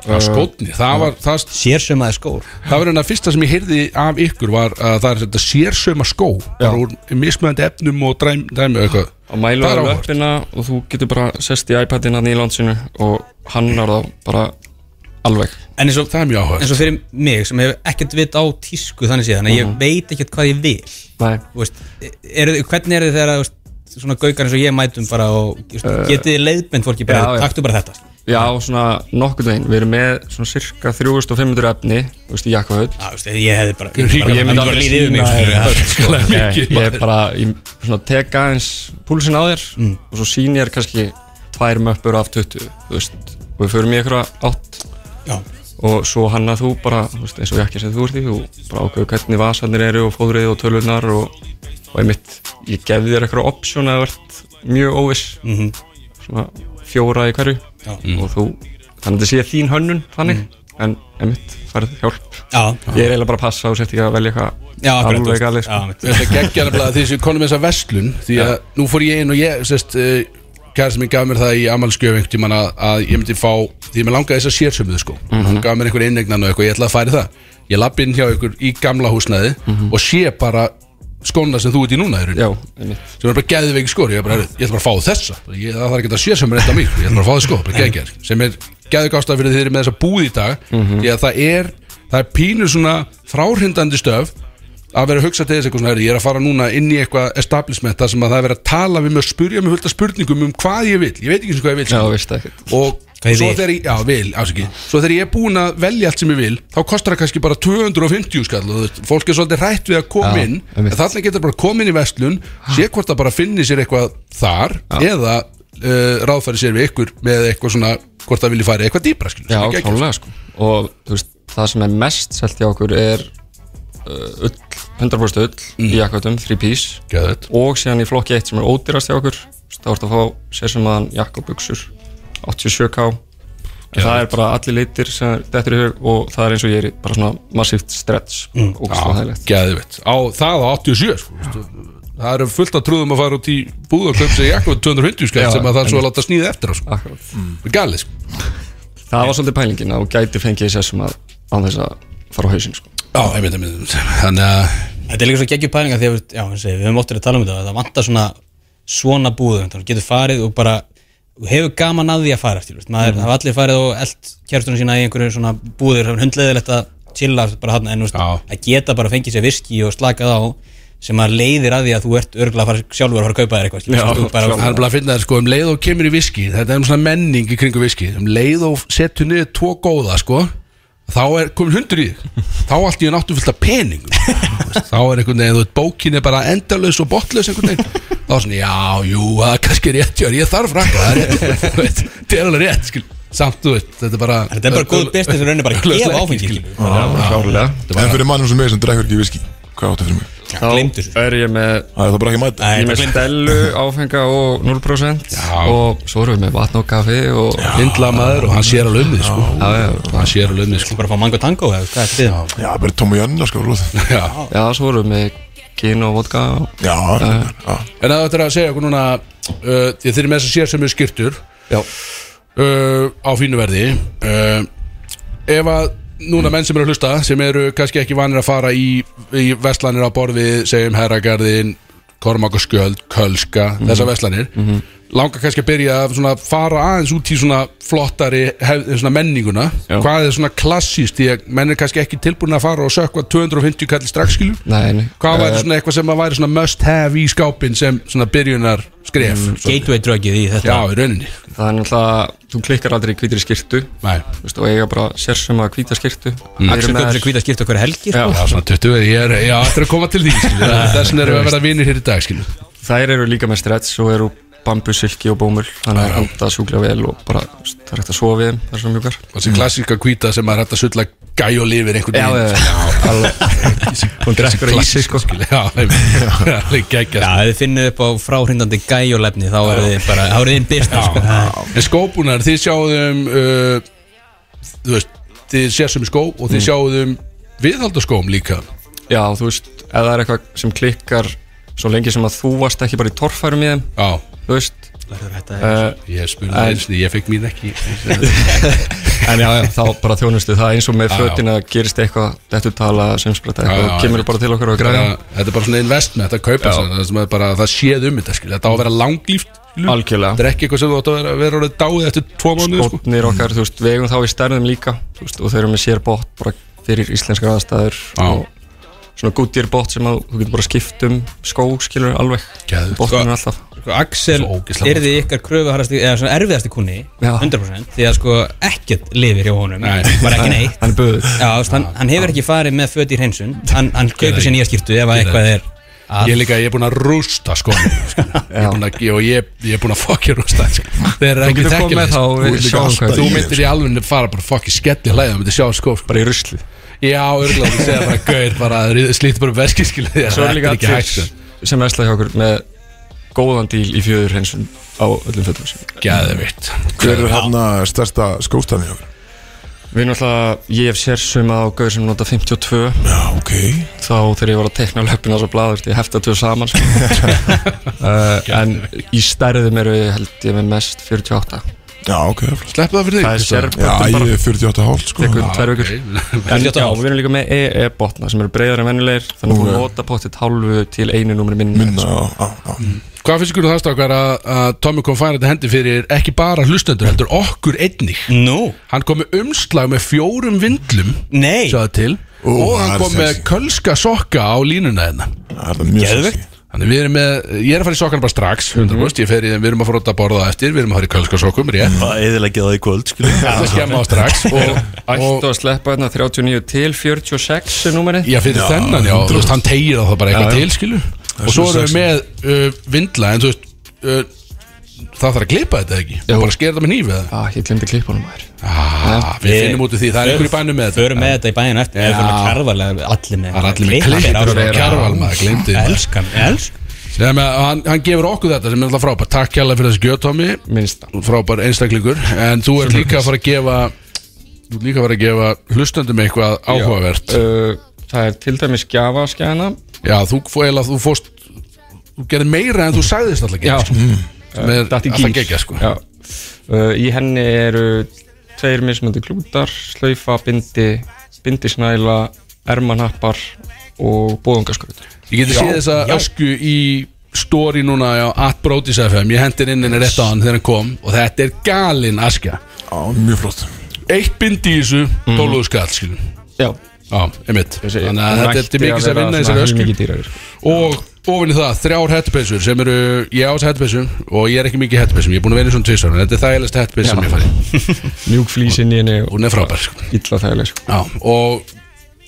á skotni það var það,
sérsömaði skór
það var hérna fyrsta sem ég heyrði af ykkur var að það er þetta sérsöma skó bara úr mismöðandi efnum og dræm, dræmi og eitthvað
að
Það er
mælu á
áhugavert.
löppina og þú getur bara sest í iPadin að nýjland sinu og hannar þá bara alveg
En eins og,
það er mjög áhuga
eins og fyrir mig sem hefur ekkert vit á tísku þannig séð þannig að ég veit ekkert hvað ég vil
Nei.
Þú veist, er, hvernig er þið þegar þú veist, svona gaukar eins og ég mætum bara og þú veist, getið þið leiðbend fólki bara,
já, já.
taktu bara þetta
Já, svona nokkurn veginn, við erum með svona cirka 3500 efni, þú veist, í jakkaföld
Já, þú veist, ég hefði bara,
Ég
bara,
myndi
bara
alveg
líðið yfir mig
sýna
skilur, já.
Ég, ég er bara, ég svona teka aðeins púlsinn á þér
Mm.
og svo sín ég er kannski tvær möppur af 20, þú veist, og við förum í eitthvað átt
Já.
og svo hanna þú bara, þú veist, eins og jakki sem þú ert í, þú bara ákveðu hvernig vasanir eru og fóðrið og tölurnar og, og einmitt, ég gef þér eitthvað option að það vart mjög óviss,
Mhm.
svona fjóra í hverju
Já. Mm.
og þú, þannig að þetta sé þín hönnun þannig, en einmitt, færð hjálp
Já,
Ég er eiginlega bara að passa og setja ekki að velja eitthvað
já, akkurat, þú
alveg
veist.
galið
Já,
sko.
mitt.
þetta geggja nefnilega því sem konum þessa vestlun því að nú fór ég inn og ég sest, uh, kærasti minn gaf mér það í amalskjöf einhvern tímann að, að ég myndi fá því að mér langaði þess að sérsömuðu sko hann gaf mér einhver innegnan og eitthvað, ég ætlaði að færi það ég lapp inn hjá ykkur í gamla húsnæði og sé bara skóna sem þú ert í núna í rauninni,
Já, einmitt
sem er bara geðveik skor ég, er bara, "Heyrðu, ég ætla bara að fá þessa ég, það þarf ekki að sérsömur eitt á mig ég ætla bara að fá þess sko, bara geggjar sem er geðveik ástæð fyrir þeirri með þessa búð í dag
Mhm.
því að það er, það er pínu svona fráhrindandi stöf að vera að hugsa til þess eitthvað svona "Heyrðu, ég er að fara núna inn í eitthvað establishment þar sem að það er verið að tala við mig og spurja mig fullta spurningum um hvað ég vil ég veit ekki eins og hvað ég vil
Já,
sko.
veist ekkert
og
Hvað ég
svo
vil.
þegar ég, já, vil, afsaki svo þegar ég er búin að velja allt sem ég vil þá kostar það kannski bara 250 skall og þú veist, fólk er svolítið rætt við að koma
Já,
inn
einmitt. Ah.
en þarna getur bara koma inn í vestlun sé hvort það bara finni sér eitthvað þar eða uh, ráðfæri sér við ykkur með eitthvað svona hvort það vilji fara eitthvað dýpra skilur,
Já,
sem er geggjað.
klálega sko Og þú veist, það sem er mest selt hjá okkur er uh, ull, 100% ull í jakkatum, 3 piece
Geðveikt.
og síðan í flokki 1 sem er ódýrast hjá okkur þú veist, þá ertu að fá sér sem aðan jakkabuxur 87k En það er bara allir litir sem er dettur í hug og það er eins og ég er í bara svona massíft stretch mm. og svo
Já,
þægilegt
geðvitt á það á 87 sko, veistu. það eru fullt að trúðum að fara út í búð og köpsa í eitthvað 250 skall
Já,
sem að það er svo að láta snýða eftir á sko.
Akkurat
galið sko
Það var svolítið pælingin að þú gæti fengið sér sem að án þess að fara á hausinn sko
Já, einmitt, einmitt, þannig að
Þetta er líka svo geggjum pælinga því að já, eins og ég segi, við höfum óttir að tala um þetta það vantar svona svona búðum þú getur farið og bara þú hefur gaman að því að fara eftir veist, maður mm. hafa allir farið og eld kjærtunum sína í einhverju svona búðir það er hundleðilegt að chilla bara hann en þú veist,
Já.
að geta bara að fengið sér viski og slakað á sem maður leiðir að því að þú ert örgulega að fara sjálfur að fara að kaupa þér eitthvað skilur,
Já,
þú bara,
Það er bara að finna þér sko um leið og kemur í viski Þetta er um svona menning í kringu viski Um leið og setur niður tvo góða sko Þá er komin hundur í þig Þá allt í enn áttu fullt af peningum Þá er einhvern veginn, þú veit, bókin er bara endalaus og botlaus einhvern veginn Þá er svona, já, jú, það er kannski rétt hjá, þér, ég þarf rakka Það er rétt, þú veit, þetta er alveg rétt, skil Samt, þú veit, þetta er bara
þetta er bara góð business í rauninni bara að gefa áfengi skilur.
Klárlega
En fyrir mannum sem mig sem drekkur ekki viski Hvað áttu fyrir mig?
Gleymdu þessu.
Þá er ég með
Það er það bara ekki að mæta
Ég er
Nei,
með stelu, áfenga og 0% og svo erum við með vatn og kaffi og já,
Hindla maður og hann sér alveg um þig, sko
já,
Hann sér alveg um þig, sko
bara að fá mango tango eða hvað er þetta
Já, bara Tommy Janna sko rúð.
Já,
já, svo erum við með gin og vodka og,
Já, já.
En að þetta er að segja okkur núna uh, Þið þurfið með þess að sér sem er skýrtur
Já.
uh, Á fínu verði uh, Ef að núna menn sem eru að hlusta Sem eru kannski ekki vanir að fara í, í
Mhm.
Vestlanir á borði Segjum Herragarðin Kormakarskjöld, Kölska Þessar Vestlanir langar kannski að byrja að svona fara aðeins út í svona flottari hef, svona menninguna
Já.
hvað er svona klassíst því að menn er kannski ekki tilbúin að fara og sökva 250 kallir strax skilur
Nei, nei
hvað
Eh,
væri svona eitthvað sem að væri svona must have í skápin sem svona byrjunar skref
Mm.
Gateway drugið í
já,
þetta
í rauninni
Það er náttúrulega, þú klikkar aldrei í hvítri skirtu
Nei.
Þú veist, og eiga bara sérsöma hvíta skirtu mm.
Axel Guðbjörn sem hvita skipta okkur helgi sko.
Já,
Já, svona 20 verið, ég er, já, þetta er að koma til því, skilju Þess vegna erum við að vera vinir hér í dag, skilju
Þær eru líka með stretch og eru bambusilki og bómull Þannig að það sjúkla vel og bara þú veist, það er hægt að sofa við þeim, það er svona mjúkar
Og þessi klassíska hvíta sem maður er hægt að sulla gæj og lifir einhvern
Mm. Já, já, já, alveg Hún drekkur að ísi, sko
skilju Já, það er alveg geggjað,
Já, ef þið finnið upp á fráhrindandi gæjólefni þá er þið bara, þá er þið einn byrsta sko.
sko En skópunar, þið sjáðum uh, Þú veist, þið sérsum í skó og
Mm.
þið sjáðum viðhaldaskóm líka
Já, þú veist, ef það er eitthvað sem klikkar Svo lengi sem að þú varst ekki bara í torfærum í þeim
Já,
Þú veist
Já,
uh,
ég spurði eins og ég fekk mín ekki
En já, já, þá bara þjónustu það eins og með fötina gerist eitthvað Þetta tala sem spretta
Já,
eitthvað
já,
og kemur bara til okkar og græða
Þannig að Þetta er bara svona investment að kaupa sér Það sem er bara, það séð um þetta, skilju Þetta á að vera langlíft, skilju
Algjörlega
Þetta er ekki eitthvað sem þú átt að vera, vera orðið dáið eftir tvo mánuði, sko
Skotnir okkar, þú veist, vegum þá í stærðum líka þú veist, og þeir eru með sér bótt bara fyrir íslenskar aðstæður
Já.
og svona guttir bótt sem að þú getur bara skipt um skó, skilur alveg
Geðveikt.
bóttunum er alltaf
sko, Axel
Svo ógeðslega sko.
er þið ykkar kröfuharrasti eða svona erfiðasti kunni,
Já.
100% því að sko ekkert lifir hjá honum
Nei.
bara ekki neitt
hann er böður
Já, þú veist, hann, hann hefur ekki farið með föt í hreinsun hann, hann kaupir sér nýja skiptu ef að eitthvað er
Ég er líka, ég er búinn að rústa sko Ég er búinn að, ég, og ég, ég er búinn að fokki rústa sko. Þeir eru ekki
getur komið
þekkilegt
þá og við sjáum hvað
Þú
í þeim,
myndir í alveg fara bara fokki skelli hlæða Þú myndir sjá sko, sko.
bara í rusli
Já, örgulega, þú segir bara gauð bara, Slýtt bara um veskiskil
svo
Það
er
er
líka
ekki
allir
hægt sko.
sem veslaði hjá okkur með góðan díl í fjöður hreinsun á öllum fötum sínum.
Gæðvitt
Hver er hann að stærsta skóstæðan í okkur?
við erum alltaf, ég hef sérsuma á gauður sem nota 52
Já, ok
þá þegar ég var að tekna löpina svo bladur ég hefta tvö saman sko. uh, en í stærðum eru ég held ég með mest 48
Já, ok, það er flott
Sleppu það fyrir þig
það er
Já,
Kristján.
sérböttum bara
ég er 48 hálf sko
tekur tvær vikur en já,
48 hálf.
við erum líka með EE-botna sem eru breyðar en vennilegir þannig að
Nú,
þú
já.
nota pottitt hálfu til einu númeri minna
Minna, já, já, já
Hvað finnst ykkur um það strákar að, að Tommy kom færið þetta hendi fyrir ekki bara hlustendur heldur okkur einnig
Nú,
Hann kom með umslag með fjórum vindlum
nei
sjáðu til
Ó, það
og hann
er
kom með
sexy.
kölska sokka á línuna hérna
Það er það mjög
Geðveikt.
sexy.
Þannig við erum með, ég er að fara í sokkana bara strax 100%, ég fer í, við erum að fara út að borða á eftir við erum að fara í kölska sokkum, rétt
Bara eðilegja það í kvöld skilur
það skemma á strax og, og
ættu að sleppa hérna 39 til 46 er númerið
já, fyrir þennan, já, þú veist, hann tegir það bara eitthvað til, skilu og svo erum við með uh, vindla, en þú veist uh, það þarf að klippa þetta ekki og bara skera þetta með nýfið
Já, ég glemdi klippunum maður
ah, við finnum út úr því, það er einhverju bænum með þetta
Förum með þetta í bæðinu eftir Við fyrir með karvalega allir með
það er allir með klipp
Klippir á
og
sér.
kjarval, maður, glemdi því
Elskan, elskan
Sem að hann, hann gefur okkur þetta sem er alltaf frábært Takk hérlega fyrir þessi gjöð, Tommy
Minnsta.
Frábær einstaklingur En þú ert líka að fara að gefa Þú ert líka að fara að gefa hlustendum eitthvað áhugavert Já,
uh, það er til dæmis gjafaskjæðina
þú, fó, eila, þú fórst Þú gerði meira en þú sagðist alltaf
Já. Mm.
gegn sko. Sem er
datt í
alltaf
gír.
gegja sko
Já. uh, í henni eru tveir mismöndi klútar slaufa, bindi, bindisnæla ermanhappar og bóðungaskröður
Ég geti séð þessa ösku í story núna á atbrótis FM Ég hendir inn henni rétt á hann þegar hann kom Og þetta er galin askja
Já, mjög flott
Eitt bindi í þessu,
Mm.
tóluðu skall skilum
Já,
Já, einmitt Þannig að þetta er til mikils að vinna í þessari ösku
mikið dýrar
Og ofin í það, þrjár hættupessur sem eru, ég á þess hættupessum og ég er ekki mikið hættupessum, ég er búin að vera í svona tvisar en þetta er þægilegst hættupess sem ég fari
Mjúk flísinn í henni og
hún er frábær sko.
illa þægileg sko.
Já, og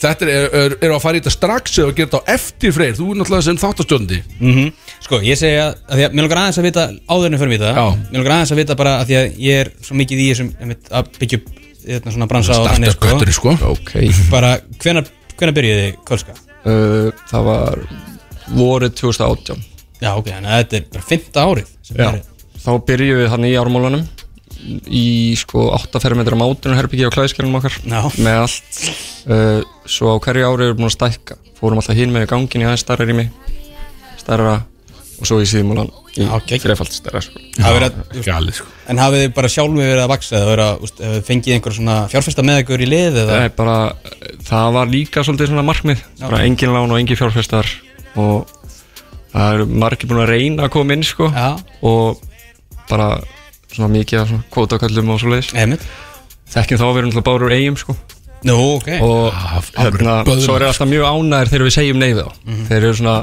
þetta er, er, er að fara í þetta strax eða að gera þetta á eftir freyr, þú er náttúrulega sem þáttastjóndi
Mhm. Sko, ég segi að, að því að mér langar aðeins að vita áðurinn fyrir mig það,
Já.
mér langar aðeins að vita bara að því að ég er svo mikið í þessum einmitt, að byggja upp þetta svona bransa og
starta göttur sko.
Ok
bara hvenar, hvenar byrjuði þið Kolska?
uh, Það var vorið 2018
Já, ok, þannig að þetta er bara fymta árið sem
Já.
er,
Þá byrjuðum við hann í ármólanum í sko 8 fermetra mátunum herbyggi á klæðiskerunum okkar
Já.
með allt uh, svo á hverju ári erum við búin að stækka fórum alltaf hinn með gangin í aðeins starra rými starra og svo í síðmólan í
Já, geggjað.
þrefald starra sko.
að vera,
Gali, sko.
en hafið þið bara sjálfum verið að vaksa eða vera, úst, hefur þið fengið einhver svona fjárfesta með ykkur í lið eða
það er bara, það var líka svolítið svona markmið, bara engin lán og engin fjárfestar og það eru margir búin að reyna að koma inn sko
Já.
og bara svona mikið af svona kvótaköllum og svo leiðis
Einmitt
þekkjum þá að vera náttúrulega báður úr eigum sko
Nú, ok
og hérna, svo er alltaf mjög ánægir þegar við segjum nei við þá þeir eru svona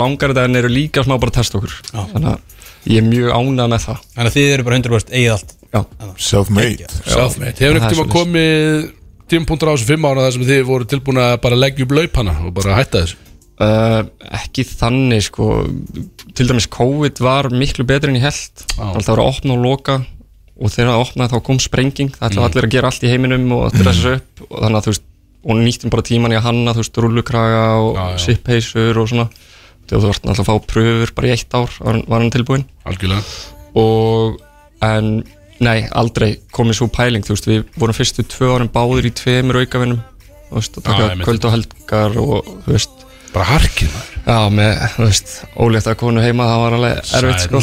langar þetta en eru líka smá bara að testa okkur þannig að ég er mjög ánæg með það
Þannig að þið eru bara 100% eigið allt
já,
Self-made
Selfmade, hefur
Það er
ekkert tíma komið tímpunktur á þessu fimm ára þar sem þið voru tilbúin að bara leggja upp laupana og bara hætta þessu
uh, ekki þannig sko til dæmis COVID var miklu betri en ég held það var að opna og loka og þegar það opnaði þá kom sprenging það
Mm.
ætlaði allir að gera allt í heiminum og allir að þessu upp og þannig að þú veist og nýttum bara tíman í að hanna þú veist rullukraga og sippheysur og svona þegar þú vart náttúrulega að fá pröfur bara í eitt ár var hann- var hann tilbúin
algjörlega
og en nei, aldrei komið svo pæling þú veist, við vorum fyrstu tvö árum báður í tveimur aukavinnum þú veist, að
Já,
taka
einmitt.
kvöld og helgar og þú veist,
bara harkið maður.
já, með, þú veist ólétta konu heima, það var alveg erfitt sko,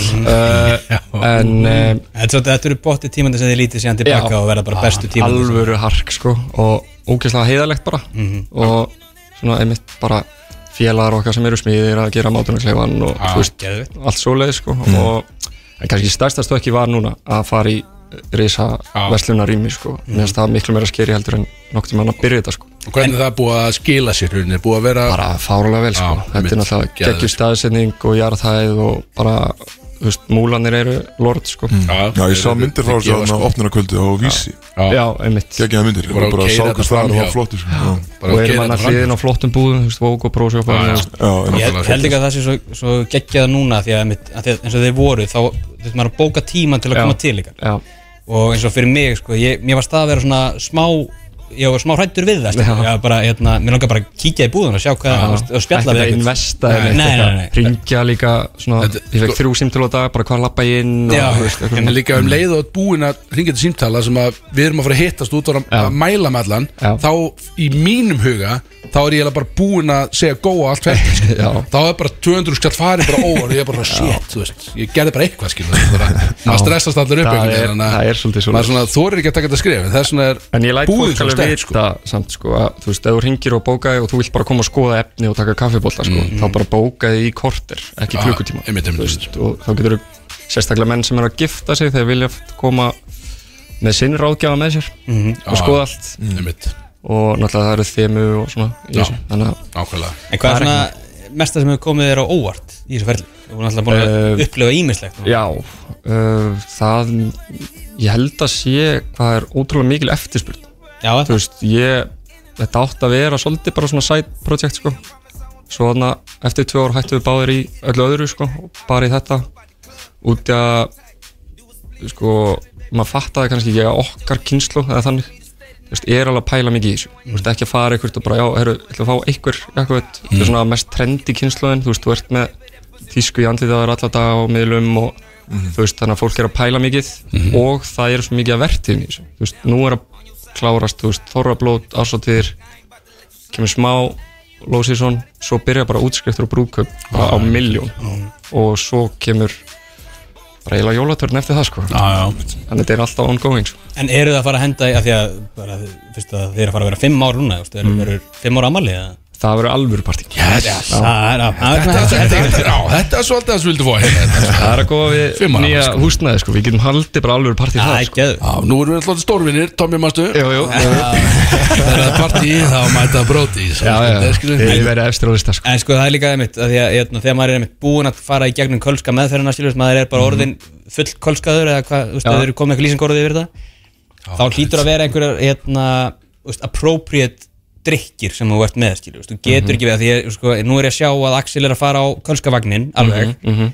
uh, en um,
Þetta svo- þetta eru bótti tímandi sem þið lítið síðan tilbaka
Já.
og verða bara bestu tímandi sem-
alvöru hark sko og ógeðslega heiðalegt bara og svona einmitt bara félagar okkar sem eru smiðir að gera mátunarkleifan og þú veist,
Geðveikt.
allt svoleið sko og en kannski stærsta stökki var núna að fara í reysa verslunarými sko, mér finnst það miklu meira skeri heldur en nokkuð tíma að byrja þetta sko
og hvernig það er búið að skila sér hvernig, búið að vera
bara fárulega vel sko,
Já,
þetta er
einmitt.
náttúrulega
Geðveikt.
geggjur staðsetning og jarðhæð og bara, þú veist, múlanir eru lord sko,
Mm.
Já, ég sá myndir frá
Þeir
þessu á
gefa, sko.
opnunarkvöldu og vísi
já, einmitt
Gekkjaða myndir,
Bara
bara, bara
að keyra
sá hvers
þetta
það
framhjá.
var flottur sko. Já,
Bara
og
að
erum
gera
hann að
þetta
hliðin á flottum búðum, þú veist, Vogue og Prosjópa
Já, já.
já, en-
Ég held ekki að það sé svo, svo geggjað núna því að, einmitt- að þið, eins og þeir voru þá þurftum maður að bóka tíman til að
Já.
koma til ykkar
já,
og eins og fyrir mig sko, ég, mér varst það að vera svona smá ég var smá hrættur við það skilur.
Já.
ég var bara, hérna, mér langar bara að kíkja í búðun og sjá hvað þú veist, og spjalla við
Ekkert að
einhvern.
investa
nei, nei, nei, nei.
ringja líka svona,
Þetta-
ég fekk þrjú símtöl á dag bara hvað lappa ég inn og,
Já.
þú veist, eitthvað
En
svona.
líka um leið og búin að ringja til símtala sem að við erum að fara að hittast út og að mæla með allan
Já.
þá í mínum huga þá er ég eiginlega bara búin að segja góa allt fyrir
Já.
þá er bara 200 skall farið bara óvar og ég er bara shit, þú veist ég gerði bara eitthvað skilur þú veist, bara- maður stressast allir upp
Það
einhvern
er-
veginn, þannig að
það er svolítið svoleiðis.
maður er svona þorir ekki að taka þetta skref en þess vegna er,
en ég læt
búðin
fólk
svo
alveg
sterk
vita samt sko að þú veist, ef þú ringir og bókaði og þú vilt bara koma að skoða efni og taka kaffibólla sko, þá bara bókaði í korter ekki
Mhm. Já,
klukkutíma
einmitt, einmitt,
þú veist, og þá getur þú sérstaklega menn sem er að gifta sig þegar vilja koma með sinn ráðgjafa með sér
Mhm.
og skoða allt
einmitt,
og náttúrulega það eru þemu og svona í
Já.
þessu. þannig að
nákvæmlega
en hvað er svona mesta sem hefur komið þér á óvart í þessu ferli þú er náttúrulega búin að
Eh,
upplifa ímislegt
Já, uh, það ég held að sé hvað er ótrúlega mikil eftirspurn
já,
þú veist, ég, þetta átt að vera svolítið bara svona side project sko svo þarna eftir tvö ár hættum við báðir í öllu öðru sko, og bara í þetta út í að sko, maður fattaði kannski ekki að okkar kynslu eða þannig þú veist, er alveg að pæla mikið í þessu þú veist, ekki að fara einhvert og bara, já, herru, ætlum að fá einhver, eitthvað, þetta er svona mest trendi kynsluðin, þú veist, þú ert með tísku í andlitið á þér alla dag á miðlum og þú veist, þannig að fólk er að pæla mikið og það er svo mikið að verðtíðin í þessu þú veist, nú er að klárast, þú veist, þorrablót, ásáttir kemur smá lósísson, svo byrja bara útskriftur og brúðkaup bara á miljón og svo kemur bara eiginlega jólatörn eftir það sko þannig að þetta er alltaf ongoing sko.
en eru það að fara að henda í að því að bara, þið- fyrst að þið eru að fara að vera fimm ár núna þú veist, eru mm. fimm ára amalið
það verður alvöru partí
yes.
það
þetta, þetta, já, þetta er svolítið að þessu vildu fá hérna.
það er að góða við
Fimm ára,
nýja húsnæði sko. við getum haldið bara alvöru partí það
er
sko.
geður
Já, nú erum við alltaf stórvinir, Tommy Mastu
jú, jú,
Þegar það er partí, þá mæta bróti
já, já, ég verði efstir á lista sko.
En sko það er líka einmitt að því að hérna, þegar maður er einmitt búinn að fara í gegnum kölska meðferðina skiljum, maður er bara orðin full kölskaður eða hvað, þú veist,
Mhm.
að
Já.
þau eru komið eitthvað lýsingorðið yfir þetta þá hlýtur að vera einhverjar hérna, þú veist, appropriate drikkir sem þú ert með skiljum, þú getur
Mhm.
ekki við að því að sko, nú er ég að sjá að Axel er að fara á
Mhm,
kölskavagnin alveg, en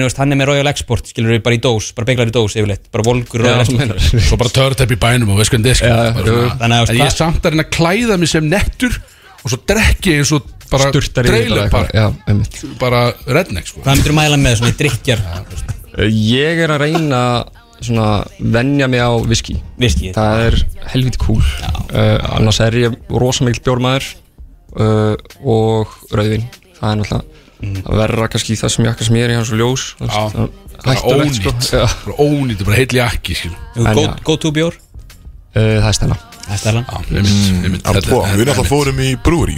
þú veist, hann er með Royal Export, skiljum, bara í dós bara beiglar í dós yfirleitt, bara volgur Royal
Já,
Export
meinar. já,
Svo bara törtepp í bænum og veist hvernig disk
Já, jú.
Þannig að,
En
veist,
ég er
hvað-
samt að reyna að klæða mig sem nettur Og svo drekki ég eins og bara
durtar í
trailer
þetta
park,
já, einmitt
Bara redneck sko
hvað myndir mæla með svona í drikkjar
Ég er að reyna svona vennja mig á viski
viski,
Það er helviti cool uh, Annars er ég rosamikl bjórmaður uh, og rauðvin Það er náttúrulega að verra kannski í þessum jakka sem ég er í hans og ljós þú veist,
Mm. Já.
það er
Bara
Hættulegt sko
ónýtt
Já.
Bara ónýtt, bara heil jakki skil
en
go,
já.
go to bjór
Uh, Það er stæla
það er stærlan
Mm.
Við
Að tvo, Við náttúrulega fórum í brúri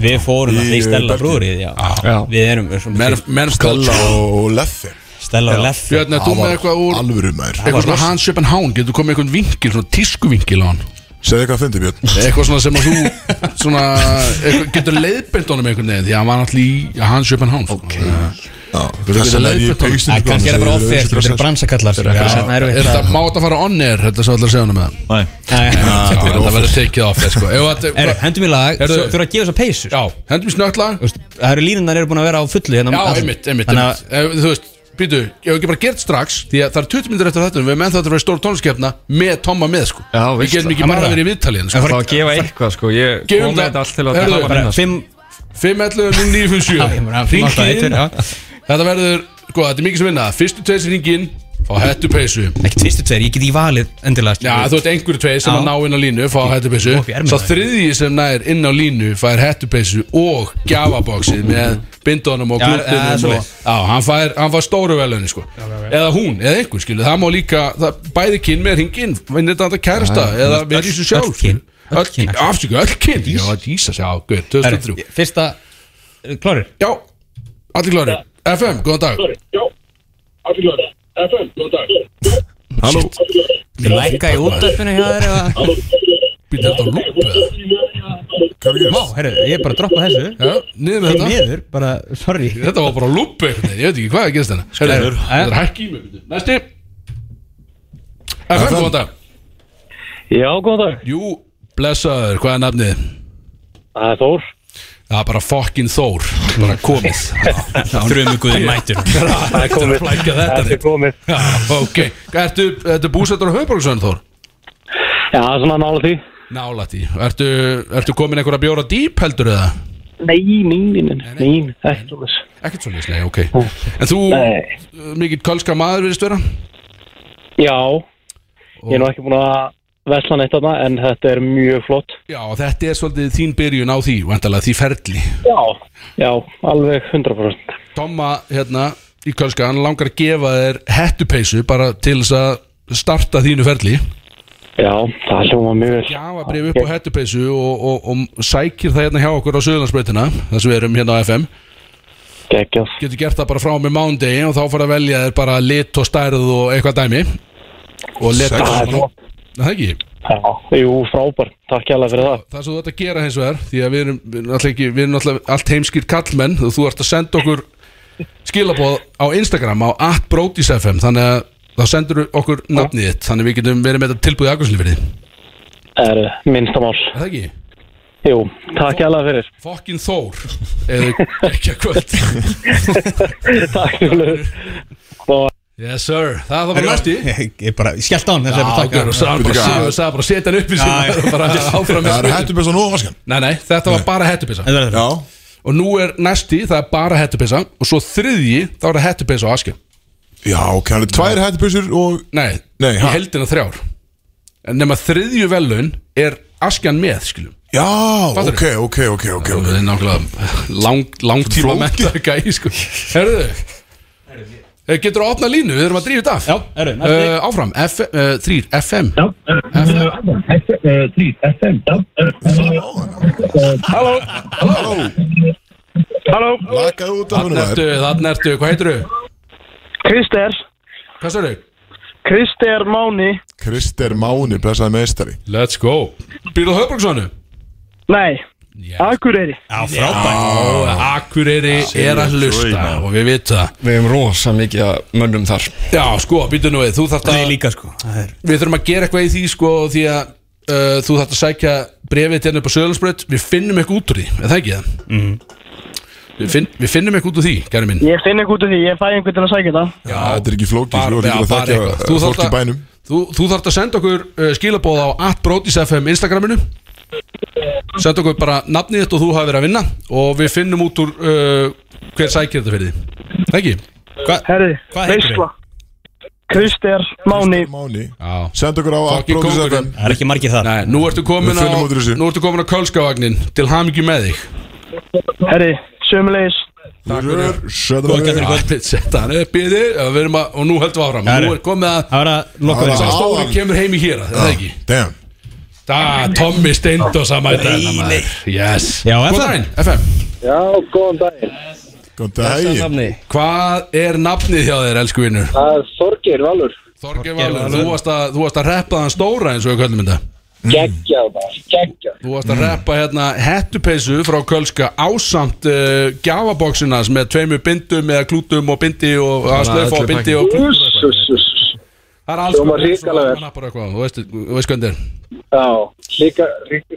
Við fórum
Í,
að því
eh,
stella
Belgíu.
brúrið, já.
Já.
Við erum við erum svona
Menn of
Kalla
culture
og Leffe
Stella og Leffi
Björn, er þú
Það
með
var
eitthvað úr
Alvöru maður
Eitthvað svona Hans Sjöpen Hán Getur þú komið með eitthvað vinkil Svona tískuvinkil á hann
Segðu eitthvað að fyndi Björn
Eitthvað svona sem að þú Svona eitthvað, Getur leiðbent honum einhvern veginn Því að hann var náttúrulega í Hans sko. Sjöpen Hán Ok
Þess að leiði
leiðbent
ég
honum.
peysinu
Æ, kannski er það bara ofþeir, þetta eru bransakallar skilur, þess vegna
Er
erum Hérna við
þetta má þetta fara on air Þetta sem allar segja honum með hann
Nei,
Æ,
Já, Ah, Þetta verður tekið off eh, sko. Ef þetta-
Herru, Hendum í lag,
Herru,
þú þú eru að gefa þess að peysu
Já, hendum í snögt lag
Þú veist, Það eru línunar eru búin að vera á fullu hérna
Já,
allan.
einmitt, einmitt,
Þannig
einmitt.
að
Ef, Þú veist, býtu, ég hef ekki bara gert strax Því að það er 20 minnir eftir þetta Við erum ennþá þetta að vera stór tónliskeppna Með Tomma með, sko
Já,
Við
veist
getum
það.
ekki bara verið í viðtalið
Það
sko.
var að gefa eitthvað sko Ég
Gefum
kom með
það.
þetta allt til að
Herðu,
það var
bara
hennar
fimm
511
Já, ég
0957
meina, fimm átta, eitt,
Ringið inn
já.
Þetta verður, sko, þetta er mikið sem vinna Fyrstu tveis ringin, fá hættu peysu
Ekki tvistu tveir, ég get í valið endilega
Já,
skilur.
þú ert einhverju tveir sem
Já.
að ná inn á línu Fá hættu peysu
upp í ermina,
Svo
já.
þriðji sem nær inn á línu Fær hættu peysu og gjafaboksið Með bindunum og
Já, já,
glúttunum og-
svoleiðis.
Já, hann fær, hann fær stóru velunni sko Eða hún, eða einhver skilu Það má líka, það, bæði kyn með hringin Vinnir þetta andra kærasta Eða
öll-
verið þessu
öll
sjálf
kyn. Öll
Öll
kyn,
kyn, afsöku, öll kyn Já, Jesus, já, guð,
Herru,
2003
Fyrsta, eru klárir
Já, allir klári FM, góðan dag
Halló
Lækka í útdöfinu hjá þér eða
Býttu þetta á lúp eða?
Vá, herru, ég er bara að droppa þessu
Já, niður með
Fyrir
þetta
niður, bara, sorry
Þetta var bara lúp einhvern veginn Ég veit ekki hvað að gerist hérna Herðu, Þetta er hækki í mig býttu. Næsti FM, góðan dag
Já, góðan dag.
Jú, blessaður, hvað er nafnið?
Það er Þór.
Það er bara fokkin Þór Bara komið Þrjum ykkur mætur Það er komið flækja þetta
Þetta er komið.
Já, ok Ertu, ertu búsettur á Hauðborgsvönd Þór?
Já, svona nála því.
Nálætt í Ertu, ertu komin einhverja bjóra dýp heldur eða?
Nei, nei, nei, nei, nei, ekki svona þess.
Ekkert svo lýslega, ok En þú,
Nei.
mikill kölska maður virðist vera?
Já, ég er nú ekki búin að vesla neitt þarna, en þetta er mjög flott.
Já, þetta er svolítið þín byrjun á því Vandalega því ferli
Já. Já, alveg 100%.
Tomma, hérna, í kölska Hann langar að gefa þér hettupeysu Bara til þess að starta þínu ferli
Já, það hljóma mjög vel.
Gjafabrif upp á hettupeysu og, og, og sækir það hérna hjá okkur á Suðurlandsbreytina þar sem við erum hérna á FM
Gekkjað.
Getur gert það bara frá með mándegi og þá fara að velja þér bara lit og stærð og eitthvað dæmi og lit
Sex.
Það er flott.
Það er ekki
Já, jú, frábær. Takk hérlega fyrir það.
Það sem þú ert að gera hins vegar því að við erum, við erum, alltaf, ekki, við erum alltaf allt heimskir kallmenn og þú ert að senda okkur skilaboð á Instagram á atbrotisfm þannig að þá sendur okkur nafnið þitt þannig að við getum verið með þetta tilbúið aðgjóðslífrið Er
Er minnstamál.
það ekki?
Jú, takk hérlega fyrir.
Fokkin Þór eða ekki að kvöld
takk fyrir.
Yes sir, það er það bara næsti
Ég er bara, skellt án, þess að ég bara
Já,
takka
það er bara
Bíddu, hvað?
að segja bara setja hann upp í sig og bara áfram með
Það er
spilin.
hættu besta nú á vaskan
Nei, nei, þetta var bara hettupissa
Þetta verður-
Já
Og nú er næsti, það er bara hettupissa Og svo þriðji, þá er það hettupissa á Askjum
Já, ok, hann er tvær hættubysur og
Nei,
Nei,
í
ha?
heldina þrjár En nema þriðju velun er Askjan með, skilum
Já,
Fattar
ok, ok, ok, ok, ok
Það er nákvæmlega lang, langtíma
Flókið.
menntar gæi, sko Herðu Eh, Getur að opna línu, við erum að drífa þetta af
Já, herru, næsti.
Eh, Áfram, F, uh, 3, FM Já,
Halló
Halló,
Lakaðu út af hennu maður
Nertu, það nertu, hvað heitir þau?
Krister.
Hvað sér
Krister Máni.
Krister Máni, blessaði meistari
Let's go Býrðu á Höfbruksvanu?
Nei. Akureyri.
Akureyri er að hlusta og við vitum það
Við hefum rosa mikið að mönnum þar
Já, sko, býtu nú við, þú þarft að
Ég líka sko
Við þurfum að gera eitthvað í því, sko, því að uh, þú þarft að sækja brefið til henni upp á Söðlandsbröð Við finnum eitthvað út úr því, er það ekki það?
Mhm.
Við, finn, við finnum eitthvað út úr því, gæri minn
Ég finn eitthvað út af því, ég fæ einhvern til að sækja það.
Já, þetta er ekki flókið, þú
Bara-
ert
já,
ekki að
bara eitthvað.
þakka
Þú þarft
fólk í
að-
bænum
Þú, þú þarft að senda okkur uh, skilaboð á atbrotisfm Instagraminu Senda okkur bara nafnið þitt og þú hafi verið að vinna Og við finnum út úr uh, hver sækir þetta fyrir því Það ekki?
Herri,
Hvað heitirðu?
veistla. Krister Máni.
Máni
Já
Send okkur á
Fucking
atbrókisfm
Það er ekki margir þar
Nei, nú ertu komin
Við
á,
finnum út úr þessu.
nú ertu komin á kölskavagnin Til hamingju með þig
Herri, sömulegis.
Góða
Sjöðan
gestur í kvöld.
Allir setta hann upp í þig og, við erum að, og nú höldum við áfram
Já,
Nú
herru.
er komið að
Það var að lokka
Það
þess
var
að
Stóri kemur heim í hér Það er ekki
Damn
Það, Tommy Steindos að mæta Nei, nei Yes
Já,
Góðan
FM.
daginn, FM
Já, góðan daginn.
Góðan daginn
Nafni
Hvað er nafnið hjá þér, elsku vinnur?
Það er Þorgeir Valur
Þorgeir Valur, þú varst að, þú varst að reppa þann stóra eins og við köllum þetta
Gekkjað maður, gekkjað
Þú varst að reppa hérna hettupeysu frá Kölska ásamt uh, gjafaboksina sem er tveimur bindum eða klútum og bindi og að slöfa og
öllu
bindi og klútur og eitthvað.
Ússusus
Það er alls
Hljómar
konar, svo
hrikalega vel.
nappar eitthvað, Þú veist, þú veist hvernig þetta er
Já, líka,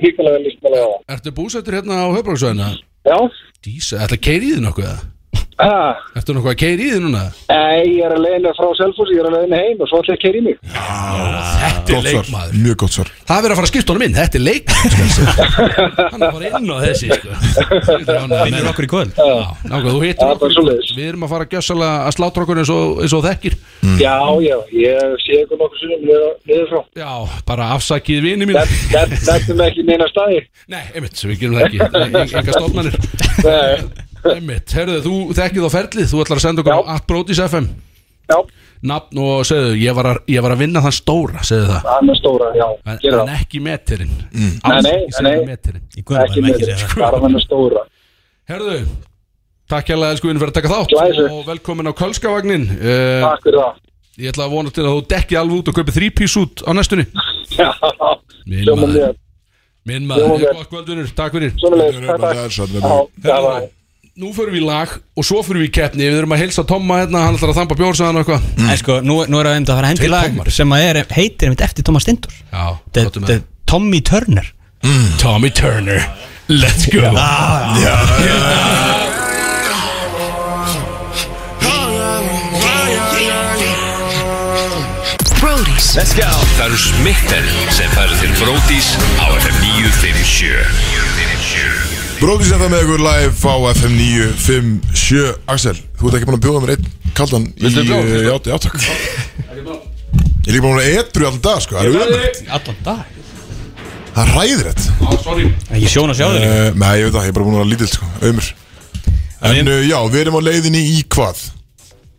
líka vel líka vel á
Ertu búsettur hérna á höfbruksvæðina?
Já,
Dísa, ætla að keira í þið nokkuð eða?
ah,
Ertu nokkuð að keira í þið núna?
nei, ég er að leiðinu frá Selfoss, ég er að leiðinu heim og svo ætla ég að keira í mig
Þetta
Gott svar, mjög gott svar
Það er verið að fara að skipta honum inn, þetta er leikmaður skal ég segja. Hann er að fara inn á þessi sko. Vinnur okkur í kvöld Nákvæm, þú hittir
Það
okkur í
er bara
kvöld.
svoleiðis.
Við erum að fara að gjössala að slátra okkur eins og, eins og þekkir
Já, já, ég sé ykkur nokkuð sinnum niður- niður frá
Já, bara afsakið vini mín
Nefn- nefn- Nefnum ekki neina staði
Nei, einmitt, við gerum það ekki Nei, Enga stofnanir
Nei,
Einmitt, herðu, þú þekkið á ferlið Þú ætlar að senda okkur á
Já.
atbrótis FM
Já,
Nafn og segðu, ég var að, ég var að vinna þann stóra, segðu það
hann er stóra, já,
En,
gera
en
það Mm.
ekki metirinn
Nei,
Alls
nei,
ekki segja
nei.
metirinn
Í guðanum
Ekki
erum
með
ekki að segja það
bara hann er stóra
Herðu, takk hérlega elsku vinnur fyrir að taka þátt
Glæsi.
og velkomin á Kölskavagnin uh,
Takk fyrir það
Ég ætla að vona til að þú dekki alveg út og kaupi þrípís út á næstunni
Já,
Minn
hljóma
maður,
mjög
minn maður,
Hljómar
er gott kvöldunur, takk fyrir
Svoleiðis, takk, takk Já,
Góðan
já, já
Nú förum við í lag og svo förum við í keppni Við erum að heilsa Tomma hérna, hann ætlar að þampa bjórsaðan og eitthvað
En sko, nú, nú er það einmitt að fara að hendi
Tveir
lag
Tommar.
sem að er, heitir einmitt eftir Thomas Stindur
Já, gott um
Þetta er Tommy Turner
það Tommy Turner, let's go
Brody's.
Það eru smitten sem færður til Brótis á FM 957
Bróðis FM með ykkur live á FM 957 Axel, þú ert ekki búin að bjóða mér einn kaldan í
Viltu bjór?
eh, já, já, takk Ég er ekki búin að vera etru allan dag, sko Það er ömurlegt.
Allan dag
Það ræðir þetta
Ah, sorry.
Ég sjón að sjá þig líka.
Eh, Nei, ég veit það, ég er bara búin að vera lítill, sko, ömur En uh, já, við erum á leiðinni í hvað?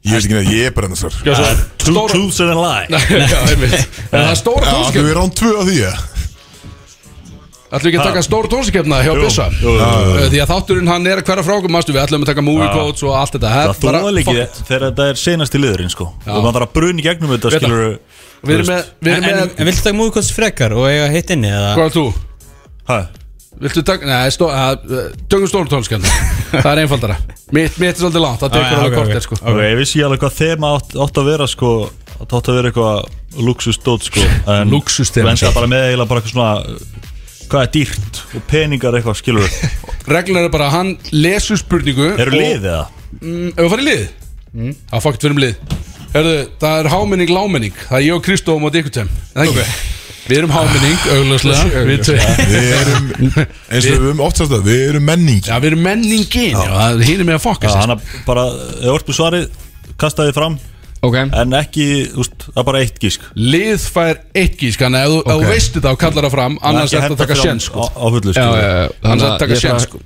Ég veist ekki neitt, ég er bara ennast þar
Já,
Two
Stóra-
truths and a lie
Já, einmitt. En Það er
Já,
stóra
þú
tónskeppni
er án tvö af því, ég
Ætlum við ekki að taka stóra tónskeppna hjá Bjössa
jú, jú,
Uh, Því að þátturinn hann er að hverja frá okkur manstu, Við ætlum að taka movie quotes og allt þetta
Það
bara-
þóðal ekki
fuck it.
þegar þetta er senasti liðurinn sko og maður þarf að brun í gegnum þetta
Veit það.
skilur
Við erum með, við
En,
erum
en,
með
en viltu taka múðkvæmst frekar og eiga hitt inni eða?
Hvað er þú?
Hvað
Viltu taka, nei, stó, að, tökum stóru tónskan Það er einfaldara Mitt, mitt er svolítið langt,
Ah,
það tekur
já, ok,
alveg kort
ok.
er sko
Ok, ég vissi alveg hvað þema átt, átt að vera sko Það átt að vera eitthvað luxusdót sko en
Lúxusþema,
Þú
segir.
endaði bara með eiginlega bara eitthvað svona Hvað er dýrt og peningar eitthvað skilur
Reglan er bara að hann lesur spurningu
Eru lið eða?
Mm, Ef við farið í lið?
Mm.
Það fakt fyrir um lið Herðu, það er hámenning, lámenning Það er ég og Kristó á móti ykkur tveim Er það ekki? Við erum hámenning,
Ah,
augljóslega Við tveim
Við erum, eins og við höfum oft sagt það, við erum menning
Já, við erum menningin, já, það er hínir með að
Já,
fokka sér
hann að bara, ef orðbú svarið kastaði fram
Ok
En ekki, þú veist, það er bara eitt gísk
Lið fær eitt gísk, þannig að ef þú- ef þú veist þetta og kallar það fram annars
Ekki
er þetta
henda
að taka
fram eh,
sjens sko.
Á, á fullu
Já, já,
skilur
já, annars er þetta að taka sjens sko.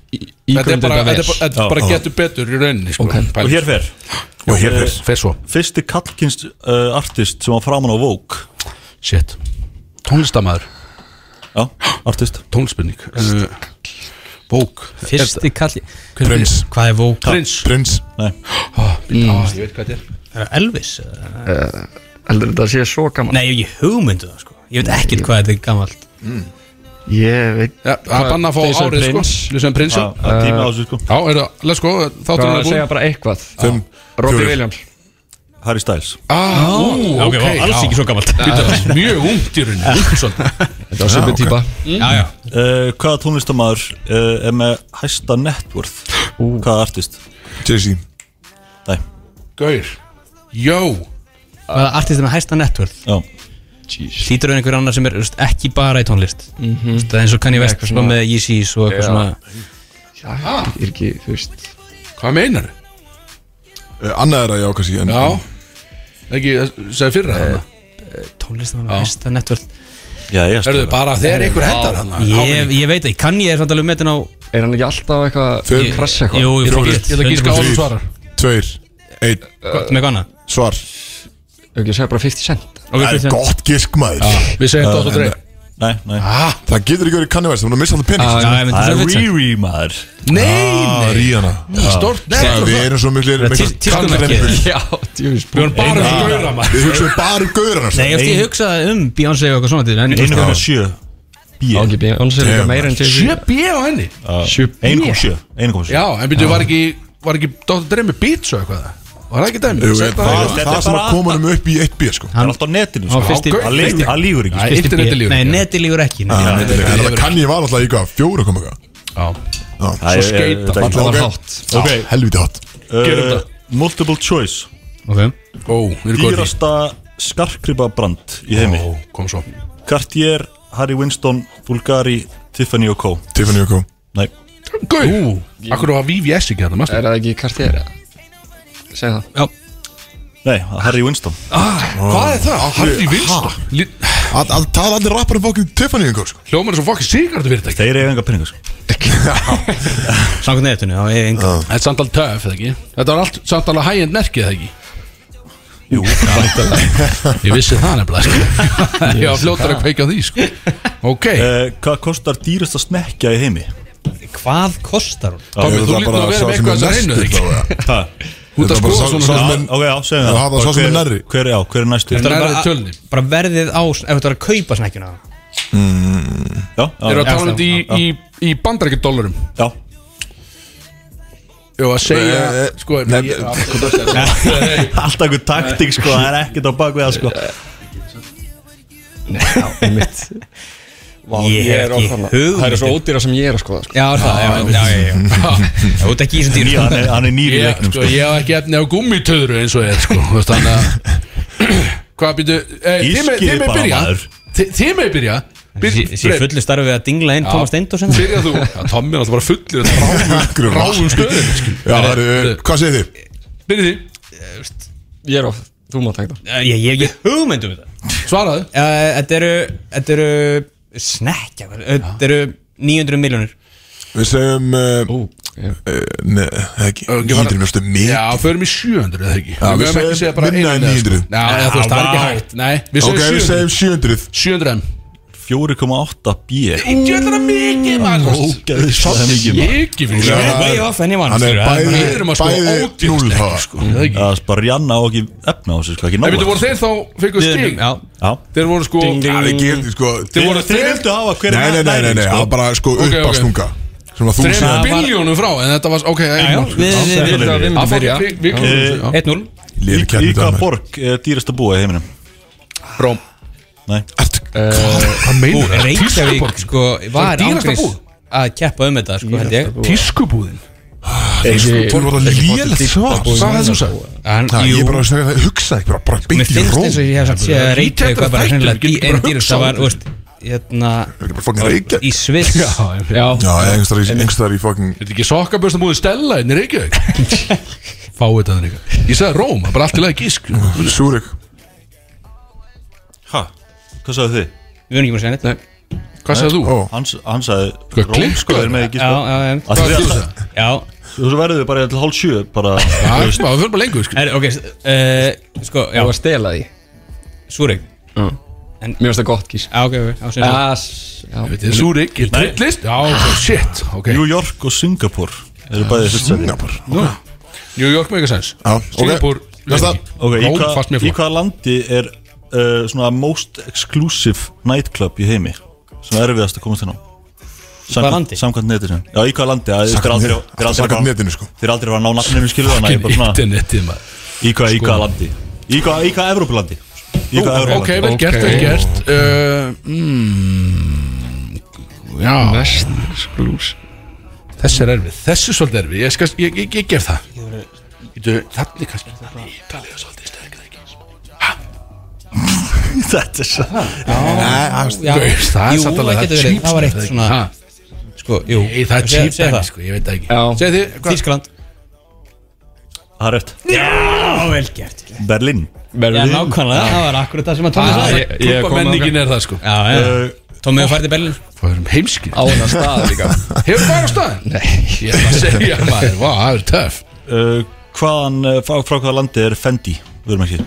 Þetta er bara, þetta er bara, þetta er
Já,
bara
já.
getur betur í rauninni sko.
Og hér fer eh,
Og hér er
Fer svo
Fyrsti kallkynst uh, artist sem var framan á Vogue
Shit Tónlistamæður
Já, artist
Tónlspinning Eh, Bók
Fyrsti
Hérna.
kalli
Prins,
Hvað er vók?
Prins
prins
Nei,
Ah, Ég veit hvað þetta er
Elvis? eða?
Heldur þetta að sé svo gaman?
Nei, ég hef ekki hugmyndu það sko Ég veit ekkert hvað þetta er gammalt
Ég veit
Já, Það banna að fá
Lýsa um
árið sko
prins.
Lýsa um prins
það
Já,
það er tími á þessu sko
er það Let's go
Hvað er
Þátturinn er
að segja
búinn
bara eitthvað?
Fimm,
Robbie
fjórir.
Williams
Harry Styles
Ah, ú, ok
Alls
já.
ekki svo gammalt
Þetta var Mjög ungt í rauninni ungt svolítið.
Þetta var simpið típa
uh, Hvaða tónlistamæður uh, er með hæsta networth? Hvaða artist?
Jay-Z Eh,
Nei,
Gaur Jó
Hvað er artistin með hæsta networth?
já
Lítur auðvitað einhver annar sem er veist, ekki bara í tónlist mm -hmm. Það er eins og kann ég veist
Eitthvað
Svo
svona-
með Yeezys og eitthvað
Já.
svona
Ég er ekki, þú veist
Hvað meinar
Eh, Annað er að já, kannski en,
Já Ekki, segði fyrra þarna
Tónlistin með hæsta networth
Já, ég
Erðu bara þegar ykkur hendar hann
Ég, ég veit ekki, kann ég er samt alveg metin á
Er hann ekki alltaf eitthvað
Fimm.
Ég- Krass eitthvað?
Jú,
Ég ætla að gíska á hann svarar
Tveir, einn,
Gott með hana
svar
Ég ekki að segja bara 50 cent
Ok,
Það er
Kristján.
gott gisk maður
Við segjum þetta á
En,
dreif
Nei, nei
ah,
Það getur ekki verið kannivers, það er að missa alltaf pening
Já, ég myndi
Það
svo
er
vitsa
Riri maður
Nei,
Það er í hana
nei, stort Nei,
Það við erum svo miklu
Tískumerkið
Já, djúvis
Við erum bara
Ah.
um
Eina-
gauðra maður
Við hugsaum bara um gaurana
Nei, ég veist, ég hugsaði um Beyoncé og eitthvað svona til En
Einu komma sjö B
Já, ekki bíða, annars er líka meira en Jay-Z
7B á henni
Ah.
Sjö
Einu komma sjö Einu komma sjö
Já, en byrju, var ekki Var ekki Dr. Dre með beats og eitthvað Var það ekki dæmi? hérna.
Jú,
Sett
en Það
það-
það
Þetta er
sem að
bara-
koma um upp í eitt bíð sko
Það er alltaf á netinu
Á, fyrst í-
sko. Hann lýgur- Hann lígur ekki
Æ,
sko.
internetið lífur
Nei,
ekki.
neti lífur ekki nei.
En það kann ég var alltaf í hvað, fjóra koma
Já.
Það er- eh,
Svo skeita,
þetta er-
falla-
ok.
var hátt
Ok Helviti hátt
Uh,
Gerum það.
Multiple choice
Ok
Ó, við erum góðir í.
Dýrasta skarkripa brand í heimi
Ó, kom svo
Cartier, Harry Winston, Bulgari, Tiffany og Co
Tiffany og Kó
Nei,
Gauð Akkur var VVS ekki hérna? þetta, maður
Er það ekki kartér? Segð það
nei, Harry Winston
Ah, Hvað er það? Harry Winston Lí-
Það tala allir rappar um fokkin Tiffany og Kó sko
Hljómar er svo fokkin sigardu fyrirtæki
Þeir eiga enga peningar sko.
Samkvæmt netinu, þá er enga
Þetta er samt alveg töf, eða ekki? Þetta var allt samt alveg high-end merkið, eða ekki? Jú, ég vissi það nefnilega sko. Ég var fljótar að kveika á því sko. Ok,
uh, Hvað kostar dýrasta snekkja í heimi?
Hvað kostar hún?
Tommi,
Er
þú
það
lítur
bara
að vera
sá
með
sem
eitthvað
er
þessar
næstur
hreinu, eða ekki?
þá, eða?
Ha,
Út
Þetta
að
er bara
skoða
sá-
svona
sá
hluti.
sem er-
ok, já, segjum
Já, það var sá
Og
sem er
hver-
nærri.
Hver, já, hver er næstu?
En
Já,
Þetta er
nærri
bara-
tölunni.
Bara verðið á, ef þetta var að kaupa snekkjuna
Þeir eru að
já,
tala um þetta í, í, í bandarækjum dólarum
já
Ég var að segja,
Nei,
sko
nei,
ég- Nei,
Alltaf einhver taktík sko, það er ekkert á bakvið það sko
Ég hef ekki
Það eru
hugmynd um-
svo ódýra sem ég er að skoða sko.
Já, er það, já, já, já, já Já, Þú ert ekki í þessum
Ný,
dýr
hann, er, hann er nýri í
Ég,
leiknum
sko,
sko
ég hef ekki efni á gummitöðru eins og ég er, sko þú veist, Þannig að Hvað býtu eh, Þið með- þið
Gískið
með
bara
byrja
maður
Þi- Þið með byrja
Ég sé
Byrja
fullu starfi við að dingla inn Thomas Steindor sem
Byrja þú Já, Tommi er alltaf bara fullir Þetta
Akkur
ráum
er
Ráum stöðum sko.
Já, það eru, hvað segir þið?
Byrja því
Ég er of, þú má taka það
Ég hef ekki hugmynd um þetta
Svaraðu
Eh, Þetta eru, þetta eru Snekja, þetta eru 900 miljónir
Við segjum uh,
Ú, ég
Nei, ekki
ekki fara-
900 mjögstu mikið
Já, förum í 700 eða ekki
Já,
Við
við
höfum ekki
segjum
segja bara
minna
einu
en
neða,
900.
sko. Já, eða, þú veist, það er ekki
vá.
hægt Nei, við
Ok,
segjum
við
700
segjum 700
700 M
4,8 B
Ítjöldra mikið, maður
Ógæðislega mikið maður.
Mikið fyrir
Já,
sig.
það
Way
er-
off en ég vann
Hann er
skilur, það
bæði,
Við erum að sko
bæði
ódýrust
0
ekki, sko. Það er ekki.
Það er bara Janna og ekki efna á þessu sko, ekki
En veitu,
nála
voru þeir þá fenguð stig?
Já,
Já
Þeir voru sko
Það er gerði sko
Þeir
Þeir
voru
þeir
þrem-
vildu hafa hver
Nei, nei, nei, nei, nei, það var bara sko
ok.
uppastunga Sem að þú
Þrem
segja
biljónum frá En þetta var, ok,
já,
einmál
við við- við-
Það
Það myndi
fór
byrja
við- við klúðum þessu, já.
1-0
Léri
Í
kærni
hvaða
dæmi
borg er dýrast að búa í heiminum?
Róm
Nei
Ertu, hvað, hvað meinar það?
Reykjavík sko var
Það er dýrasta
ángríns
búð.
að keppa um þetta sko held ég
Tískubúðin
Þú voru að lélega svar
Hvað það þú sagði?
En
Það,
jú,
ég bara að segja það, hugsa ekki, bara, bara
mér
beint í
finnst
róm
eins og ég hef sagt sé að
bara-
Reykjavík
Þetta
var bara
þættir,
hreinlega
við getum
dý- einn
bara
dýrasta
hugsað
var,
um
veist, hérna
Það er bara fokkin reykja
í Sviss
Já
Já, einhverstaðar í fokkin
Þetta er ekki sokkabösta múðin Stella inn í Reykjavík Fáið þetta þannig Ég sagði Róm, það er bara allt í lagi gísk
Súrik
Hæ? Hvað sagðu þið?
Við erum ekki með að segja neitt
Hvað sagði þú?
Ó,
Hann, hann sagði
Hvað,
Róm sko
klikkaður?
er með ekki
Já,
sko
já, já
Að
Hvað Ah,
því
sagði
að-
þú sagði?
Já,
Þú svo verður við bara til hálf sjö bara
Já, það fyrir bara lengur sko.
er, ok, s- eh, sko, já,
Ég var að stela því
Súrik
Mér finnst það gott kís
Já, ok, ok, á sinni
Já,
Þetta er Súrik, ég trillist Já, ok, shit, ok
New York og Singapore eru
Ah,
bæðið fyrst sæti
Singapur
Nú, New York make a sense
Já, ok.
Singapur
Næsta.
Ok, í,
Róm
hva,
fannst mér
í
flott
hvaða landi er uh, svona most exclusive nightclub í heimi sem er erfiðast að komast inn á Samkvæmt-
landi?
Samkvæmt netinu Já, í hvaða landi að- Þeir aldrei- þeir aldrei
Samkvæmt
fara-
netinu, sko.
Þeir aldrei var að ná nafninu skilu Þannig að ég bara svona
Internetið maður
Í hvaða
sko.
í hvaða landi Í hvaða í hvaða Evrópulandi Í hvaða
Ok,
Evrópulandi
vel gert, vel gert Uh, mm, Já,
Mest sklús
þessi er erfið Þessi er svolítið erfið, ég, skal, ég, ég, ég gef það Ítu, Þannig kannski Ítalið er svolítið sterk það ekki
Þetta er svo
Já,
Gauð, það er
jú,
samt
það
alveg
getur verið, það var eitt svona,
Ha,
sko, jú
Nei, það
Segðu-
er cheap
segðu
dæmi,
það.
sko, ég veit það
Já.
ekki Segðu þið, hvað?
Þýskaland
Það er rétt
Já, vel gert
Berlín
Já,
Berlín
nákvæmlega, það var akkurat það sem að Tómi
Ah,
sagði
ég- ég kom
Klubba menningin er það sko
Já, já, Tómi hefur fært í Berlin
Það er heimskir
Á hennar stað líka
Hefur farið á staðin? Nei Ég ætla að segja maður, vá, það er töff
uh, Hvaðan, uh, frá, frá hvaða landi er Fendi Vörum ekki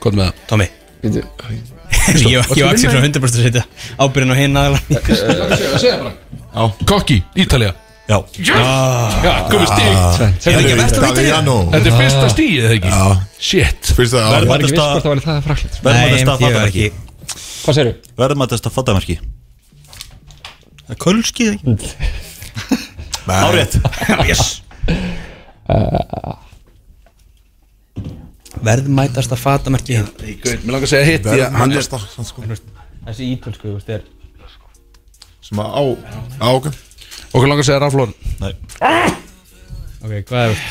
Hvað með það?
Tómi
Býtu,
Ég ég og Axel svona 100% að setja ábyrðin á hinn aðeins
Segja bara Kokki, Ítalja
Já,
Já, komið stíg Þetta er ekki versta
Italiano.
Þetta er fyrsta stíð, eða ekki Shit
Fyrst að
verðum
Var
að
ekki viss
testa
hvort það var það fræklið
Nei,
verðum að
ég
testa
var ekki
fattamarki
Hvað segir þú?
verðum að testa fattamarki Það er kölskið ekki Árétt
Verðmætast að fata merki
Mér langar að segja hitt því að
Verðum
hann
að
er
testa samt, sko.
Þessi ítölsku, þú veist, er
Sem að á Á, ok
Okkur langar að segja Raflón
Ok, hvað er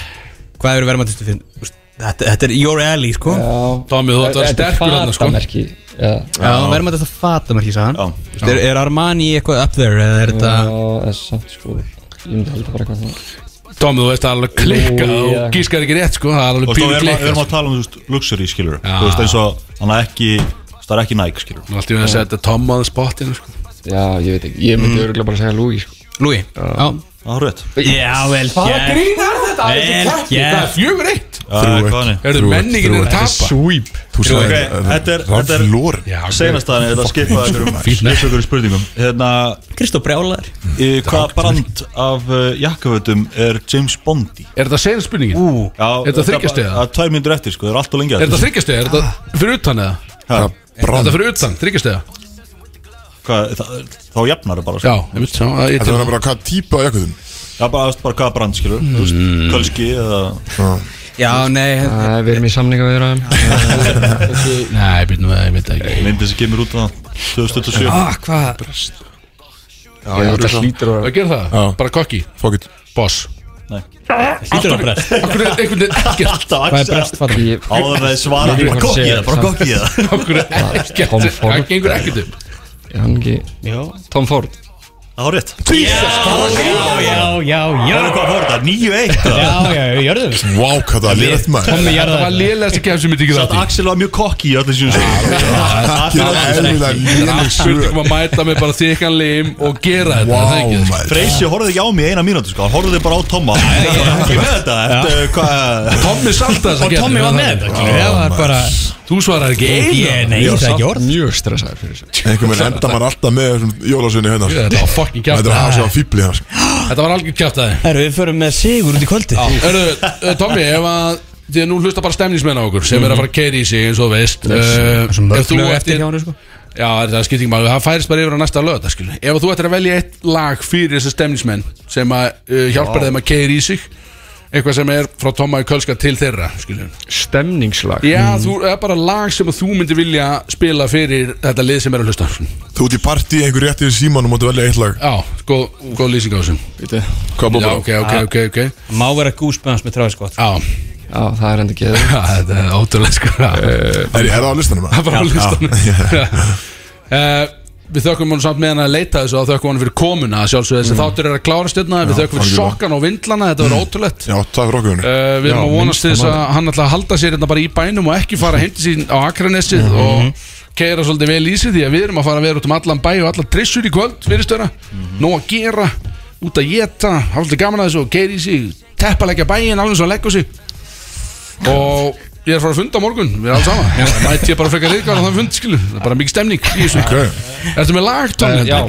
Hvað eru verðmætastu fyrir úst, þetta, þetta er your alley, sko Já,
Dami, þú ætti að vera sterkur hann, sko
Fattamerki Já,
verðmætast að fata merki, sagðan
Já.
Þú veist, er, er Armani eitthvað up there eða er þetta
Já, það er samt sko Ég myndi halda bara eitthvað þannig
Dami, þú veist að alveg klikka
Jú,
og
já.
gískar ekki rétt, sko Það er
Og
alveg
svo
pínu
erum að-
klikka
erum
sko.
að tala um þú veist, luxury skilur
Já.
Þú veist eins og hann er ekki Það er ekki næg skilur
Allt í veginn að segja þetta Tom að spottinu, sko
Já, ég veit ekki Ég myndi örgulega bara segja Lúi sko
Lúi? Já,
Árétt
já vel gert
grínar þetta?
Vel
Það er
gert
fjögur eitt
Eh,
Þrjú,
Er
Þrjú,
þetta menningin
þrjú,
er að tapa?
Sweep
Þú sagði
ok, þetta er-
Ralf
þetta er-
Loren
Já,
Seinastaðan er þetta að skipa
Fínt, nei.
Skipa ykkur í spurningum Hérna
Kristó Brjálar
í Hvaða brand af uh, jakkafötum er James Bondi?
Er þetta segjum spurningin?
Ú, já,
Er þetta þriggja stiga?
Það er tvær myndur eftir sko, það er allt og lengi
Er þetta þryggjastega? Er þetta fyrir utan eða?
þetta
Er
Brann
þetta fyrir utan, þryggjastega?
Hvað, það, þá jafnar það bara sko.
Já, ég veit sá að ég
Þetta
til
var bara hvað típa á jakkuðum
Já, bara, veist, bara hvaða brand skilur mm. Kölski eða
Já, nei,
Nei, við erum í samninga við ræðum
Nei, býtum við, ég veit það ekki
myndin sem kemur út á 2007
ah, hvað
Já, þetta hlýtur að
Hvað gerir það?
Já.
Bara kokki,
Fuck it
boss
Hlýtur á brest
Akkur er einhvern veginn ekkert
Alltaf
Hvað er brest fata?
Ég
Áður en það svara
Ég-
bara kokki
Ég-
eða, bara kokki eða
Akkur er ekkert
Tom Ford.
Það gengur ekkert upp
Er hann ekki
Já,
Tom Ford?
Það var rétt
já, já, já
Hvað var þetta? 9-1 eða?
Já, já, við jörðum þessu
Vá, hvað það er létt maður
Það var lélegast að sem ég tekið
Satt
þátt í
Axel var mjög kokki í öllum sínum
Það er eðlilega léleg
Akkur
svör
tekum að mæta með bara þykkan lim og gera þetta er það
Vá,
ekki?
Oh
maður
Freysi horfði ekki á mig í eina mínútu sko, hann horfði bara á Tomma Ég er ekki með þetta, þetta er hvað
Tommy salta þess að gera
Tommy var með þetta, skilur Já, það er bara
Oh Þú svarar ekki
Ég, nei, það er ekki orð
Mjög stressaður fyrir þessu
Einhvern veginn enda maður alltaf með þessum jólasveinu hérna sko.
Þetta var fucking
Þetta
kjátt
er að hafa sér að fýbli hérna sko.
Þetta var algjör kjátt aðeins
Herru, við förum með sigur út í kvöldi
Hörru, uh, Tommy, ef að Því að nú hlusta bara stemningsmenn á okkur sem
Mhm.
er að fara að keira í sig eins og þú veist uh, Ef þú eftir
hjá hann, sko
Já, það er skipting maður, það færist bara yfir á næsta lög skilu. Ef þú ættir að velja eitt lag fyrir þessi stemningsmenn sem að uh, hjálpar þeim að keira í sig eitthvað sem er frá Tomma í Kölska til þeirra skilu.
Stemningslag
Já,
Mm.
þú er bara lag sem að þú myndir vilja spila fyrir þetta lið sem er að hlusta Já,
Þú ert í partí, einhver rétt yfir síman og máttu velja eitt lag
góð, góð lýsing á þessum
Bíddu.
Hvað
Já,
búið
ok, ok, ok, ok
Má vera gúsbæðans með tráði skott
Já,
Já, það er enda geður
Já, þetta er ótrúlega sko Það
Er ég er það á listanum?
er bara að
Eh, Já.
hlusta Eh, Við þökkum honum samt meðan að leita þessu og þökkum honum fyrir komuna sjálfsög þessi þáttur er að klára stjórna við þökkum fyrir
Mm. algjörlega. Mm.
sokkan og vindlana, þetta var ótrúlegt
Já, takk fyrir okkur vinur.
Uh, við erum
Já,
að vonast til
minnsta
þess að hann ætla að halda sér hérna bara í bænum og ekki fara hindi sín á Akranessið
Mhm.
og keira svolítið vel í sig því að við erum að fara að vera út um allan bæ og allar trissur í kvöld fyrirstöra,
Mhm.
nóg að gera út að geta, hafa svolítið gaman að þessu og keira í sig, teppalegja bæin alveg svo að leggja sig og ég er að fara að funda á morgun, við erum alls saman mætti ég bara frekar ykkar á þann fund skilu, það er bara mikið stemning í þessu
Ok.
Ertu með lag, Tóni?
Já,